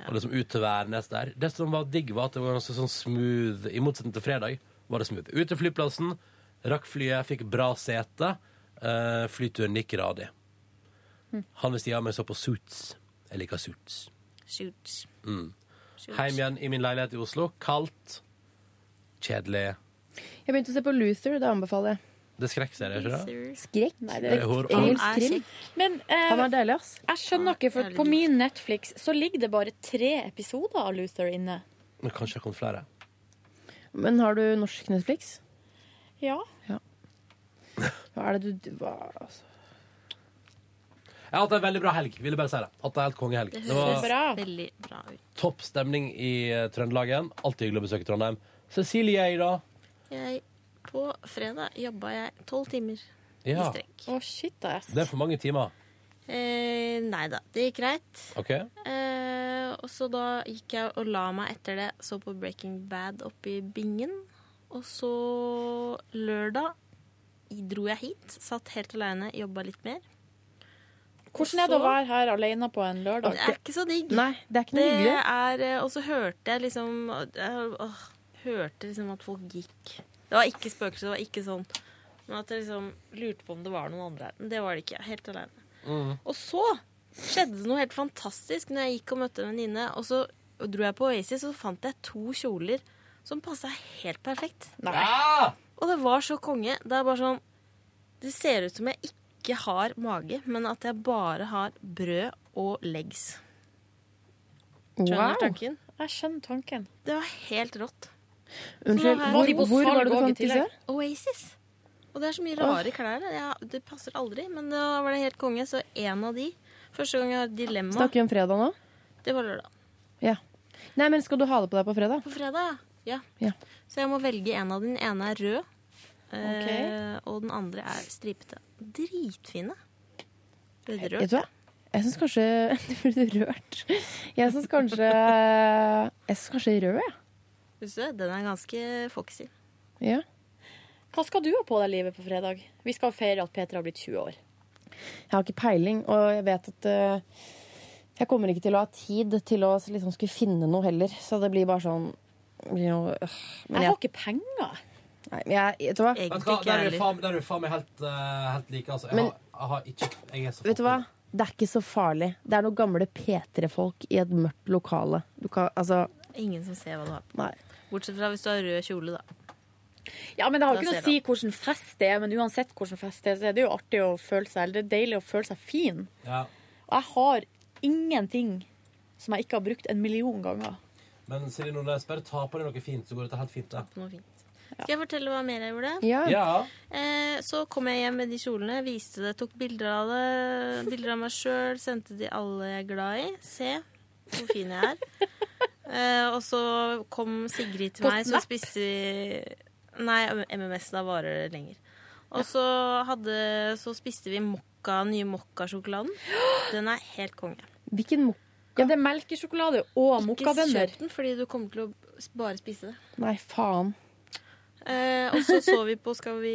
A: Og liksom ut til Værnes der. Det som var digg, var at det var ganske sånn smooth. I motsetning til fredag var det smooth. Ut til flyplassen, rakk flyet, fikk bra sete. eh, flyturen gikk radig.
L: Mm.
A: Han ved siden av meg så på Suits. Jeg liker Suits.
L: Shoots.
A: Mm.
L: Suits.
A: Heim igjen i min leilighet i Oslo. Kaldt. Kjedelig.
D: Jeg begynte å se på Luther, det anbefaler jeg.
A: Det er skrekkserie, ikke det?
D: Skrekk? Nei,
A: det er- Hor-
D: engelsk
A: Han er
D: krim.
B: Men eh,
D: Han er deilig, ass.
B: jeg skjønner ikke, for på min Netflix så ligger det bare tre episoder av Luther inne.
A: Men kanskje det har kommet flere.
D: Men har du norsk Netflix?
B: Ja.
D: Hva er det du hva, altså?
A: Jeg har hatt en veldig bra helg. Ville bare si det. Hatt en helt kongehelg.
L: Det
A: Det var-
L: høres veldig bra ut.
A: Topp stemning i eh, Trøndelag igjen. Alltid hyggelig å besøke Trondheim. Cecilie er i dag.
L: Jeg, på fredag jobba jeg tolv timer
A: Ja.
L: i strekk.
B: Å, shit, ass.
A: Det er for mange timer.
L: Eh, nei da, det gikk greit.
A: OK?
L: Eh, og så da gikk jeg og la meg etter det, så på Breaking Bad oppe i Bingen. Og så lørdag dro jeg hit, satt helt aleine, jobba litt mer.
B: Hvordan er det å være her alene på en lørdag?
L: Det er ikke så digg.
D: Nei, det er ikke noe
L: Det
D: hyggelig.
L: er, eh, og så hørte jeg liksom jeg, åh, Hørte liksom at folk gikk. Det var ikke spøkelser, det var ikke sånn. Men at jeg liksom lurte på om det var noen andre her. Men det var det ikke. Helt alene. Og så skjedde det noe helt fantastisk når jeg gikk og møtte en venninne. Og så dro jeg på Oasis, og så fant jeg to kjoler som passa helt perfekt. Og det var så konge. Det er bare sånn Det ser ut som jeg ikke har mage, men at jeg bare har brød og legs. Skjønner
D: Wow.
L: tanken?
B: Jeg skjønner tanken.
L: Det var helt rått. Så
D: Unnskyld,
L: nå har
D: hvor,
L: jeg-
D: hvor var det du fant disse?
L: Oasis. Og det er så mye rare klær. Det, det passer aldri, men da var det helt konge. Så en av de Første gang jeg har et dilemma.
D: Snakker vi om fredag nå?
L: Det var lørdag.
D: Ja. Nei, men skal du ha det på deg på fredag?
L: På fredag, ja.
D: Ja.
L: Så jeg må velge en av dem. Den ene er rød, eh, og den andre er stripete. Dritfine. Veldig
D: Vet
L: rørt.
D: du hva? Jeg syns kanskje Du blir rørt. Jeg syns kanskje Jeg syns kanskje rød, jeg.
L: Synes du det? Den er ganske foxy.
D: Ja.
B: Hva skal du ha på deg, Livet, på fredag? Vi skal feire at Peter har blitt 20 år.
D: Jeg har ikke peiling, og jeg vet at eh, jeg kommer ikke til å ha tid til å liksom skulle finne noe heller. Så det blir bare sånn det blir noe, øh. Men
B: Jeg har
D: jeg,
B: ikke penger.
D: nei, men jeg, vet du hva?
A: Vet du hva, Der er vi faen- der er vi faen meg helt, eh, helt like, altså. Jeg,
D: Men-
A: har, jeg har ikke Jeg er så
D: Vet du hva? Det er ikke så farlig. Det er noen gamle P3-folk i et mørkt lokale. Du kan, altså,
L: Ingen som ser hva du har på.
D: Nei.
L: Bortsett fra hvis du har rød kjole, da.
B: Ja, men Det har jo
L: Da
B: ikke noe å
L: ser
B: si hvilken fest det er, men uansett hvilken fest det er, så er det jo artig å føle seg, eller det er deilig å føle seg fin.
A: Ja.
B: Og jeg har ingenting som jeg ikke har brukt en million ganger.
A: Men Silje Nordnes, bare ta på deg noe fint, så går dette helt fint.
L: Det. Skal jeg fortelle hva mer jeg gjorde?
A: Ja.
L: Eh, så kom jeg hjem med de kjolene, viste det, tok bilder av det. Bilder av meg sjøl, sendte de alle jeg er glad i. Se hvor fin jeg er. Eh, og så kom Sigrid til
B: På
L: meg, så
B: Snap?
L: spiste vi Nei, MMS, da varer det lenger. Og så, hadde, så spiste vi mokka, nye mokkasjokoladen. Den er helt konge.
D: Hvilken mokka?
B: Ja, det er melkesjokolade og
L: Ikke
B: mokkabønner.
L: kjøp den, fordi du kommer til å bare spise det.
D: Nei, faen.
L: Eh, og så så vi på Skal vi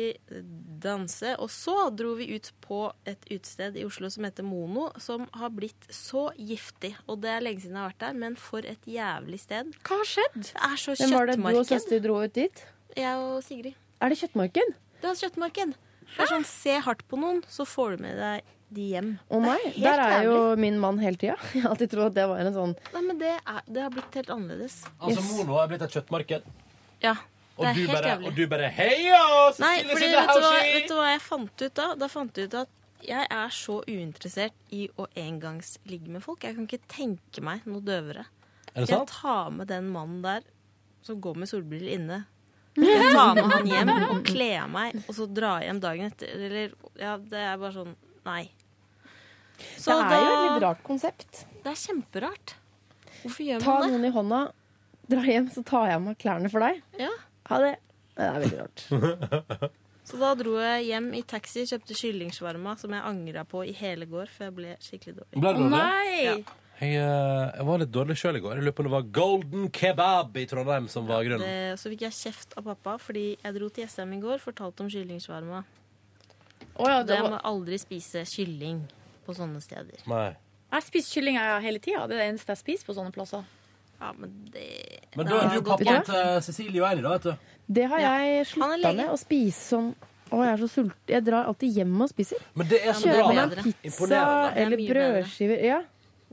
L: danse, og så dro vi ut på et utested i Oslo som heter Mono, som har blitt så giftig. Og det er lenge siden jeg har vært der, men for et jævlig sted.
B: Hva har skjedd?
L: Det er så
D: Hvem var det du og
L: kjøttmarked.
D: søster dro ut dit?
L: Jeg og Sigrid.
D: Er det kjøttmarked?
L: Det er kjøttmarked. Det er sånn, Se hardt på noen, så får du med deg de hjem.
D: Å nei,
L: Det er helt
D: der er jo
L: jævlig.
D: min mann hele tida. Jeg har alltid trodd at det var en sånn
L: Nei, men det, er, det har blitt helt annerledes.
A: Altså, Mono er blitt et kjøttmarked.
L: Ja,
A: Og
L: det er
A: du,
L: helt
A: bare,
L: jævlig.
A: og du bare Heia!
L: Nei,
A: Cecilie Sinde
L: fordi vet du, hva,
A: Haushi!»
L: vet du hva jeg fant ut da? Da fant jeg ut at jeg er så uinteressert i å engangsligge med folk. Jeg kan ikke tenke meg noe døvere.
A: Er det
L: Jeg
A: sant?
L: tar med den mannen der som går med solbriller inne. Jeg tar med han hjem og kler av meg, og så drar jeg hjem dagen etter. Eller, ja, det er bare sånn Nei.
D: Det er jo et litt rart konsept.
L: Det er kjemperart. Hvorfor gjør
D: Ta
L: man det?
D: noen i hånda, dra hjem, så tar jeg av meg klærne for deg.
L: Ja.
D: Ha det. Det er veldig rart.
L: Så da dro jeg hjem i taxi, kjøpte kyllingsvarma, som jeg angra på i hele går, for jeg ble skikkelig dårlig.
A: Ble du dårlig?
L: Ja.
A: Jeg, eh, jeg var litt dårlig sjøl i går. Jeg lurer på om det var Golden Kebab i Trondheim som var grunnen.
L: Det, Eh, så fikk jeg kjeft av pappa fordi jeg dro til Jessheim i går fortalte om kyllingsvarma.
B: ja,
L: det
B: det var-
L: må aldri spise kylling på sånne steder.
A: Nei.
B: Jeg spiser kylling jeg, hele tida. Det er det eneste jeg spiser på sånne plasser.
L: Ja, men det
A: Men da er du pappaen til Cecilie og Eirik, da, vet du.
D: Det har jeg
L: Han er
D: slutta
L: lege.
D: med. Å spise sånn Å, jeg er så sulten. Jeg drar alltid hjem og spiser.
A: Men det er så
D: Kjører
A: bra.
D: meg en pizza
A: Imponerende.
D: eller
L: Det er mye
D: brødskiver. Ja.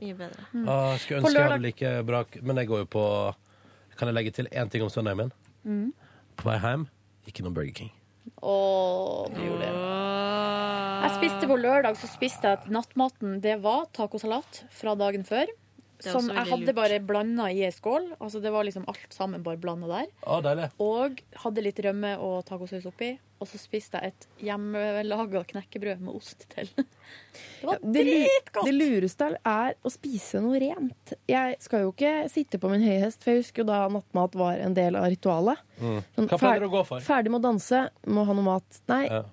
L: Mye bedre.
A: Ah, jeg skulle
D: På
A: ønske jeg
D: lørdag-
A: hadde like bra k- Men jeg går jo på Kan jeg legge til én ting om søndagen min?
B: Mm.
A: På vei hjem ikke noe Burger King.
B: Og det gjorde det. Jeg spiste på lørdag så spiste jeg at nattmaten det var tacosalat fra dagen før.
L: Det er
B: Som
L: også
B: jeg
L: veldig
B: hadde
L: lurt.
B: bare blanda i ei skål. Altså Det var liksom alt sammen bare blanda der.
A: Å, deilig.
B: Og hadde litt rømme og tacosaus oppi. Og så spiste jeg et hjemmelaga knekkebrød med ost til. Det var
D: Det, lu-
B: dritgodt!
D: det lureste er å spise noe rent. Jeg skal jo ikke sitte på min høye hest, for jeg husker jo da nattmat var en del av ritualet. Sånn,
A: Mm. Hva pleier
D: fer-
A: du å gå for?
D: Ferdig med å danse, må ha noe mat. Nei,
A: Ja.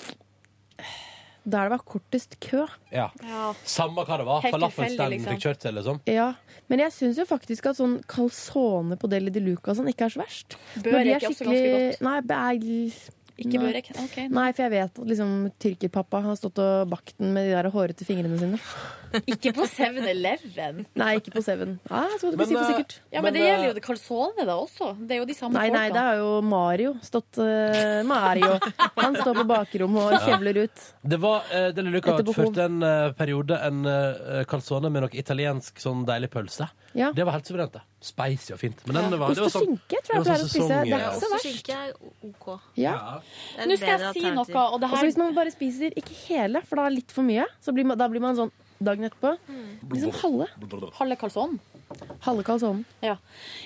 D: der det var kortest kø.
A: Ja.
D: Ja.
A: Samme hva det var.
D: Helt
A: Falafelstanden
D: tilfeldig,
A: du fikk kjørt til, liksom.
D: Ja, Men jeg syns jo faktisk at sånn calzone på Deli de Luca og sånn ikke er så verst.
B: Bør
D: Når de
B: ikke også ganske
D: skikkelig- Nei, bæ-
B: Ikke
D: nei.
B: børek? OK.
D: Nei, for jeg vet at liksom, tyrkerpappa har stått og bakt den med de der hårete fingrene sine.
B: Ikke på 7-Eleven.
D: Nei, ikke på Seven. Ja, jeg trodde du skulle si
A: eh,
D: for sikkert.
B: Ja, men, det gjelder jo det calzone, da også. Det er jo de samme
D: Nei, nei, det
B: folka.
D: har jo Mario stått eh, Mario. Han står på bakrommet og
A: Ja.
D: kjevler ut.
A: Det var, eh, Deli Luca
D: Etter behov.
A: utførte en eh, periode en eh, calzone med noe italiensk sånn deilig pølse.
D: Ja.
A: Det var helt suverent. det. Spicy og fint. Men den
D: Ja.
A: var, det var
D: Ost og
A: sånn,
D: skinke tror jeg
A: det var
D: pleier å
A: sånn
D: spise. Det
A: sesong,
D: er ikke så
A: ja.
D: verst.
L: Skinke er OK.
D: Ja.
L: Det er
B: Nå skal
L: bedre
B: jeg si
L: alternativ.
B: noe, og det
D: Og så
B: her
D: Altså, hvis man bare spiser ikke hele, for da er det litt for mye, så blir man, da blir man sånn dagen etterpå. Liksom halve.
B: Halve calzone.
D: Halve kalsonen.
B: Ja.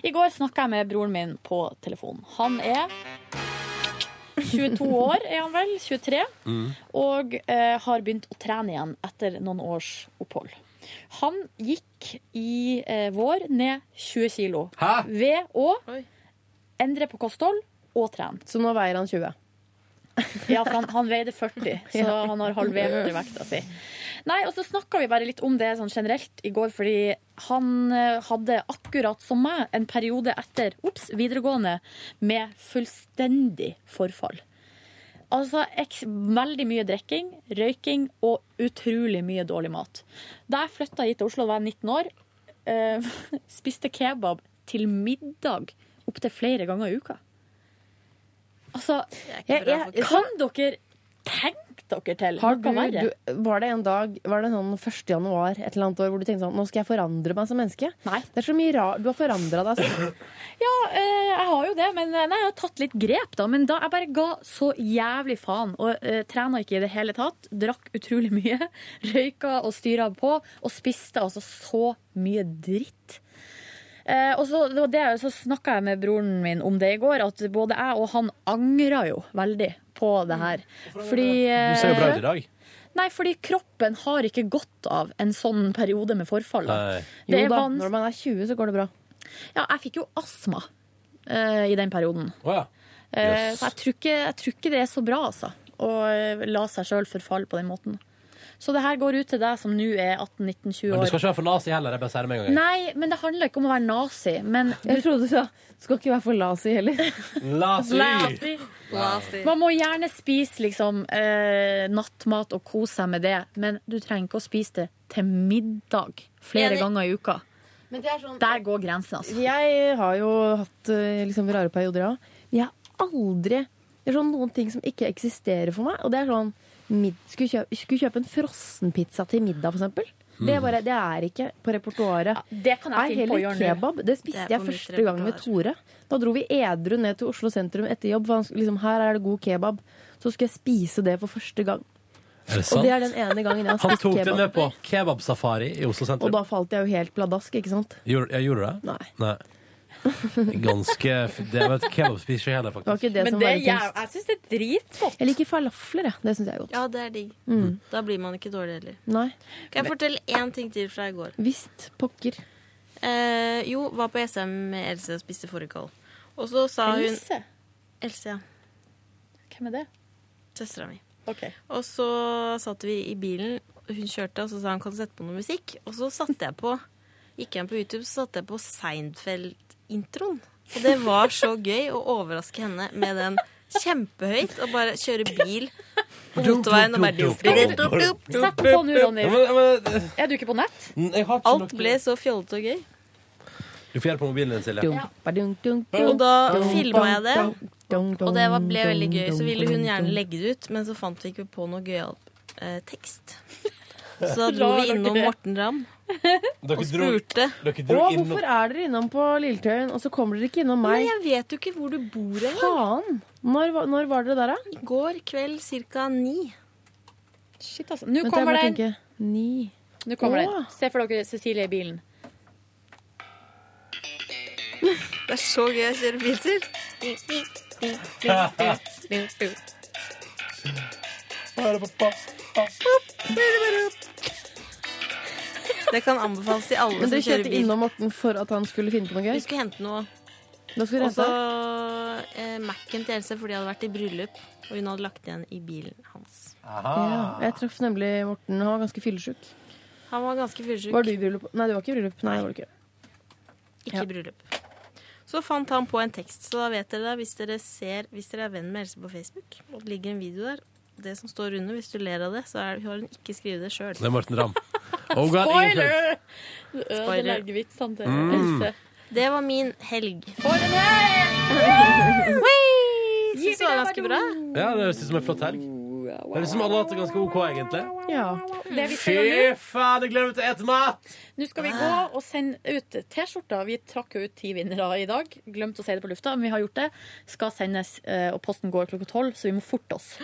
B: I går snakka jeg med broren min på telefon. Han er 22 år, er han vel? 23. Og eh, har begynt å trene igjen etter noen års opphold. Han gikk i eh, vår ned 20 kilo.
A: Hæ?
B: Ved å endre på kosthold og trene.
D: Så nå veier han 20?
B: Ja, for han, han veide 40, så
D: Ja.
B: han har halvert vekta si. Nei, og så snakka vi bare litt om det sånn generelt i går, fordi han eh, hadde akkurat som meg en periode etter ups, videregående med fullstendig forfall. Altså eks, veldig mye drikking, røyking og utrolig mye dårlig mat. Da jeg flytta hit til Oslo da var jeg 19 år, eh, spiste kebab til middag opptil flere ganger i uka. Altså, jeg, jeg, kan dere tenke dere til
D: Har
B: noe
D: du,
B: verre?
D: du, var det en dag, var det sånn 1. januar et eller annet år, hvor du tenkte sånn, nå skal jeg forandre meg som menneske? Det er så mye rar, du har forandret deg sånn.
B: Ja, eh, jeg har jo det, men eh, nei, jeg har tatt litt grep, da. Men da jeg bare ga så jævlig faen og eh, trena ikke i det hele tatt. Drakk utrolig mye. Røyka og styra på. Og spiste altså så mye dritt. Eh, og så, det var det, så snakka jeg med broren min om det i går, at både jeg og han angra jo veldig på det her. Fordi
A: Mm. Du ser jo bra
B: eh,
A: ut i dag.
B: Nei, fordi kroppen har ikke godt av en sånn periode med forfall.
A: Nei.
D: Jo da,
B: når man er 20 så går det bra. Ja, jeg fikk jo astma eh, i den perioden. Eh,
A: Yes.
B: Så jeg tror, ikke, jeg tror ikke det er så bra, altså. Å eh, la seg sjøl forfalle på den måten. Så det her går ut til deg som nå er 18-19-20
A: Men
B: år.
A: du skal ikke være for nazi heller. Jeg bare sier det med en gang.
B: Nei, men det handler ikke om å være nazi. Men jeg trodde du sa du skal ikke være for lazy heller.
A: Nazi!
B: Lazy.
L: altså.
B: Man må gjerne spise liksom, eh, nattmat og kose seg med det, men du trenger ikke å spise det til middag flere
D: Enig.
B: ganger i uka. Der går grensen, altså.
D: Jeg har jo hatt eh, liksom rare perioder, ja. Jeg har aldri, det er sånn noen ting som ikke eksisterer for meg, og det er sånn, mid, skulle, kjøpe, skulle kjøpe en frossenpizza til middag, for eksempel. Det,
A: Mm.
D: er bare, det er ikke på repertoaret.
B: det kan jeg
D: Er
B: finne på å
D: heller
B: gjøre nå.
D: kebab. Det spiste
B: Det er på
D: jeg
B: mitt
D: første gang med Tore. Da dro vi edru ned til Oslo sentrum etter jobb. For han, skulle- liksom, her er det god kebab. Så skulle jeg spise det for første gang.
A: Er det
D: Og
A: sant?
D: det er den ene gangen jeg har
A: Han
D: spist
A: tok det med
D: kebab.
A: på kebabsafari i Oslo
D: Og
A: sentrum.
D: da falt jeg jo helt pladask, ikke sant?
A: Gjorde, jeg gjorde det?
D: Nei.
A: Ganske f- Det var et kebabspis ikke heller,
D: Det var
A: faktisk.
D: ikke det
L: Men
D: som
L: det
D: var
L: er
D: litt
L: jæv-
D: kunst.
L: jeg synes det er dritgodt.
D: Jeg liker falafler, jeg. Det syns jeg er godt.
L: Ja, det er digg.
D: Mm.
L: Da blir man ikke dårlig heller.
D: Nei.
L: Kan jeg fortelle én ting til fra i går?
D: Visst. Pokker.
L: Eh, jo, var på SM med Else og spiste fårikål. Og så sa hun
B: Else?
L: Else, ja.
B: Hvem er det?
L: Søstera mi.
B: Ok.
L: Og så satt vi i bilen, hun kjørte, og så sa han kan du sette på noe musikk. Og så satte jeg på Gikk jeg inn på YouTube, så satte jeg på Seinfeld-introen. Og det var så gøy å overraske henne med den kjempehøyt og bare kjøre bil på motorveien og bare
B: Sett på nå, Ronny.
A: Ja, men- men-
B: Er du ikke på nett?
A: N- Jeg har ikke
L: Alt
A: nok-
L: ble så fjollete og gøy.
A: Du får gjøre på mobilen din, Silje.
L: Ja.
D: Og
L: Og da filma jeg det, og det var, ble veldig gøy. Så ville hun gjerne legge det ut, men så fant vi ikke på noe gøyal eh, tekst. Så da dro vi innom Morten Ramm.
A: Dere
L: dro- spurte.
A: Dere
D: Å,
A: dro innom
D: hvorfor er dere innom på Lilletøyen, og så kommer dere ikke innom meg?
L: Men jeg vet jo ikke hvor du bor
D: Faen! Når, var- når var dere der, da?
L: I går kveld ca. ni.
B: Shit, altså. Nå
D: Vent, jeg
B: kommer
D: må
B: den.
D: tenke. Ni.
B: Nå kommer
D: Åh.
B: den. Se for dere Cecilie i bilen.
L: Det er så gøy å kjøre bil til. Det kan anbefales til alle
D: Men
L: som
D: dere
L: kjører
D: kjørte
L: bil.
D: innom Morten for at han skulle finne på noe
L: Vi
D: gøy?
L: skulle hente noe.
D: Da skulle dere
L: Og så
D: hente?
L: eh, Mac-en til Else, for de hadde vært i bryllup, og hun hadde lagt igjen i bilen hans.
D: Ja, jeg traff nemlig Morten. Han var ganske fyllesyk.
L: Han var ganske fyrsjuk.
D: Var du i bryllup? Nei, du var ikke i bryllup. Nei, det var du ikke.
L: Ikke i bryllup. Så fant han på en tekst, så da vet dere det hvis dere, ser, hvis dere er venn med Else på Facebook. Og det ligger en video der. Det som står under, hvis du ler av det, så er, har hun ikke skrevet det sjøl.
A: Det er Morten Ramm. Oh, God, ingen skjønt.
B: Spoiler! Du ødelegger vitsene til
A: Mm.
B: Else.
L: Det var min helg.
B: For en helg!
L: Wee! Syns det var ganske bra.
A: Ja, det høres ut som en flott helg. Det høres ut som alle har hatt det ganske OK, egentlig.
B: Det vi skal gjøre
A: Fy faen, jeg glemte å ete mat!
B: Nå skal vi gå og sende ut T-skjorter. Vi trakk jo ut ti vinnere i dag. Glemte å si det på lufta, men vi har gjort det. Skal sendes, eh, og posten går klokka tolv, så vi må forte oss.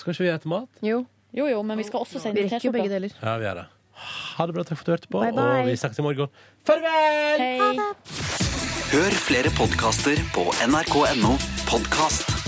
A: Skal ikke vi ete mat?
D: Jo.
B: Jo, jo, men vi skal også sende
D: Vi rekker jo begge
B: T-skjorter.
D: deler.
A: Ja, vi gjør det. Ha det bra. Takk for at du hørte på,
B: Bye, bye.
A: og vi snakkes i morgen. Farvel!
B: Hei.
G: Hør flere podkaster på nrk.no podkast.